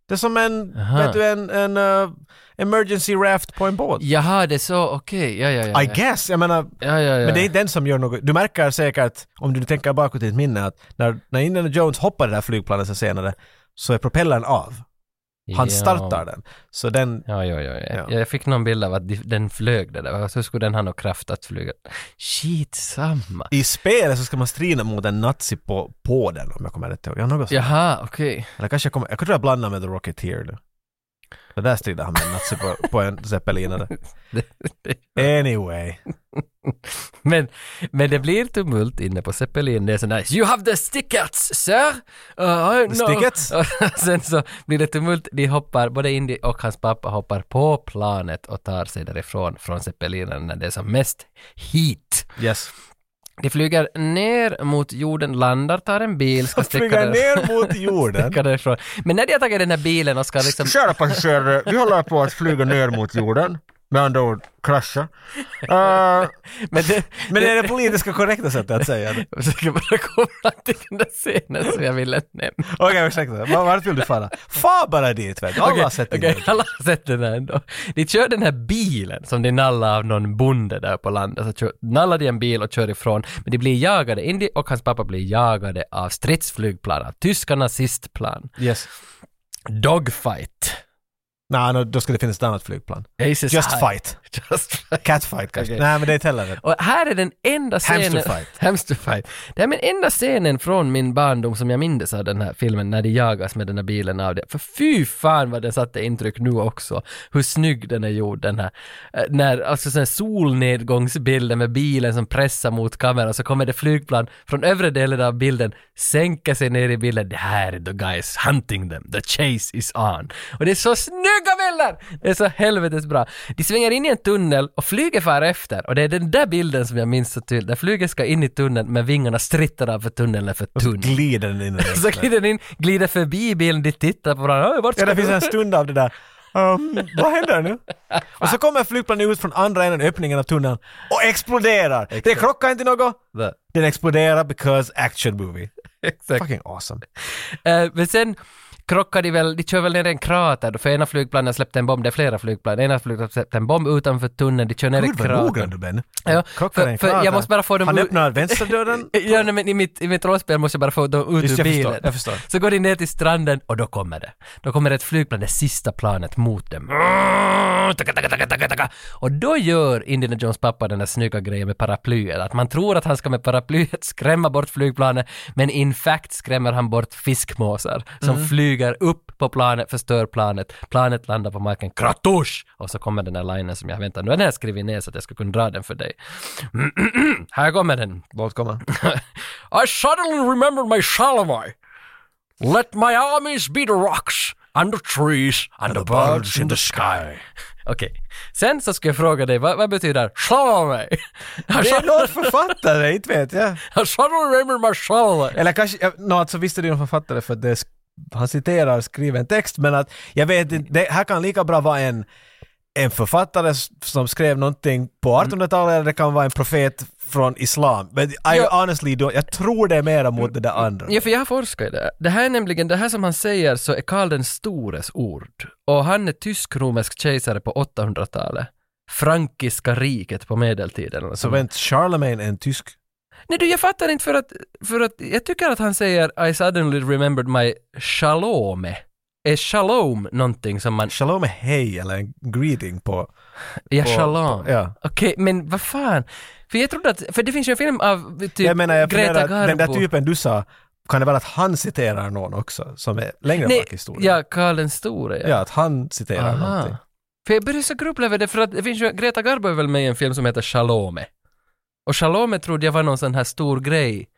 Det är som en,
Aha.
vet du, en, en eh, emergency raft på en båt.
Jaha, det är så, okej, ja, ja, ja.
I
ja.
guess, jag menar,
Ja, ja, ja.
men det är inte den som gör något. Du märker säkert, om du tänker bakåt i ditt minne, att när, när Indiana Jones hoppar i det här flygplanet sen senare, så är propellern av. Han
Ja.
startar den. Så den,
Ja, ja, ja, ja.
Ja.
Jag fick någon bild av att de- den flög det där. Så skulle den ha någon kraft att flyga. Shit, samma.
i spelet så ska man strida mot en nazi på, på den om jag kommer rätt ihåg. Ja, något sånt.
Jaha, okej.
Eller kanske jag kommer, jag tror jag blandar med The Rocketeer nu. Det där strider han med en nazi på, på en zeppelinare. Anyway.
Men, men det blir tumult inne på Zeppelin. Det är så nice. You have the stickers, sir! Uh, no.
stickers?
<laughs> Och sen så blir det tumult. De hoppar, både Indy och hans pappa hoppar på planet och tar sig därifrån, från Zeppelinen när det är som mest heat.
Yes.
De flyger ner mot jorden, landar, tar en bil,
<laughs>
ska sticka
Flyga
där-
ner
<laughs>
mot jorden.
sticka därifrån. Men när de har tagit den här bilen och ska
<laughs>
liksom
Kära passagerare, vi håller på att flyga ner mot jorden. Med andra ord krascha.
<laughs>
Eh,
Men det, <laughs>
men är det politiska korrekta sättet att säga det?
Jag försöker bara komma till den där scenen som jag ville nämna.
Okej, ursäkta. Var- Vart vill du fara? Far bara dit vet du. Alla har sett
Okej,
okay.
alla har sett den här ändå. De kör den här bilen som de nallar av någon bonde där på landet. Så kör, nallar de en bil och kör ifrån. Men de blir jagade. Indy och hans pappa blir jagade av stridsflygplan, av tyska nazistplan.
Yes.
Dogfight.
Nej, nå, då ska det finnas ett annat flygplan.
Aces
Just
high.
fight.
<laughs> Just fight.
Catfight kanske.
Okej.
Nej, men det är inte heller rätt.
Och här är den enda scenen... <laughs>
Hamsterfight.
Hamsterfight. Det är min enda scenen från min barndom som jag mindes av den här filmen, när de jagas med den här bilen av det. För fy fan vad den satte intryck nu också. Hur snygg den är gjord den här. Eh, När, alltså sån här solnedgångsbilden med bilen som pressar mot kameran, så kommer det flygplan från övre delen av bilden, sänker sig ner i bilden. Det här är the guys hunting them, the chase is on. Och det är så snygga bilder! Det är så helvetes bra. De svänger in i en tunnel och flyget far efter. Och det är den där bilden som jag minns så tydligt. Där flyget ska in i tunneln men vingarna strittar av för tunneln är för tunn.
Glider den in i
Så
det.
glider den in, glider förbi bilen, de tittar på varandra. "Oj, Vart
Ja,
ska
det finns
du?" <laughs>
en stund av det där. Um, vad händer nu? Och så kommer flygplanet ut från andra änden öppningen av tunneln och exploderar. Det krockar inte något.
Nej.
Den exploderar because action movie.
Exakt.
Fucking awesome.
Eh, men sen krockar de väl, de kör väl ner i en krater då, för ena flygplanet släppte en bomb, det är flera flygplan, ena flygplanet släppte en bomb utanför tunneln, de kör ner i
Gud vad noggrann
kratern.
du Ben.
Ja,
Krockar
för-
en
för jag
krater.
måste bara få dem
Han
ur- <laughs>
öppnar vänsterdörren.
Eh, Ja, nej, men i mitt, i mitt rollspel måste jag bara få dem ut
Just,
ur
jag förstår,
bilen.
jag förstår.
Så går de ner till stranden och då kommer det. Då kommer ett flygplan, det sista planet mot dem. Taka, taka, taka, taka, taka. Och då gör Indiana Jones pappa den där snygga grejen med paraplyet. Att man tror att han ska med paraplyet <laughs> skrämma bort flygplanet, men in fact skrämmer han bort fiskmåsar som
Mm.
flyger upp på planet, förstör planet. Planet landar på marken, kratusch! Och så kommer den där linen som jag väntar. Nu har den här skrivit ner så att jag ska kunna dra den för dig. Här kommer den. <laughs>
Låt komma.
I suddenly remembered my Shalamai. Let my armies be the rocks and the trees and, the birds in the sky. Okej, sen så ska jag fråga dig, vad, vad betyder <laughs> Shalamai?
Det är någon författare, inte vet jag.
I suddenly remembered my Shalamai.
Eller kanske, ja, no, alltså visst är det någon författare för att det är, sk- han citerar skriven text men att jag vet inte, det här kan lika bra vara en, en författare s- som skrev någonting
Mm.
på 1800-talet eller det kan vara en profet från islam. Men I
Ja.
honestly don't, jag tror det är mera mot det där andra.
Ja, för jag har forskat i det. Det här är nämligen, det här som han säger så är Karl den stores ord. Och han är tysk-romersk kejsare på 800-talet. Frankiska riket på medeltiden. eller
Så
något.
vänt, Charlemagne är en tysk?
Nej du, jag fattar inte för att, för att jag tycker att han säger I suddenly remembered my shalome. Är shalom någonting som man...
Shalom är hej eller en greeting på...
Ja,
på-
shalom.
på- ja.
Okej, men vad fan? För jag trodde att, för det finns ju en film av typ
jag menar, jag
Greta
funderar,
Garbo.
den där typen du sa, kan det vara att han citerar någon också som är längre
Nej,
bak i historien?
ja, Karl den store.
ja, att han citerar någonting.
För jag började så grubbla över det, för att det finns ju, Greta Garbo är väl med i en film som heter Shalome. Och Shalome trodde jag var någon sån här stor grej,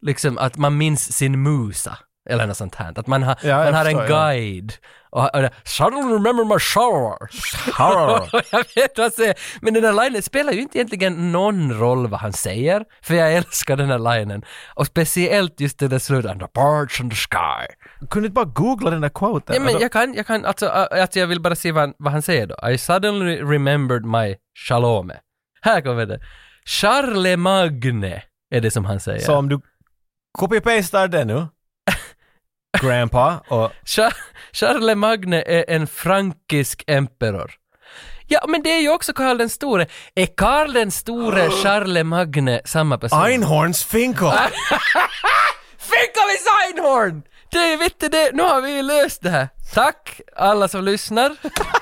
liksom att man minns sin musa. Eller något sånt här. Att man har,
jag
man har en
förstår, ja.
guide. Och, och det, Suddenly remember my shower. <laughs> jag vet vad han säger. Men den där linen spelar ju inte egentligen någon roll vad han säger. För jag älskar den här linen. Och speciellt just det där slutet. "And The birds in the sky.
Kunde inte bara googla den där quoten?
Ja, men
Alltså,
jag kan, jag kan, alltså, äh, alltså jag vill bara se vad han, vad han säger då. I suddenly remembered my Shalome. Här kommer det. Charlemagne är det som han säger.
Så om du copy-pastar det nu, grandpa,
<laughs>
och
Cha- Charlemagne är en frankisk emperor. Ja, men det är ju också Karl den store. Är Karl den store Charlemagne samma person?
Einhorns Finkel!
Fick av his Einhorn! Det, vet du det, nu har vi ju löst det här. Tack alla som lyssnar.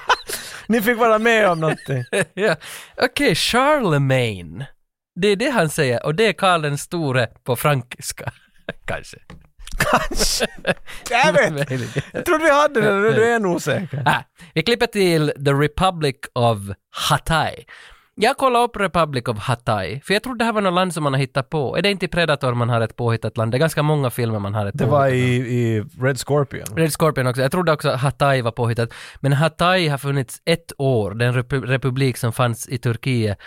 <laughs>
Ni fick vara med om någonting.
ja. Okej, Charlemagne. Det är det han säger och det är Karl den store på frankiska. <laughs> Kanske.
Jag vet! Jag trodde vi hade det, nu är du än osäker.
Ah, vi klipper till The Republic of Hatay. Jag kollade upp Republic of Hatay, för jag trodde det här var något land som man har hittat på. Är det inte i Predator man har ett påhittat land? Det är ganska många filmer man har ett
Det var i, i Red Scorpion.
Red Scorpion också. Jag trodde också att Hatay var påhittat. Men Hatay har funnits ett år, den repu- republik som fanns i Turkiet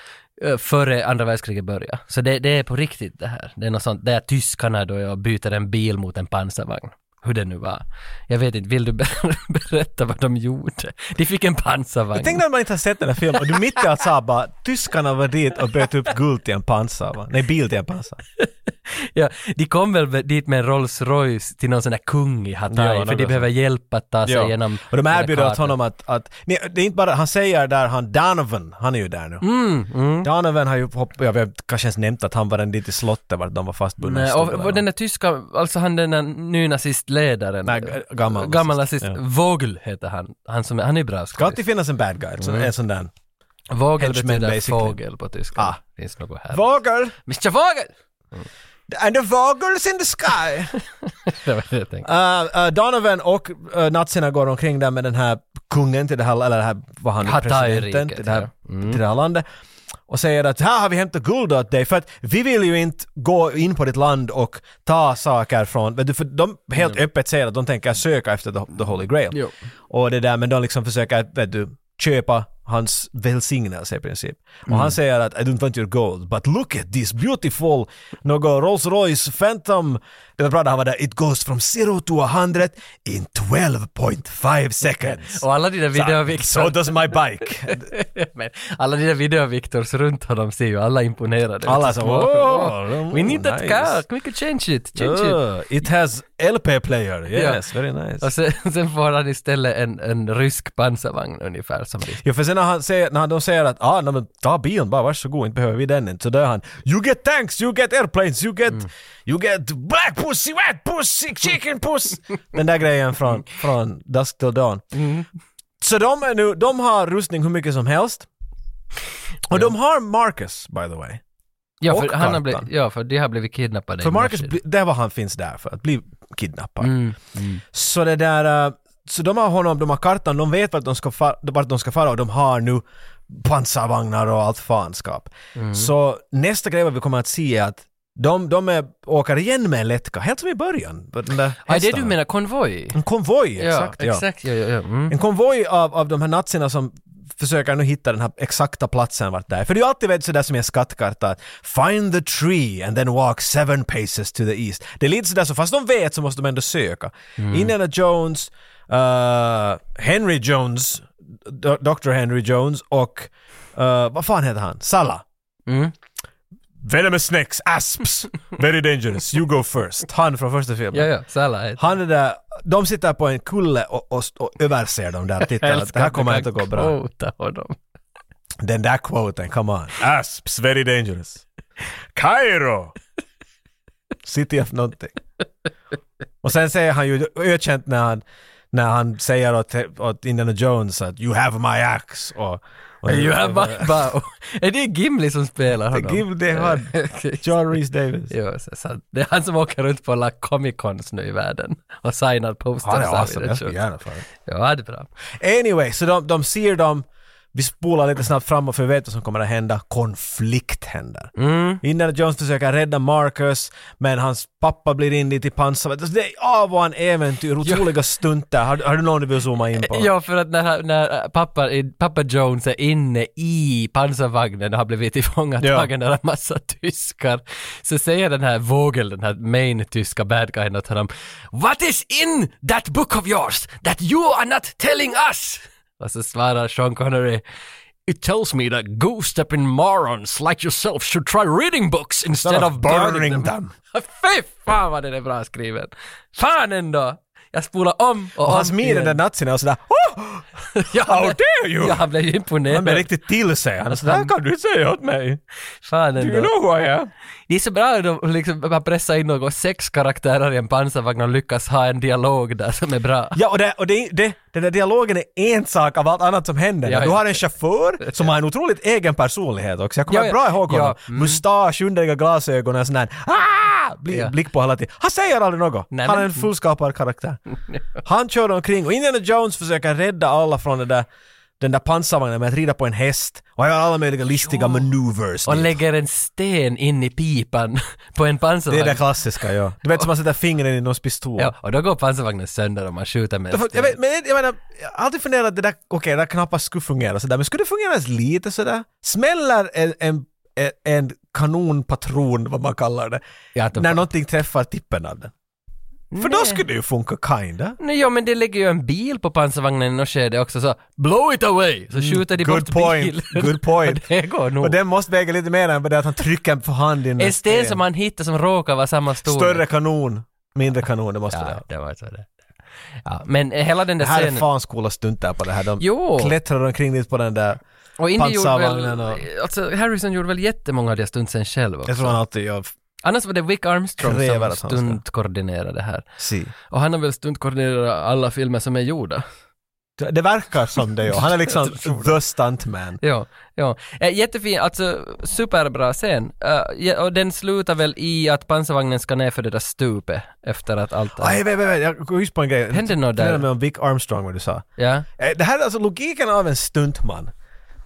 eh, före andra världskriget började. Så det, det är på riktigt det här. Det är något sånt där tyskarna då jag byter en bil mot en pansarvagn. Hur det nu var. Jag vet inte, vill du ber- <laughs> berätta vad de gjorde? De fick en pansarvagn.
Tänk när man inte har sett den här filmen och du mitt i allt sa bara tyskarna var dit och böt upp guld till en pansar, va? Nej, bil till en pansar.
Ja, de kom väl dit med en Rolls Royce till någon sån där kung i Hatay,
Ja,
för
något
de
sånt.
behöver hjälp att ta sig igenom...
Och de
den här
erbjuder åt
kartan.
honom att, att nej, det är inte bara, han säger där han, Donovan, han är ju där nu.
Mm,
Donovan har ju, hopp, jag vet, kanske ens nämnt att han var den dit i slottet vart de var fastbundna.
Nej,
i
och,
stolar.
och den där tyska, alltså han den där nynazistledaren.
Nej, g- gammal
Gammal
nazist,
nazist.
ja.
Vogel heter han. Han, som, är- han är bra
Ska
skådis.
alltid finnas en bad guy, alltså
Mm.
en sån där.
Vogel
henchman,
betyder
basically.
fågel på tyska.
Ah.
Finns något här.
Vågel!
Mr Vogel! <laughs>
And the vågels in the sky!
det var det jag tänkte.
Uh, uh, Donovan och uh, nazierna går omkring där med den här kungen till det här, eller det här, vad han nu,
Hatay-riket,
presidenten till det, här,
ja. Mm.
till det här landet. Och säger att här har vi hämtat guld åt dig för att vi vill ju inte gå in på ditt land och ta saker från, vet du, för de helt öppet säger att de tänker söka efter the, the holy grail.
Mm. Jo.
Och det där, men de liksom försöker, vet du, köpa hans välsignelse i princip. Och
Mm.
han säger att I don't want your gold, but look at this beautiful, något Rolls Royce Phantom. Det var bra när han var där, it goes from zero to a hundred in 12.5 seconds.
Och alla de där
so
videoviktors,
does my bike.
<laughs> men alla de där videoviktors runt honom ser ju alla imponerade.
Alla som,
Wow.
"Wow,
We need that
nice."
car, we can change it, change it.
Oh, it has LP player, yes,
Ja.
very nice.
Och sen, <laughs> sen får han istället en, en rysk pansarvagn ungefär som de
Ja, för sen när, han säger, när de säger att ah, nej, men ta bilen bara, varsågod, inte behöver vi den inte. Så då är han “You get tanks, you get airplanes, you get, you get black pussy, white pussy, chicken puss”. den där grejen från, från dusk till dawn. Så de, är nu, de har rustning hur mycket som helst. Och de har Marcus, by the way.
Ja,
Och
för han har
kartan.
blivit, ja, för de har blivit kidnappade.
För
i
Marcus,
Nordsjö.
bli- det var han finns där för, att bli kidnappad.
Mm,
Så det där, äh, så de har honom, de har kartan, de vet vart de ska, fa- vart de ska fara och de har nu pansarvagnar och allt fanskap.
Mm.
Så nästa grej vad vi kommer att se är att de, de är, åker igen med en lättka, helt som i början. Den där
Ja, det
hästarna.
du menar konvoj?
En konvoj,
Ja,
exakt. Ja.
Mm, exakt. Ja, ja, ja. Mm.
En konvoj av, av de här nazierna som försöker nu hitta den här exakta platsen vart det är. För det är ju alltid vet, sådär som i en skattkarta att “Find the tree and then walk seven paces to the east”. Det är lite sådär så fast de vet så måste de ändå söka.
Mm.
Indiana Jones, eh, Henry Jones, Do- Dr. Henry Jones och eh, vad fan heter han? Salla.
Mm.
Venomous snakes,
<laughs>
asps, very dangerous, you go first. Han från första filmen.
Ja, ja, så alla är...
Han är där, de sitter på en kulle och, och, och överser dem <laughs> där och tittar att det här kommer inte att gå bra.
Quota honom.
Den där quoten, come on. Asps, very dangerous. Kairo! City of någonting. Och sen säger han ju ökänt när han, när han säger åt, åt Indiana Jones att “You have my axe” och... och
You have my bow. Är det Gimli som spelar honom?
Give the
<laughs>
hard.
Okej.
<laughs> John Reese Davis.
Jo, så, så, det är han som åker runt på alla Comic Cons nu i världen och signar posters.
Han är
av
awesome,
Indiana
jag skulle
Jones.
gärna få det.
Ja, det är bra.
Anyway, så de, de ser dem Vi spolar lite snabbt framåt för vi vet vad som kommer att hända. Konflikt händer. Indiana Jones försöker rädda Marcus, men hans pappa blir in dit i pansarvagn. Alltså, Det är av och an äventyr, otroliga stunter. Har, har du någon du vill zooma in på?
Eh, Ja, för att när, när pappa, pappa Jones är inne i pansarvagnen och har blivit tillfångatagen av en massa tyskar, så säger den här Vogel, den här main tyska bad guyen åt honom What is in that book of yours that you are not telling us? Och så svarar Sean Connery It tells me that goose-stepping morons like yourself should try reading books instead of burning, them. <laughs> Fy fan vad den är bra skriven! Fan ändå! Jag spolar om och,
Och
om
han smider
igen.
den där nazierna och sådär oh!
Ja,
How dare you!
Ja, han blev ju imponerad.
Han blir riktigt till sig. Han är sådär, kan du säga åt mig?
Fan
Do you
ändå.
know who I am?
Det är så bra att de liksom bara pressar in något sex karaktärer i en pansarvagn och lyckas ha en dialog där som är bra.
Ja, och, det, och det, det, den där dialogen är en sak av allt annat som händer.
Ja,
du
ja.
har
<laughs>
en chaufför som har en otroligt egen personlighet också. Jag kommer
Ja, ja.
bra ihåg honom.
Ja, mm.
Mustasch, underliga glasögon och sån där ah! Bli,
Ja.
blick på hela tiden. Han säger aldrig något.
Nej,
han
men-
är en
<laughs>
fullskapad karaktär. han kör omkring och Indiana Jones försöker rädda alla från det där den där pansarvagnen med att rida på en häst och han gör alla möjliga listiga maneuvers.
Och
dit.
lägger en sten in i pipan <laughs> på en
det är
pansarvagn.
det klassiska, ja. Du vet som man sätter fingret in i någons pistol.
ja, och då går pansarvagnen sönder om man skjuter med en
Därför,
sten.
jag, vet, men, jag menar, jag har alltid funderat att det där, okej, det där knappast skulle fungera sådär, men skulle det fungera ens lite sådär? Smäller en, en, en- en kanonpatron, vad man kallar det,
Ja, att de-
när någonting träffar tippen av den? För då
Nej.
skulle det ju funka, kinda.
Nej, ja, men det lägger ju en bil på pansarvagnen i något skede också så blow it away! Så skjuter de
Mm. Good
bort
point,
bilen. <laughs>
good point.
och det går nog.
Och den måste väga lite mer än bara det att han trycker för hand in
en sten som han hittar som råkar vara samma storlek.
Större kanon, mindre kanon, det måste
Ja,
det
det var så det. Ja, men hela den där
det här är
scenen.
fan coola stunter på det här. De
Jo.
klättrar omkring lite på den där...
Och Indy gjorde väl,
Pansarvagnen och-
alltså Harrison gjorde väl jättemånga av de här stunsen själv också.
Jag tror han alltid gör...
Annars var det Wick Armstrong
Kräver
som
att han ska.
stuntkoordinerade här.
Si.
Och han har väl stuntkoordinerat alla filmer som är gjorda. <laughs>
Det det verkar som det, ja. Han är <laughs> liksom the stuntman.
Ja, ja. Eh, jättefin, alltså superbra scen. Eh, ja, och den slutar väl i att pansarvagnen ska ner för det där stupet efter att allt...
Nej, vänta, vänta, jag kom just på en grej.
Hände något
Jag
där?
funderar med om Vic Armstrong, vad du sa.
Ja.
Eh, Det här är alltså logiken av en stuntman.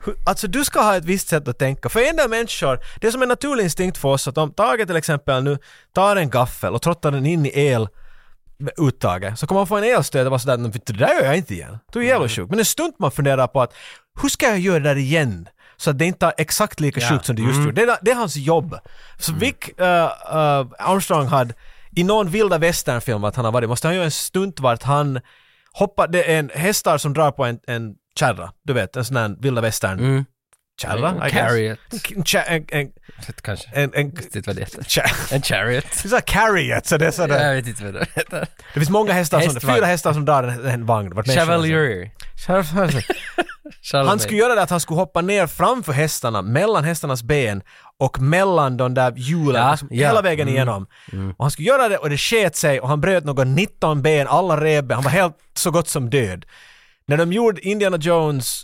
Hur- Alltså du ska ha ett visst sätt att tänka. För en del människor, det är som en naturlig instinkt för oss att om Tage till exempel nu tar en gaffel och trottar den in i el uttaget så kommer man få en elstöt och vara sådär "Men det där gör jag inte igen. Du är jävla sjuk. Men en stuntman funderar på att hur ska jag göra det där igen? Så att det inte är exakt lika sjukt som det just gjorde. Det, är- det är hans jobb. Så Vic eh, eh, Armstrong hade i någon vilda västernfilm att han har varit, måste han göra en stunt vart han hoppar, det är en hästar som drar på en, en kärra, du vet, en sån här vilda västern kärra, I guess.
Chariot.
En, cha- en, en,
Kanske.
en, en,
Jag vet inte vad det heter.
cha- <laughs>
En chariot.
du sa carriot, så det är sådär.
Jag vet inte vad det heter.
Det finns många hästar som,
Hästvagn.
fyra hästar som drar en, en vagn. Vart människan-
Chevalier.
alltså.
<laughs>
Han skulle göra det att han skulle hoppa ner framför hästarna, mellan hästarnas ben och mellan de där hjulen,
Ja,
alltså
ja. Mm.
hela vägen igenom. Och han skulle göra det och det sket sig och han bröt något 19 ben, alla revben, han var helt så gott som död. När de gjorde Indiana Jones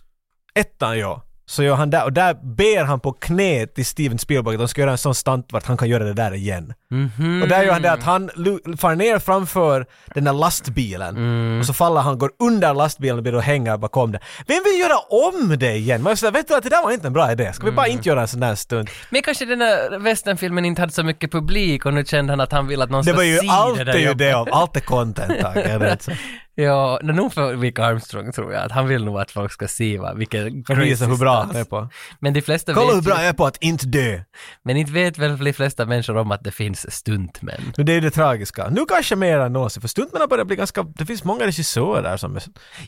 ettan ja, så gör han där och där ber han på knä till Steven Spielberg att de ska göra en sån stunt vart han kan göra det där igen.
Mhm.
Och där gör han det att han lu- far ner framför den där lastbilen
Mm.
och så faller han, går under lastbilen och blir då hänga bakom den. Vem vill göra om det igen? Man är sådär, vet du att det där var inte en bra idé, ska vi
Mm.
bara inte göra en sån där stunt?
Men kanske den där westernfilmen inte hade så mycket publik och nu kände han att han vill att någon
Det
ska
var ju
se
allt
det där
är ju
jobbet.
det om, allt är content Tage, är
<laughs>
det inte så?
Ja, men nog för Wick Armstrong tror jag att han vill nog att folk ska se va, vilken
Kan
crazy
visa hur bra
stats.
han är på.
Men de flesta
Kolla hur
vet
bra jag
ju,
är på att inte dö.
men inte vet väl de flesta människor om att det finns stuntmän.
Men det är ju det tragiska. Nu kanske mer än någonsin, för stuntmännen börjar bli ganska... Det finns många regissörer som...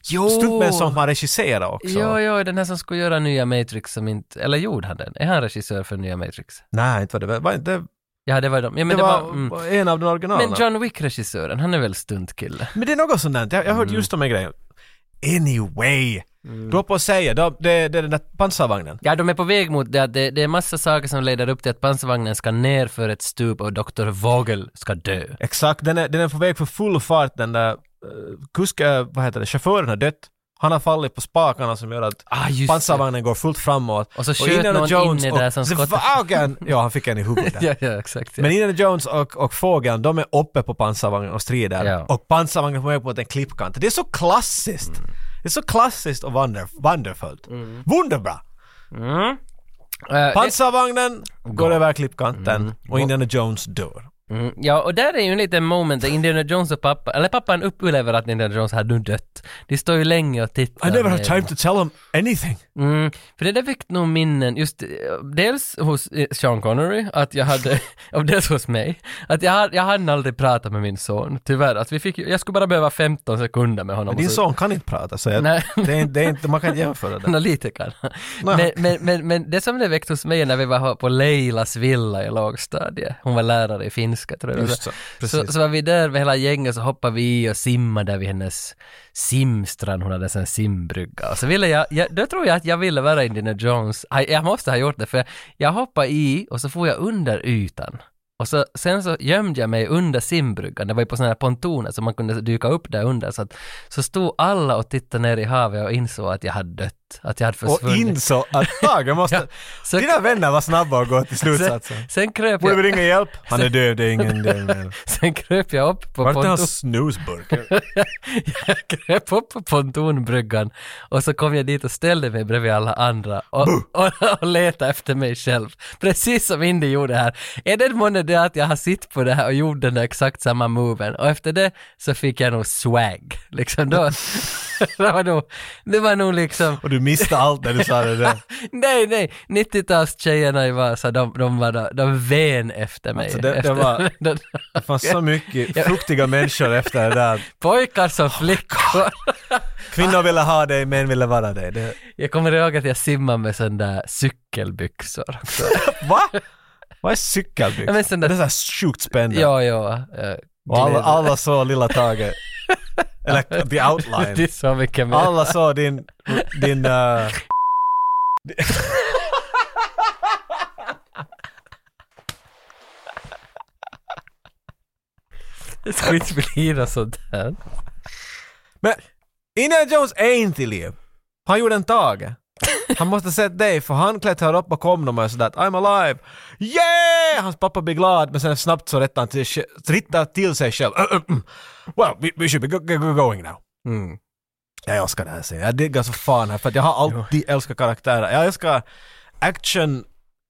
Jo!
Stuntmän som har regisserat också.
Ja, ja, den här som skulle göra nya Matrix som inte, eller gjorde han den? Är han regissör för nya Matrix?
Nej, inte var det väl... var inte-
Ja, det var de. Ja, men
det,
det,
var,
mm.
en av de
Men
originalerna.
John Wick-regissören, han är väl stuntkille?
Men det är något sånt där. Jag, jag har
Mm.
hört just de här grejerna. Anyway. Du var på att säga, det, det, det är den där pansarvagnen.
Ja, de är på väg mot det. att Det, det är massa saker som leder upp till att pansarvagnen ska ner för ett stup och Dr. Vogel ska dö.
Exakt, den är, den är på väg för full fart den där eh, kusk, eh, vad heter det, chauffören har dött. Han har fallit på spakarna som gör att
Ah, just det.
pansarvagnen går fullt framåt.
Och så sköt någon in i där
<laughs>
som
The
skottar.
Vagen- Ja, han fick en i huvudet. där.
<laughs> Ja, ja, exakt. Ja.
Men Indiana Jones och, och fågeln, de är uppe på pansarvagnen och strider.
Ja. Mm.
Och pansarvagnen är på väg mot en klippkant. Det är så klassiskt! Det är så klassiskt och wander, wonderfullt. Wunderbra!
Eh,
Pansarvagnen går över klippkanten och Indiana Jones dör.
Mm, ja, och där är ju en liten moment där Indiana Jones och pappa, eller pappan upplever att Indiana Jones har nu dött. De står ju länge och tittar.
I never
ner.
had time to tell him anything.
Mm, för det där väckte nog minnen, just eh, dels hos eh, Sean Connery, att jag hade, <laughs> och dels hos mig, att jag, har- jag hann aldrig prata med min son, tyvärr. Alltså, vi fick, ju- jag skulle bara behöva 15 sekunder med honom. och
Din
så-
son kan inte prata så jag,
Nej.
det är, det är inte, man kan inte
<laughs>
jämföra det.
Analytikern. Men,
Naja.
men, men, men det som det väckte hos mig när vi var på Leilas villa i lågstadiet, hon var lärare i finska tror jag.
Just så,
så,
precis.
så var vi där med hela gänget så hoppade vi i och simmade där vid hennes simstrand, hon hade en simbrygga. Och så ville jag, jag, då tror jag att jag ville vara Indiana Jones. Jag, jag måste ha gjort det för jag hoppade i och så får jag under ytan. Och så, sen så gömde jag mig under simbryggan, det var ju på sådana här pontoner så man kunde dyka upp där under. Så, att, så stod alla och tittade ner i havet och insåg att jag hade dött, att jag hade
Och
försvunnit.
insåg att
<laughs>
Tage måste...
så-
Dina vänner var snabba att gå till
sen,
slutsatsen.
sen, kröp
Borde vi
jag,
ringa hjälp? Han är döv, det är ingen död.
<laughs> sen kröp jag upp på
Vart är
pontonen.
hans snusburk?
jag kröp upp på pontonbryggan och så kom jag dit och ställde mig bredvid alla andra och, och, <laughs> och letade efter mig själv. Precis som Indy gjorde här. Är det månne det att jag har sitt på det här och gjort den där exakt samma moven? Och efter det så fick jag nog swag. Liksom då, <laughs> det, var nog, det var nog liksom
Och du missade allt när du sa det där.
Nej, nej, 90-talstjejerna i Vasa, de, de, var, de ven efter mig.
Alltså, det- det
efter, <laughs>
var- Det fanns så mycket fruktiga människor efter det där.
Pojkar som
Oh
flickor.
Kvinnor ville ha dig, män ville vara dig. Det,
Jag kommer ihåg att jag simmade med sån där cykelbyxor också.
va? Vad är cykelbyxor?
Ja, men sån där-
Det är så här sjukt spännande.
ja, ja. eh,
Och alla,
glädje. <laughs>
alla såg lilla Tage. Eller the
Det är
outline.
så mycket mer.
Alla såg din... din uh,
Det ska inte bli något sånt här.
men Indiana Jones är inte i liv. Han gjorde en Tage. Han måste sett dig för han klättrade upp bakom dem och sådär I'm alive! Yeah! Hans pappa blir glad men sen snabbt så rättar han till, rittar till sig själv. Uh, Well, we, we should be go- go- going now.
Mm.
Jag älskar den här serien. Jag diggar så fan här för att jag har alltid älskat karaktärer. Jag älskar action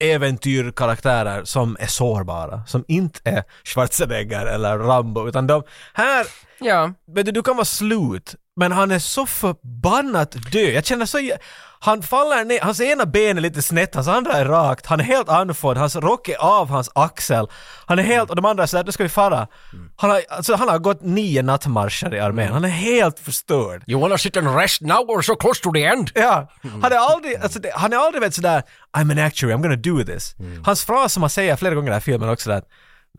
äventyrkaraktärer som är sårbara. Som inte är Schwarzenegger eller Rambo utan de... Här,
Ja.
vet du, du kan vara slut men han är så förbannat död. Jag känner så... jä- Han faller ner, hans ena ben är lite snett, hans andra är rakt, han är helt andfådd, hans rock är av hans axel. Han är helt, och de andra är sådär, nu ska vi fara. Han har, alltså, han har gått nio nattmarscher i armén, han är helt förstörd.
You wanna sit and rest now or so close to the end?
Ja,
Mm.
han är aldrig, alltså, det- han är aldrig vet sådär I'm an actuary, I'm gonna do this.
Mm.
Hans fras som han säger flera gånger i den här filmen också där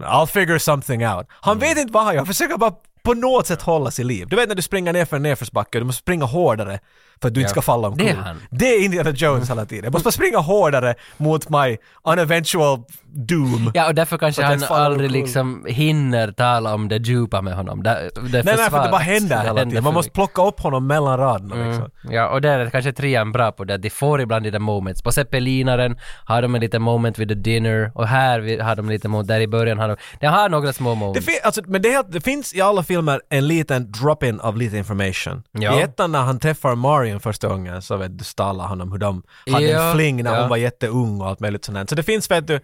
I'll figure something out. Han
Mm.
vet inte vad han gör, han försöker bara på något sätt hålla sig i liv. Du vet när du springer ner för en nedförsbacke, du måste springa hårdare för att du inte ska falla omkull.
Det är han.
Det är Indiana Jones hela tiden. Jag måste bara springa hårdare mot my uneventual doom.
Ja, och därför kanske
För att
han
jag faller
aldrig
omkull.
liksom hinner tala om det djupa med honom. Det, det
Nej, nej, för att det bara händer hela tiden. Man måste
måste...
plocka upp honom mellan raderna
Mm.
liksom.
Ja, och där är kanske trean bra på det. De får ibland de där moments. På Zeppelinaren har de en liten moment vid the dinner och här vi- har de lite moment. Där i början har de... De har några små
Det,
moments.
fin- alltså, men det, är helt- det finns i alla filmer en liten drop-in av lite information.
Ja.
I ettan när han träffar Marion första gången så vet du, stallar han om hur de hade
Ja,
en fling när
ja.
hon var jätteung och allt möjligt sånt där. Så det finns vet du,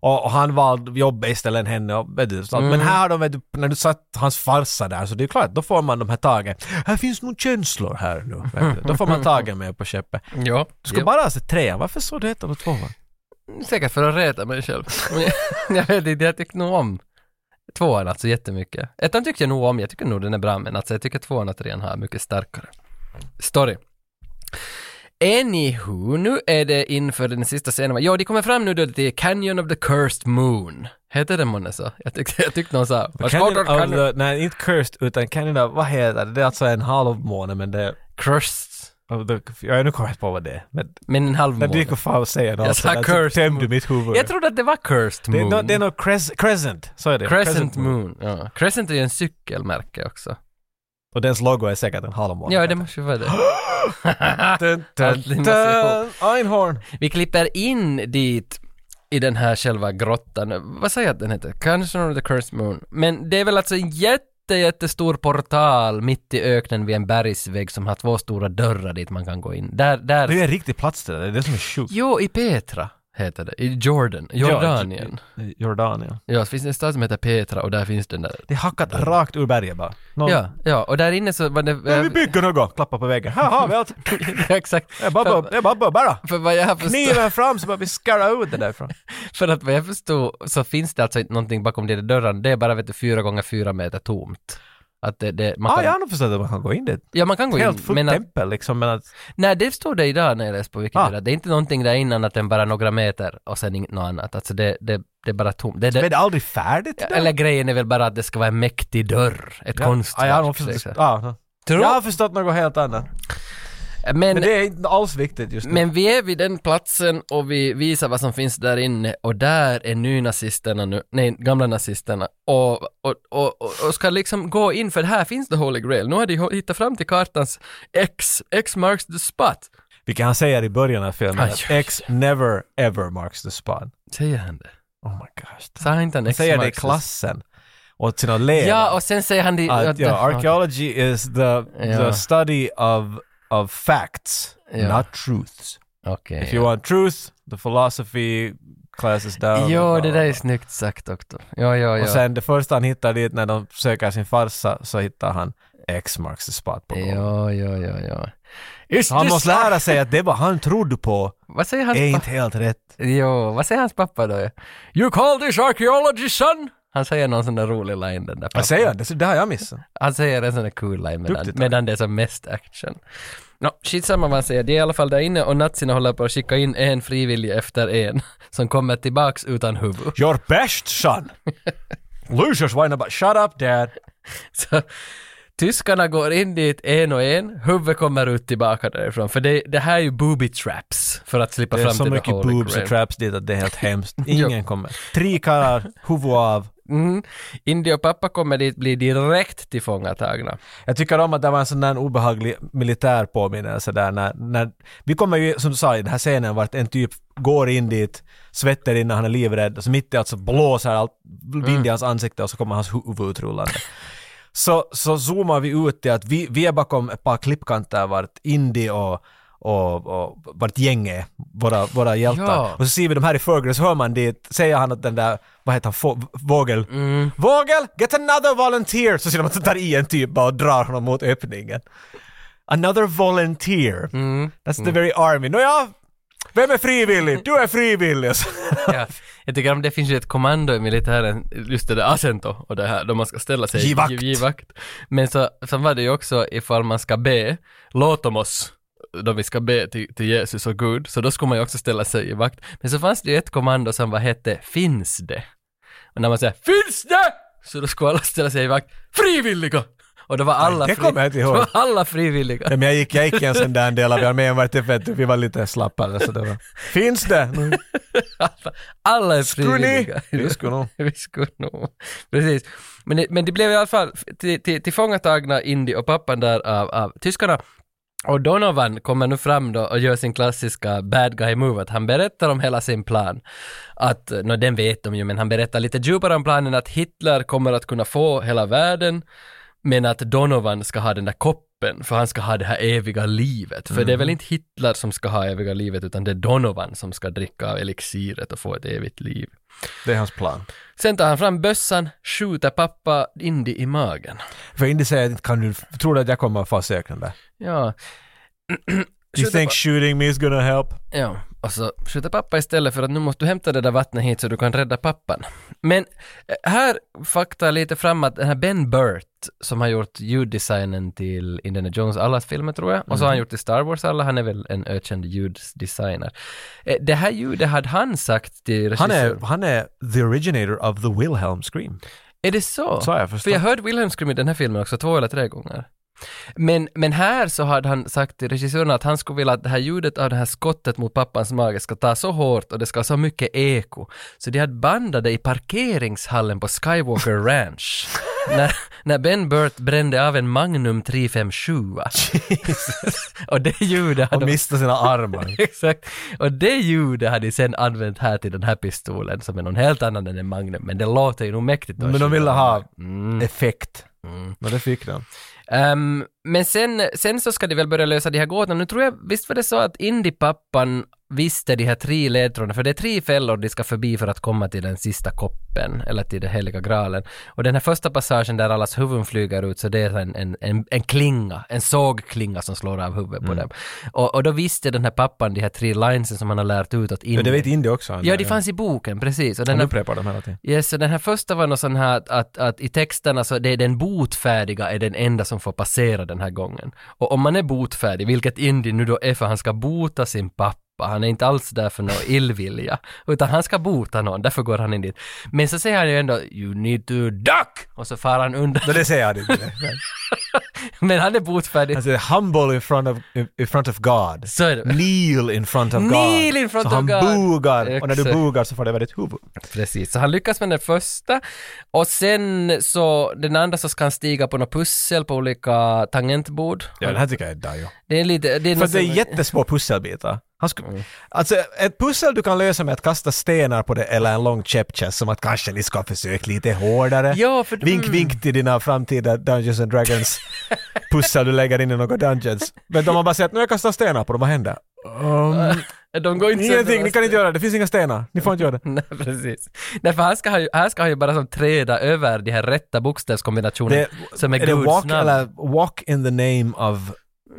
och, och han valde jobb istället än henne och vet du, så att-
Mm.
Men här har de vet du, när du satt hans farsa där så det är klart, då får man de här tagen. Här finns nog känslor här nu. Vet du. Då får man tagen med på köpet.
Ja.
Du ska bara ha sett trean, varför såg du ettan och tvåan?
Säkert för att reta mig själv. Men jag- <laughs> jag vet inte, jag tyckte nog om tvåan alltså jättemycket. Ettan tyckte jag nog om, jag tycker nog den är bra, men alltså jag tycker tvåan och trean har mycket starkare story. Anywho, nu är det inför den sista scenen. Ja, de kommer fram nu då till Canyon of the Cursed Moon. Heter den månne så? Jag tyckte, jag tyckte någon sa...
Canyon
Canyon
of the, nej, inte cursed utan Canyon of, vad heter det? Det är alltså en halvmåne men det
Cursed.
Av the- Jag är nu kommer jag inte på vad Alltså, det är. Men
Men en halv
när du
måne.
gick och fan säger något
Jag sa
sådär så
cursed
tömde
moon.
du mitt huvud.
Jag trodde att det var Cursed
det, är
Moon.
nå- det är något cres- crescent, så är det.
Crescent Moon. Ja. Crescent är ju en cykelmärke också.
Och dens logo är säkert en halvmåne.
Ja, det måste ju vara
<gasps>
det.
<laughs> Dun,
Allt
dun,
limmar sig ihop.
dun, Einhorn!
Vi klipper in dit i den här själva grottan. Vad säger jag att den heter? Cancer of the Cursed Moon. Men det är väl alltså en jätte jätte, jättestor portal mitt i öknen vid en bergsvägg som har två stora dörrar dit man kan gå in. Där, där...
Det är ju en riktig plats det där, det är det som är sjukt.
Jo, i Petra heter det. I Jordan, Jordanien.
Ja, i- i Jordanien.
Ja, så finns det en stad som heter Petra och där finns den där.
Det är hackat rakt ur berget bara. Någon,
Mm. Ja, ja, och där inne så var det... <laughs>
"Nej, Vi bygger något! Klappa på väggen. Haha, vi har allt.
Exakt.
Det är bara- det är bara bara.
För vad jag har förstått...
Kniven fram så bara vi skarrar ut det därifrån.
För att vad jag förstod så finns det alltså inte någonting bakom den där dörren. Det är bara vet du, fyra gånger fyra meter tomt. Att det, det, man
Ah,
kan,
jag har nog förstått att man kan gå in dit.
ja, man kan gå in.
Helt fullt
men att,
tempel liksom, men att...
nej, det stod det idag när jag läste på Wikipedia.
Ah.
att Det är inte någonting där innan att den bara några meter och sen inget något annat. Alltså det, det, det är bara tomt. Det,
Men är
det,
det aldrig färdigt? det där?
eller grejen är väl bara att det ska vara en mäktig dörr. Ett
Ja.
konstverk.
Ah, jag, har nog
liksom.
förstått, ah,
Tror-
jag har förstått något helt annat.
men,
Men det är inte alls viktigt just nu.
Men vi är vid den platsen och vi visar vad som finns där inne och där är nynazisterna nu, nej, gamla nazisterna och, och, och, och, och ska liksom gå in för här finns the holy grail. Nu har de hå- hittat fram till kartans X, X marks the spot.
Vilket han säger i början av filmen,
Aj,
att
aj,
X never ever marks the spot.
Säger han det?
Oh my gosh.
Sa han inte han
Han
X
säger det i
marks the-
klassen åt sina elever.
Ja, och sen säger han det...
att, Ah, ja, archaeology is the,
Ja.
the study of, of facts,
Ja.
not truths.
Okej.
If you
ja.
want truth, the philosophy class is down.
Jo,
bla,
det
bla,
där är
bla.
snyggt sagt också. Ja, ja, ja.
Och sen det första han hittar dit när de söker sin farsa så hittar han X marks the spot på golvet.
Ja, ja, ja, ja. Is
Så han
this-
måste lära sig att det vad han trodde på
Vad säger hans
är
pappa?
inte helt rätt.
Jo, vad säger hans pappa då? You call this archaeology son? Han säger någon sån där rolig line den där pappan.
Vad säger han? Det, det har jag missat.
Han säger en sån där cool line medan,
Duktigt, tack.
medan det är som mest action. Nå, skitsamma vad han säger, de är i alla fall där inne och nazierna håller på att skicka in en frivillig efter en <laughs> som kommer tillbaks utan huvud. <laughs>
Your best son! Losers whine about shut up dad!
Så, tyskarna går in dit en och en, huvudet kommer ut tillbaka därifrån. För det, det här är ju booby traps för att slippa
Det är
fram
så
till
mycket
the holy
boobs
grail.
och traps dit att det är helt hemskt. Ingen kommer. Tre karlar, huvud av.
Mm. Indy och pappa kommer dit, blir direkt tillfångatagna.
Jag tycker om att det var en sån där obehaglig militär påminnelse där när, när vi kommer ju, som du sa, i den här scenen vart en typ går in dit, svetter innan han är livrädd, och så mitt i allt så blåser allt,
Mm.
vind i hans ansikte och så kommer hans huvud utrullande. Så, så zoomar vi ut till att vi, vi är bakom ett par klippkanter vart Indy och och, och vart gäng är, våra, våra hjältar.
Ja.
Och så ser vi de här i förgrunden, så hör man dit, säger han att den där, vad heter han, Få- Vågel? Vågel, get another volunteer! Så ser man att han tar i en typ bara och drar honom mot öppningen. Another volunteer. That's the very army. Nåja, vem är frivillig? Du är frivillig! <laughs> Och så-
<laughs> ja, jag tycker om det finns ju ett kommando i militären, just det där assento och det här, då man ska ställa sig
Givakt.
giv- givakt. Men så, så var det ju också ifall man ska be, låt om oss då vi ska be till, till Jesus och Gud, så då skulle man ju också ställa sig i vakt. Men så fanns det ju ett kommando som vad hette ”Finns det?” Och när man säger ”Finns det?” så då skulle alla ställa sig i vakt, frivilliga! Och då var alla,
det kommer jag inte
<laughs>
ihåg.
då var alla frivilliga.
Nej, men jag gick, jag gick i en sån där del av armén vart det för att vi var lite slappare. Så det var, finns det? Mm.
Alla, alla är
Skulle ni?
frivilliga.
Vi skulle nog.
<laughs> Vi skulle nog. Precis. Men det, men det blev i alla fall till- till- tillfångatagna Indy och pappan där av, av tyskarna. Och Donovan kommer nu fram då och gör sin klassiska bad guy move, att han berättar om hela sin plan. Att, eh, nå den vet de ju, men han berättar lite djupare om planen att Hitler kommer att kunna få hela världen, men att Donovan ska ha den där koppen, för han ska ha det här eviga livet. För det är väl inte Hitler som ska ha eviga livet, utan det är Donovan som ska dricka av elixiret och få ett evigt liv.
Det är hans plan.
Sen tar han fram bössan, skjuter pappa Indy i magen.
För Indy säger, kan du, tror du att jag kommer att få sökande?
Ja,
Do you think shooting me is gonna help?
ja. Och så skjuter pappa istället för att nu måste du hämta det där vattnet hit så du kan rädda pappan. Men eh, här fakta lite fram att den här Ben Burt som har gjort ljuddesignen till Indiana Jones allas filmer tror jag och så har han
Mhm.
gjort till Star Wars alla, han är väl en ökänd ljuddesigner. Eh, Det här ljudet hade han sagt till
Han är,
regissören.
han är the originator of the Wilhelm Scream.
Är det så?
Så har jag förstått.
För jag hörde Wilhelm Scream i den här filmen också två eller tre gånger. Men, men här så hade han sagt till regissören att han skulle vilja att det här ljudet av det här skottet mot pappans mage ska ta så hårt och det ska ha så mycket eko. Så de hade bandat det i parkeringshallen på
<laughs>
Skywalker Ranch. när, när Ben Burt brände av en Magnum 357. <laughs> och det ljudet
Han
hade
miste sina armar.
<laughs> Exakt. Och det ljudet hade de sen använt här till den här pistolen som är någon helt annan än en Magnum, men det låter ju nog mäktigt. Mm. att
Men de
skjuta
ville
den.
ha effekt. Men Mm. det fick den.
Ehm, men sen, sen så ska de väl börja lösa de här gåtorna. Nu tror jag, visst var det så att Indie-pappan visste de här tre ledtrådarna, för det är tre fällor de ska förbi för att komma till den sista koppen, eller till den heliga graalen. Och den här första passagen där allas huvuden flyger ut, så det är en, en, en, en klinga, en sågklinga som slår av huvudet
Mm.
på dem. Och, och då visste den här pappan de här tre linesen som han har lärt ut åt Indie.
Ja, det vet Indy också. han
Ja,
där,
det fanns i boken, precis. Och den
Han
här-
upprepar dem hela tiden.
Yes, så den här första var något sån här att, att, att i texterna så det är den botfärdiga är den enda som får passera den här gången. Och om man är botfärdig, vilket Indy nu då är för han ska bota sin pappa, han är inte alls där för någon <laughs> illvilja, utan han ska bota någon, därför går han in dit. Men så säger han ju ändå “You need to duck” och så far han undan.
Men det
<laughs>
säger han inte.
Men han är botfärdig.
Han säger humble in front of, in, in front of God.
Så är det.
Kneel in front of God.
Kneel in front
så
of
han
God.
bugar och när du
Exakt.
bugar så får det över ditt huvud.
Precis, så han lyckas med den första och sen så den andra så ska han stiga på något pussel på olika tangentbord.
Ja, den här tycker jag är dajo.
Det är lite... Det är
För
något
att det är
som-
jättesmå pusselbitar. Han sku...
Mm.
Alltså ett pussel du kan lösa med att kasta stenar på det eller en lång käppkäst som att kanske ni ska försöka lite hårdare.
Ja, för-
Vink
mm.
vink till dina framtida Dungeons and
<laughs>
Dragons pussel du lägger in i några Dungeons. Men de har bara sett nu jag kastar stenar på dem, vad händer?
Mm. <laughs>
Um,
De går inte
ingenting, ni kan inte göra det, det finns inga stenar, ni får inte göra det.
<laughs> Nej, precis. Nej, för här ska han ju, här ska han ju bara som träda över de här rätta bokstavskombinationerna Mm. som är,
är det
Guds
walk,
namn.
eller walk in the name of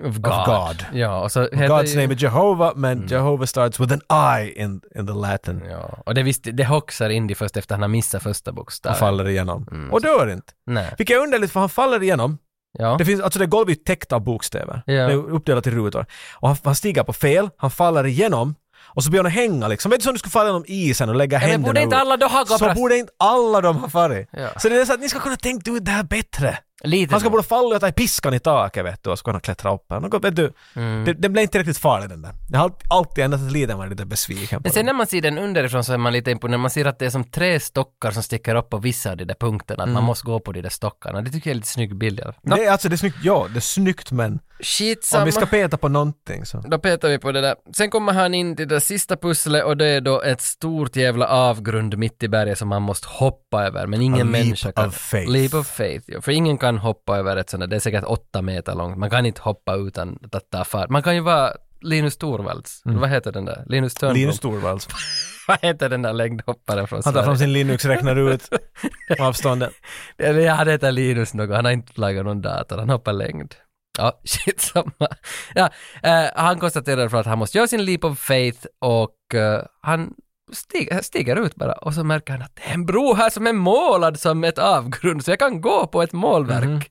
Of God.
God.
Ja, och så heter
God's
ju- Mm.
name is Jehovah, men Jehovah starts with an I in, in the Latin.
Ja, och det visste, det hoxar Indy först efter han har missat första
Och
bokstaven.
faller igenom.
Mm.
Och dör inte.
Nej.
Vilket är underligt för han faller igenom.
Ja.
Det finns, alltså det golvet är ju täckt av bokstäver.
Ja.
Det är uppdelat i rutor. Och han, han stiger på fel, han faller igenom och så börjar han hänga liksom. Vet du som du skulle falla genom isen och lägga
men
händerna
borde inte
ut?
alla då ha gått
Så
brast?
borde inte alla de ha farit.
Ja.
Så det är så att ni ska kunna tänka ut det här bättre.
Lite
Han ska
nog.
borde falla och ta i piskan i taket vet du och så kan han klättra upp. här. Något, vet du,
Mm.
det, den blev inte riktigt farlig den där. Jag har alltid ända till liten varit lite besviken på
Men sen
den.
när man ser den underifrån så är man lite imponerad. Man ser att det är som tre stockar som sticker upp på vissa av de där punkterna. Att man måste gå på de där stockarna. Det tycker jag är lite snygg bild i alla fall.
Mm. Det är alltså det är snyggt, ja det är snyggt men
Skitsamma.
om vi ska peta på någonting så.
Då petar vi på det där. Sen kommer han in till det sista pusslet och det är då ett stort jävla avgrund mitt i berget som han måste hoppa över. Men ingen
A leap
människa kan...
of faith.
Leap of faith. Ja. För ingen kan hoppa över ett sånt där. Det är säkert åtta meter långt. Man kan inte hoppa utan att ta fart. Man kan ju vara Linus Torvalds. Vad heter den där? Linus Törnblom.
Mm. Linus Torvalds.
<laughs> Vad heter den där längdhopparen från
Han tar fram
Sverige?
sin Linux, räknar ut <laughs> avstånden.
Eller ja, han heter Linus något. Han har inte lagat någon dator. Han hoppar längd. <laughs> Ja, skitsamma. Ah, Ja, eh, han konstaterar för att han måste göra sin leap of faith och eh, han stiger, stiger ut bara och så märker han att det är en bro här som är målad som ett avgrund så jag kan gå på ett målverk. Mm.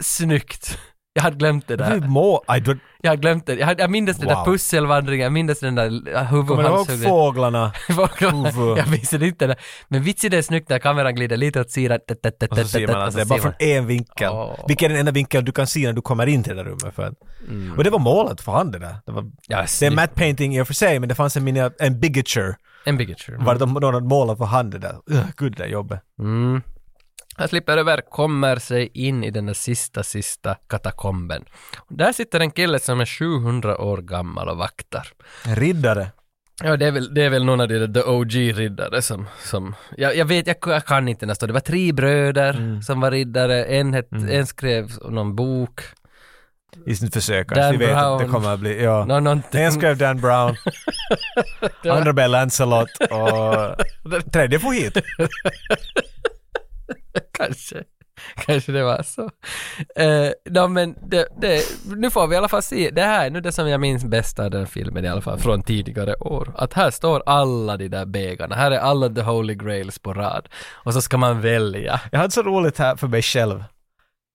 Snyggt. Jag hade glömt det
Det är ju
där.
må... I don't...
Jag hade glömt det. Jag, hade, jag minns den där
Wow.
pusselvandringen, jag minns den där
Kommer du ihåg
huvudhalshugget.
fåglarna?
<laughs> Fåglarna.
Ufo.
Jag minns det inte. där. Men vits i det är snyggt när kameran glider lite åt sidan.
Och så ser man att det är bara från en vinkel.
Åh.
Vilken är den enda vinkeln du kan se när du kommer in till det där rummet. För att... Och det var målet för hand det där. Det, var...
Ja,
det är
snyggt.
matte painting i och för sig, men det fanns en, minia... en bigature.
En bigature.
Var det de någon målade för hand det där. Ugh, Gud, det är jobbet.
Han slipper över, kommer sig in i den där sista, sista katakomben. Där sitter en kille som är 700 år gammal och vaktar.
En riddare.
Ja, det är väl, det är väl någon av de där The OG-riddare som... som jag, jag vet, jag, jag kan inte nästan. Det var tre bröder
Mm.
som var riddare. En, het, en skrev någon bok.
I sitt försök.
Dan
Vi vet att det
Brown.
kommer att bli... Ja.
Nå, någonting.
En skrev Dan <laughs> Brown. Andra blev Lancelot. <laughs> Och tredje får hit.
Kanske. Kanske det var så. Eh, no, men det, det, nu får vi i alla fall se. Det här är nu det som jag minns bäst av den filmen i alla fall från tidigare år. Att här står alla de där bägarna. Här är alla the holy grails på rad. Och så ska man välja.
Jag hade så roligt här för mig själv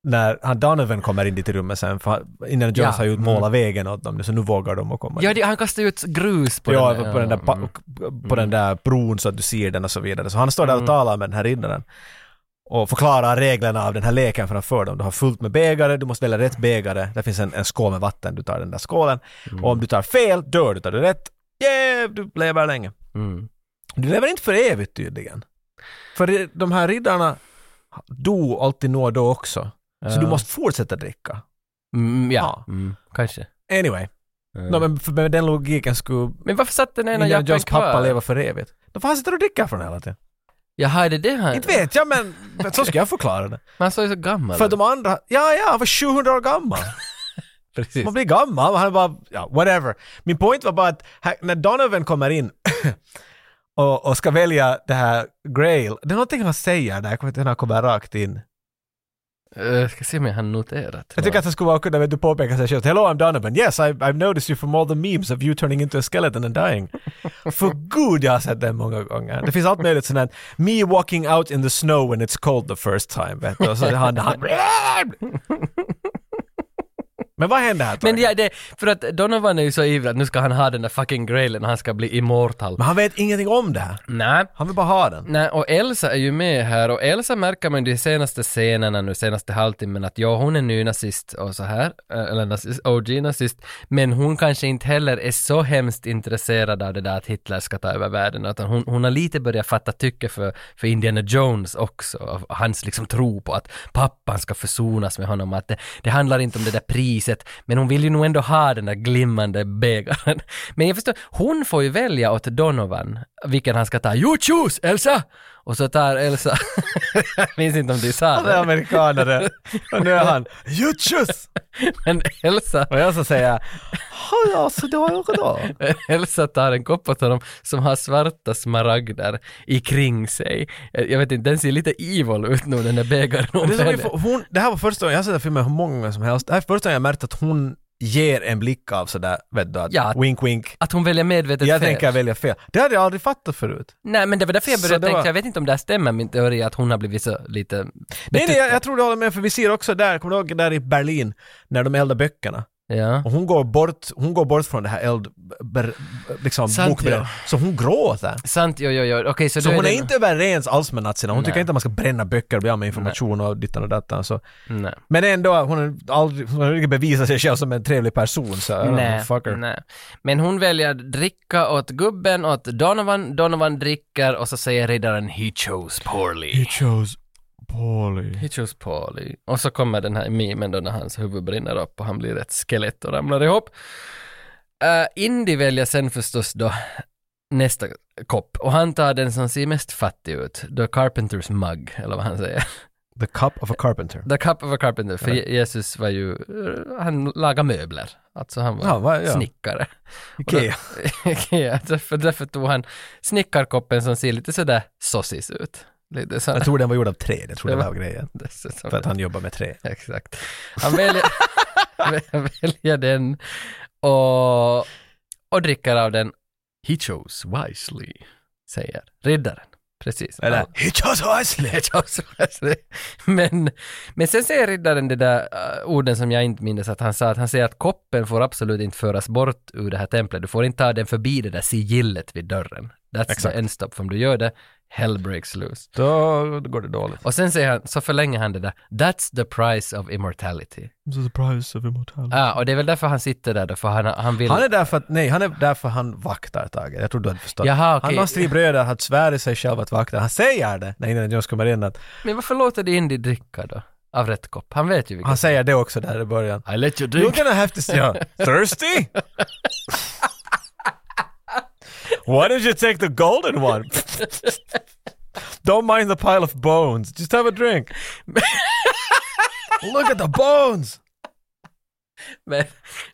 när han Donovan kommer in dit i rummet sen, för han- Indiana Jones
Ja. Mm.
har ju målat vägen åt dem nu, så nu vågar de att komma
Ja,
dit.
det, han kastar ju ut grus på
Ja,
den mm.
på, den där, pa- på den där bron så att du ser den och så vidare. Så han står
Mm.
där och talar med den här riddaren och förklarar reglerna av den här leken framför dem. Du har fullt med bägare, du måste välja rätt bägare. Det finns en, en skål med vatten, du tar den där skålen.
Mm.
Och om du tar fel, dör du. Tar du rätt, yeah, du lever länge.
Mm.
Du lever inte för evigt tydligen. För det- de här riddarna dog alltid nå och då också. Så du måste fortsätta dricka.
Mm, ja,
Ja. Eh.
mm, kanske.
Anyway. Nå, men för med den logiken skulle
Men varför satt den ena
Indiana
jappen
Jones pappa
kvar?
leva för evigt. Då får han sitta och dricka från hela tiden.
Jaha, är det det här?
Inte vet jag men så ska jag förklara det.
Men han såg ju så gammal
För
ut.
de andra, ja ja, han var 700 år gammal.
Precis.
Man blir gammal, han bara, ja whatever. Min point var bara att här, när Donovan kommer in <laughs> och, och ska välja det här Grail, det är någonting han säger där, jag kommer inte ihåg när han kommer rakt in.
Jag Eh, ska se om jag har noterat.
Jag tycker att han skulle kunna vet du, påpeka sig själv. Hello I'm Donovan. Yes I, I've noticed you from all the memes of you turning into a skeleton and dying. För gud jag har sett den många gånger. Det finns allt möjligt sånt här. Me walking out in the snow when it's cold the first time. Vet du? Och så han, han... Men vad hände här?
Men
Torgny?
ja, det, för att Donovan är ju så ivrig att nu ska han ha den där fucking grailen, han ska bli immortal.
Men han vet ingenting om det här.
Nej.
Han vill bara ha den.
Nej, och Elsa är ju med här och Elsa märker man ju de senaste scenerna nu, senaste halvtimmen att ja, hon är ny nazist och så här, eh, eller nazist, OG-nazist, men hon kanske inte heller är så hemskt intresserad av det där att Hitler ska ta över världen, utan hon, hon har lite börjat fatta tycke för, för Indiana Jones också, och hans liksom tro på att pappan ska försonas med honom, att det, det handlar inte om det där priset, men hon vill ju nog ändå ha den där glimmande bägaren. <laughs> Men jag förstår, hon får ju välja åt Donovan vilken han ska ta. You choose Elsa! Och så tar Elsa, <laughs> jag minns inte om du sa
Han är
det,
amerikanare. Och nu är han Jutschus!
men Elsa, <laughs>
Och jag så säger Hallå, så då, då, då.
Elsa tar en kopp åt honom som har svarta smaragder i kring sig. Jag vet inte, den ser lite evil ut nu den där bägaren hon
Det, som vi
vänder.
får, hon, det här var första gången, jag har sett den filmen hur många gånger som helst. Det här är första gången jag märkt att hon ger en blick av sådär, vet du, att
Ja.
wink wink.
Att hon väljer medvetet
Jag
fel.
tänker välja fel. Det hade jag aldrig fattat förut.
Nej men det var därför jag
Så
började
det
tänka,
var-
jag vet inte om det här stämmer min teori att hon har blivit så lite...
Nej, nej, jag, jag tror du håller med, för vi ser också där, kommer du ihåg där i Berlin, när de eldar böckerna?
Ja.
Och hon går bort, hon går bort från det här eld... Ber, liksom,
Sant,
bokbrännen.
ja.
Så hon gråter.
Sant, jo, jo, jo. Okej, så,
Så
då
hon är
det...
inte överens alls med nazierna. Hon
Nej.
tycker inte att man ska bränna böcker och bli av med information och dittan och dattan. Så.
Nej.
Men ändå, hon har aldrig, hon har aldrig bevisat sig själv som en trevlig person. Så,
Nej,
fucker.
nej. Men hon väljer dricka åt gubben, åt Donovan. Donovan dricker och så säger riddaren “He chose poorly”.
chose poorly.
He chose poorly. Och så kommer den här memen då när hans huvud brinner upp och han blir ett skelett och ramlar ihop. Uh, Indy väljer sen förstås då nästa kopp och han tar den som ser mest fattig ut, The Carpenter's mug, eller vad han säger. <laughs>
The cup of a carpenter.
The Cup of a Carpenter, för Je- Jesus var ju, eh, han lagade möbler. Alltså han var
Ja, va, ja.
snickare.
Ikea.
Ikea, därför, därför tog han snickarkoppen som ser lite sådär sossis ut. Lite sådär.
Jag tror den var gjord av trä, jag tror det var grejen.
<laughs> dessutom.
För att han jobbar med trä.
Exakt. Han väljer, <laughs> han väljer den och, och dricker av den. He chose wisely, säger riddaren. Precis.
Eller? He
<laughs>
chose wisely!
Ledge of Swords. men, men sen säger riddaren det där eh, orden som jag inte minns att han sa, att han säger att koppen får absolut inte föras bort ur det här templet. Du får inte ta den förbi det där sigillet vid dörren. That's
Exakt.
the end stop. För om du gör det, hell breaks loose.
Då, då går det dåligt.
Och sen säger han, så förlänger han det där, that's the price of immortality.
The price of immortality.
Ja, och det är väl därför han sitter där då, för han, han vill...
Han är därför att, nej, han är därför han vaktar Tage. Jag tror du hade förstått.
Jaha, okej.
Han har tre bröder, han svär i sig själv att vakta. Han säger det, när innan Jones kommer in, att
Men varför låter det Indy dricka då? Av rätt kopp? Han vet ju vilken.
han säger det också där i början.
I let you
You're gonna have to say, yeah. thirsty? Why don't you take the golden one? don't mind the pile of bones. Just have a drink. Look at the bones!
Men,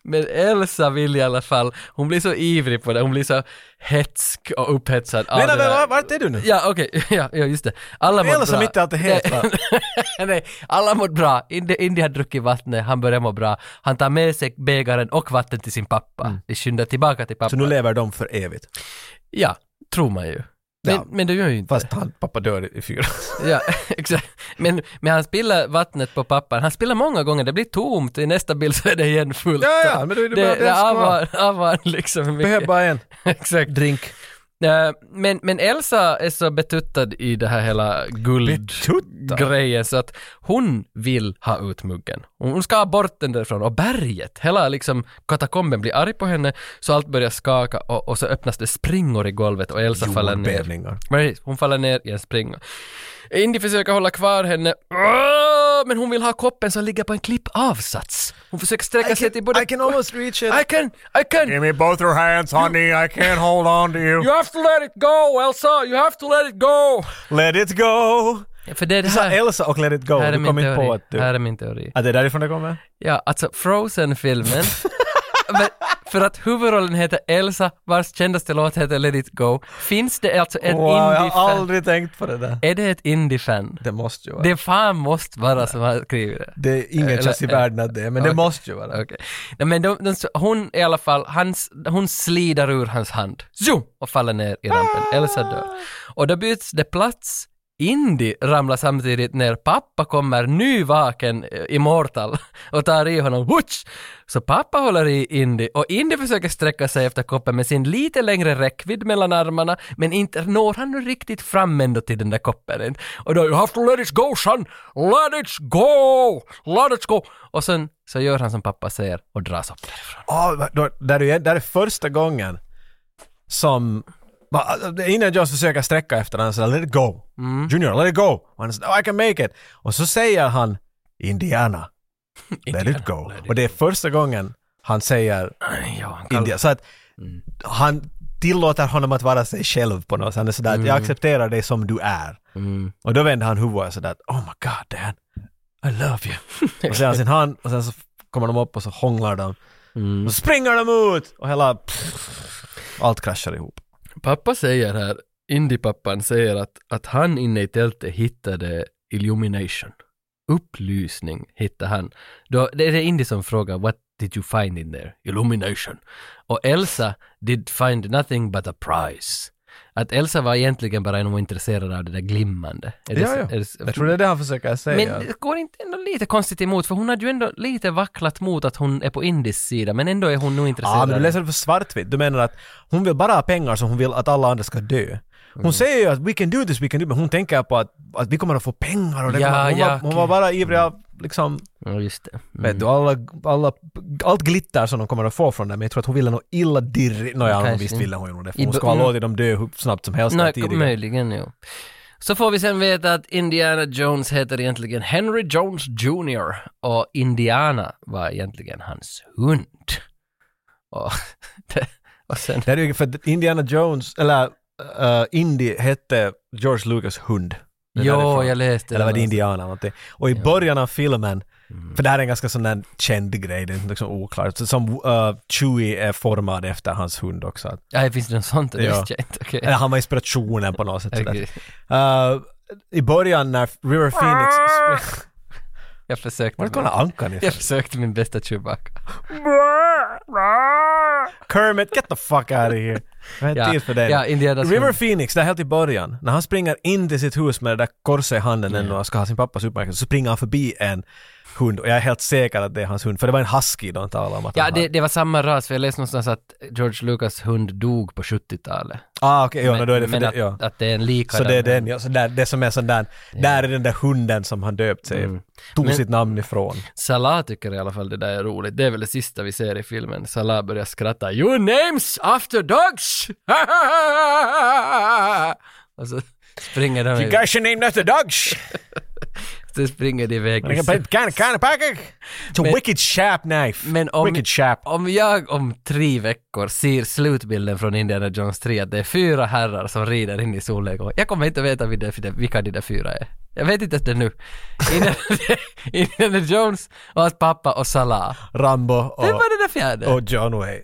men Elsa vill i alla fall, hon blir så ivrig på det, hon blir så hetsk och upphetsad av
Nej, nej,
det där.
men vart är du nu?
Ja, okej, <laughs> ja, ja, just det. Alla mår
Eller som
bra.
inte alltid helt va?
<laughs> Nej, alla mår bra. Indy, Indy har druckit vattnet, han börjar må bra. Han tar med sig bägaren och vatten till sin pappa. Vi skyndar tillbaka till pappa.
Mm. Så nu lever de för evigt.
Ja, tror man ju. Men,
Ja.
men det gör ju inte.
Fast han, pappa dör i- i fyra.
Ja, <laughs> exakt. Men, men han spiller vattnet på pappan. Han spiller många gånger, det blir tomt. I nästa bild så är det igen fullt.
Ja, ja, men då är det bara-
det,
det
det
ska
avar, avar liksom. mycket.
Behöver bara en.
<laughs> Exakt. Drink. men, men Elsa är så betuttad i det här hela
Betuttad?
guldgrejen så att hon vill ha ut muggen. Hon ska ha bort den därifrån och berget, hela liksom katakomben blir arg på henne så allt börjar skaka och, och så öppnas det springor i golvet och Elsa faller ner.
Jordbävningar.
Precis, hon faller ner i en springa. Indy försöker hålla kvar henne, Åh, men hon vill ha koppen som ligger på en klippavsats. Hon försöker sträcka sig till både...
I can almost reach it.
I can, I can!
me both your hands, honey. I can't hold on to
You have to let it go, Elsa! You have to let it go!
Let it go!
För det är det
Du sa
här...
Elsa och Let it go.
Här är
Du kom
min
inte på
teori.
att du...
Här är min teori.
Att det är därifrån det kommer?
Ja, alltså
<laughs>
Frozen-filmen. Men för att huvudrollen heter Elsa, vars kändaste låt heter Let it go. Finns det alltså en
Wow, jag har
indie-fan?
aldrig tänkt på det där.
Är det ett indie-fan?
Det måste ju vara.
Det fan måste vara som har skrivit det.
Det eh, är ingen
Eller-
chans i världen att det är, men det
Okej.
måste ju vara.
Okej. Nej, men de, de, hon i alla fall, hans, hon slider ur hans hand. Zoom! Och faller ner i rampen. Elsa dör. Och då byts det plats. Indy ramlar samtidigt ner. Pappa kommer nyvaken, eh, immortal, <laughs> och tar i honom. Hutsch! Så pappa håller i Indy och Indy försöker sträcka sig efter koppen med sin lite längre räckvidd mellan armarna, men inte når han nu riktigt fram ändå till den där koppen. Och då, you have to let it go son! Let it go! Let it go! Och sen så gör han som pappa säger och dras upp därifrån.
Ah, då, där, är, där är första gången som... va- alltså, Innan Jones försöker sträcka efter honom, han säger “Let it go”. “Junior, let it go”. Och han säger “Oh, I can make it”. Och så säger han <laughs> “Indiana, let it go”. Och det är första gången han säger
Ja, han kallar-
India. Så att
Mm.
han tillåter honom att vara sig själv på något sätt. Han är sådär att
Mm.
“Jag accepterar dig som du är”. Och då vänder han huvudet sådär att “Oh my god, Dan, I love
<laughs>
you”. Och så har han sin hand och sen så kommer de upp och så hånglar de.
Mm.
Och så springer de ut och hela... Pff, allt kraschar ihop.
Pappa säger här, Indy-pappan säger att, att han inne i tältet hittade illumination. Upplysning hittade han. Då, det är det Indy som frågar what did you find in there? Illumination. Och Elsa did find nothing but a prize. Att Elsa var egentligen bara nog intresserad av det där glimmande. Är det,
Ja,
så-
ja.
är det så-
Jag tror det är det han försöker säga.
men det går inte ändå lite konstigt emot för hon hade ju ändå lite vacklat mot att hon är på Indys sida men ändå är hon nog intresserad.
Ja, men
av
du
det.
läser det för svartvitt. Du menar att hon vill bara ha pengar som hon vill att alla andra ska dö. Hon
Mm.
säger ju att we can do this, we can do this, men hon tänker på att, att vi kommer att få pengar och det
Ja,
kommer, hon,
ja,
var, hon var
okej.
bara ivrig av liksom,
Ja, just det. Mm.
vet du, alla, alla, allt glitter som de kommer att få från det, men jag tror att hon ville nog illa direkt, nåja, hon
Kanske.
visst ville hon ju nog det, för
I
hon
bo-
skulle ha
mm.
låtit dem dö hur snabbt som helst
Nej,
tidigare.
möjligen jo. Så får vi sen veta att Indiana Jones heter egentligen Henry Jones Jr. och Indiana var egentligen hans hund. Och, <laughs> det, och sen,
Det är ju för att Indiana Jones, eller eh, Indy hette George Lucas hund. Det är
jo,
därifrån.
jag läste
Eller var det
någonstans.
indianer eller någonting. Och i början av filmen,
Mm.
för det här är en ganska sån där känd grej, det är liksom oklart. Så Som uh, Chewie är formad efter hans hund också. Att,
Ja, finns det något sånt? Det
Ja.
visste jag inte. Okej.
eller han var inspirationen på något sätt. sådär.
Okej.
Eh, I början när River Phoenix... spr-
Jag försökte.
Var det kolla ankan ifrån?
<laughs> jag försökte min bästa Chewbacca.
Kermit, get the fuck out of here. Jag har
Ja,
inte tid för dig.
ja, Indianas
River
hund.
Phoenix, det är helt i början. När han springer in till sitt hus med det där korset i handen ännu och ska ha sin pappas uppmärksamhet så springer han förbi en hund och jag är helt säker att det är hans hund. För det var en husky de talade om att
Ja,
han
det,
hade.
det var samma ras, för jag läste någonstans att George Lucas hund dog på 70-talet.
Ah, okej, ja, men, då är det för
men
det,
att,
ja.
att det är en
Så
likadan.
det är den, ja. Så där, det som är sån där, där är den där hunden som han döpt sig, tog sitt namn ifrån.
Salah tycker i alla fall det där är roligt. Det är väl det sista vi ser i filmen. Salah börjar skratta. Your names after dogs! <laughs> och så springer de
You
iväg.
guys are named after dogs!
Så springer de iväg.
I can play kind of, kind of package! It's a
Men-
wicked sharp knife!
Men om-
wicked sharp.
Om jag om tre veckor ser slutbilden från Indiana Jones 3 att det är fyra herrar som rider in i solnedgång. Jag kommer inte veta vilka, vilka de där fyra är. Jag vet inte ens det nu. Indiana,
<laughs>
Indiana Jones och hans pappa och Salah.
Rambo
Vem
och,
var det där fjärde?
och John Wayne.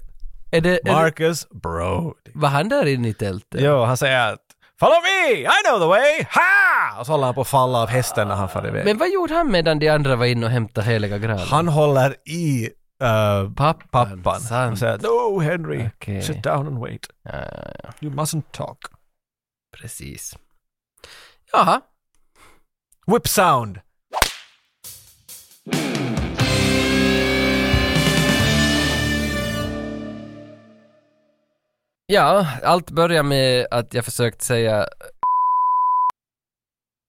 är det, är det-
Marcus Brody.
Var han där inne i tältet?
Jo, han säger att Follow me! I know the way! Ha! Och så håller han på att falla av hästen när han far iväg.
Men vad gjorde han medan de andra var inne och hämtade heliga graalen?
han håller i uh,
Pappan.
pappan och
sant.
säger No Henry,
Okej.
sit down and wait.
Ja, ja, ja,
You mustn't talk.
precis. Jaha.
Whip sound!
Ja, allt börjar med att jag försökt säga...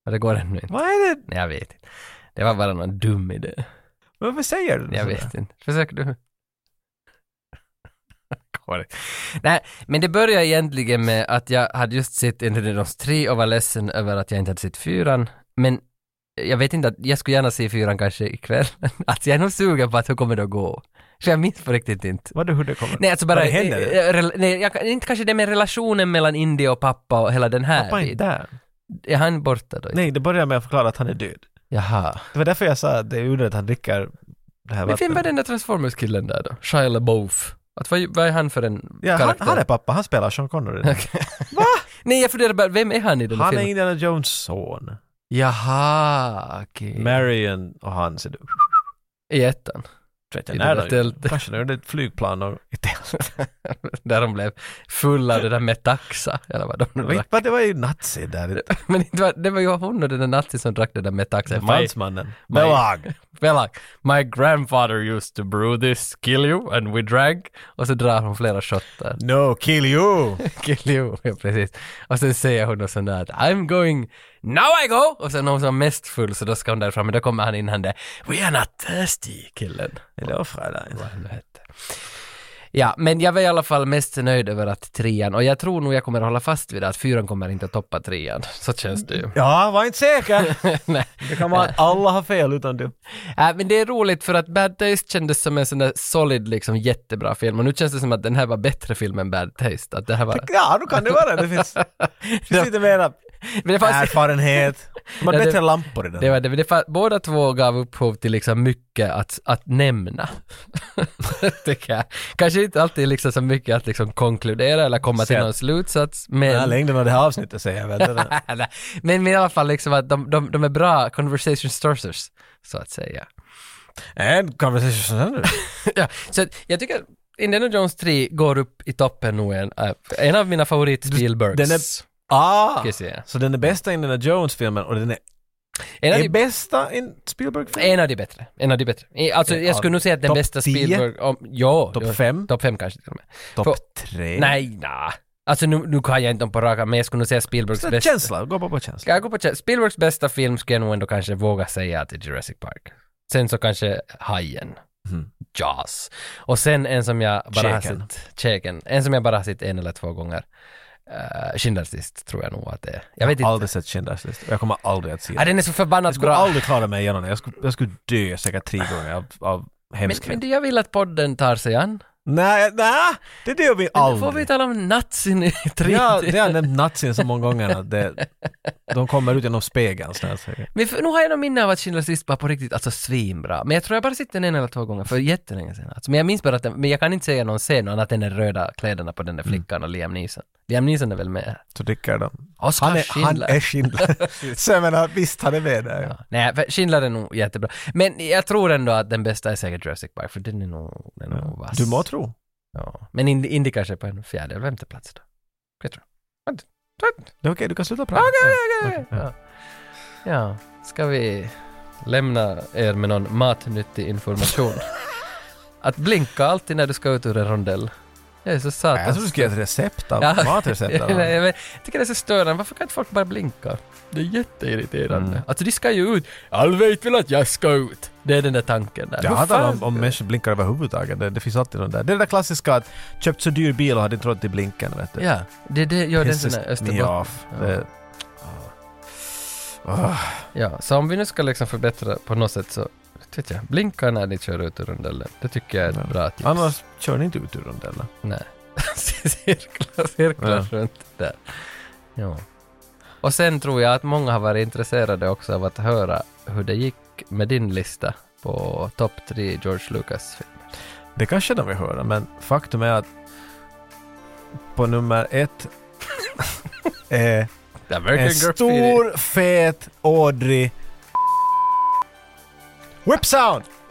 Men Det går ännu inte.
Vad är det?
Nej, jag vet inte. Det var bara någon dum idé.
Varför säger du
Jag
sådär?
vet inte. Försök du. <laughs> Går inte. Nej, men det börjar egentligen med att jag hade just sett Indiana Jones 3 och var ledsen över att jag inte hade sett fyran. Men jag vet inte, att jag skulle gärna se fyran kanske ikväll. <laughs> Alltså jag är nog sugen på att hur kommer det att gå? För jag minns på riktigt inte.
Vad du hur det kommer?
Nej, alltså bara...
Vad det händer?
eh, eh, rela- nej, jag, kan- inte kanske det med relationen mellan India och pappa och hela den här
Pappa är inte
biten.
där.
Är han borta då?
Nej, det börjar med att förklara att han är död.
Jaha.
Det var därför jag sa att det är underligt att han dricker det här
Men vem var
vattnet.
den där Transformers-killen där då? Shia LaBeouf. Att vad, vad är han för en
Ja, han,
karaktär?
han är pappa, han spelar
<laughs>
Sean Connery.
Nej, jag funderar bara, vem är han i den här
Han är
filmen?
Indiana Jones son.
Jaha, okej.
Marion och han ser du.
I ettan. <laughs>
Vet
I
jag,
det
när
där
de-
tältet.
Kanske när det är ett flygplan och ett <laughs> tält.
Där de blev fulla av det där metaxa, eller vad de nu drack.
Men det var ju
<laughs>
nazi där.
Men det var, det var ju hon och den där nazis som drack det där metaxa. My,
Fransmannen.
Maj-
Belag.
well, my grandfather used to brew this, kill you, and we drank. Och så drar hon flera shottar.
No, kill you!
Kill you, <laughs> ja, precis. Och sen säger hon och sån där att I'm going, now I go! Och sen någon som är mest full så då ska hon därifrån, men då kommer han in han där, We are not thirsty, killen.
Hello, Fräulein.
vad han nu hette. Ja, men jag var i alla fall mest nöjd över att trean, och jag tror nog jag kommer hålla fast vid det, att fyran kommer inte att toppa trean. <laughs> Så känns det ju.
<laughs> Ja, var inte säker.
Nej.
Det kan vara att alla har fel utan du.
Äh, men det är roligt för att Bad Taste kändes som en sån där solid, liksom jättebra film, och nu känns det som att den här var bättre film än Bad Taste. Att det här <laughs> var...
Ja, då kan det vara. Det
<laughs>
finns, det finns lite mera
Men det fanns-
erfarenhet. De har
Ja, det-
bättre lampor i den.
Det var det, men det fa- båda två gav upphov till liksom mycket att, att nämna. <laughs> Tycker jag. Kanske inte alltid liksom så mycket att liksom konkludera eller komma till
Sätt.
någon slutsats,
Den här
men...
längden av det här avsnittet säger jag. Vet du.
<laughs> Nej, men, men i alla fall liksom att de, de, de är bra conversation starters, så att säga. <laughs>
And conversation center.
ja, så att jag tycker att Indiana Jones 3 går upp i toppen nog en, av- en av mina favorit Spielbergs.
Den är- Ah!
Ska jag säga.
Så den är bästa Indiana Jones-filmen och den är,
en, av
är
de,
bästa in Spielberg-filmen?
en av de bättre. En av de bättre. I- Alltså
Okej,
jag skulle
ja,
nog säga att den
topp
bästa
10?
Spielberg... Om, ja,
Topp
ja,
fem?
Topp fem kanske till och med. För-
Topp tre?
Nej, nej. Alltså nu, nu kan jag inte dem på raka, men jag skulle nog säga Spielbergs
Så
bästa.
känsla, gå bara på känsla.
Ska jag gå på känsla? Spielbergs bästa film skulle jag nog ändå kanske våga säga att det är Jurassic Park. Sen så kanske Hajen.
Mhm.
Jaws. Och sen en som jag bara har
Checken.
sett, Checken. En som jag bara har sett en eller två gånger. Uh, Schindler's list tror jag nog att det är. Jag vet
Jag har
inte.
aldrig sett Schindler's list och jag kommer aldrig att se
Ja,
den.
den är så förbannat
Jag skulle
bra.
aldrig klara mig igenom den. Jag skulle, jag skulle dö säkert tre gånger av, av
Men,
hemskhet.
men det jag vill att podden tar sig an.
Nej, nej, det dör vi
Men Nu får
aldrig.
vi tala om nazin i tre
Ja, det har jag nämnt nazin så många gånger att
<laughs>
det, de kommer ut genom spegeln snart säkert.
Men för, nu har jag någon minne av att Schindler's list var på riktigt alltså svinbra. Men jag tror jag bara sett den en eller två gånger för jättelänge sedan. Alltså, men jag minns bara att den, men jag kan inte säga någon scen annat än de röda kläderna på den
Mm.
där flickan och Liam Neeson. Liam Neeson är väl med? här?
Så dricker de.
Oscar
Han är,
Schindler.
han är Schindler.
<laughs>
<laughs> så jag menar, visst han är med där. Ja.
Ja. Nej, för Schindler är nog jättebra. Men jag tror ändå att den bästa är säkert Jurassic Park för den är nog, den är nog vass.
Du må tro.
Ja. Men Indy, Indy kanske är på en fjärde eller femte plats då. Jag tror. Vänta. Vänta.
Det är okej, du kan sluta prata.
Okej,
Ja,
okej,
okej,
okej. Ja. ja, ska vi lämna er med någon matnyttig
<laughs>
information? Att blinka alltid när du ska ut ur en rondell. Jag är så
ja. Jag
satans...
trodde du skulle ge ett recept av
Ja. <laughs>
matrecept. av
Nej,
honom.
men jag tycker det är så störande, varför kan inte folk bara blinka? Det är jätteirriterande.
Mm.
Alltså de ska ju ut. Alla vet väl att jag ska ut. Det är den där tanken där.
Jag
Hur
hatar
fan
om,
ska-
om människor blinkar överhuvudtaget. Det, det finns alltid någon där. Det är det där klassiska att köpt så dyr bil och hade inte råd till blinken. Vet du.
Ja, det, det gör den
Pisses
sån här
me
Österbotten.
off. Det-
Ja, så om vi nu ska liksom förbättra på något sätt så, vet jag, blinka när ni kör ut ur rondellen. Det tycker jag är ett bra tips.
Mm. Annars kör ni inte ut ur rondellen.
Nej. <laughs> cirklar, cirklar runt där. Ja. Och sen tror jag att många har varit intresserade också av att höra hur det gick med din lista på topp tre George Lucas.
Det kanske de vill höra, men faktum är att på nummer ett är en stor fet Audrey Whip sound!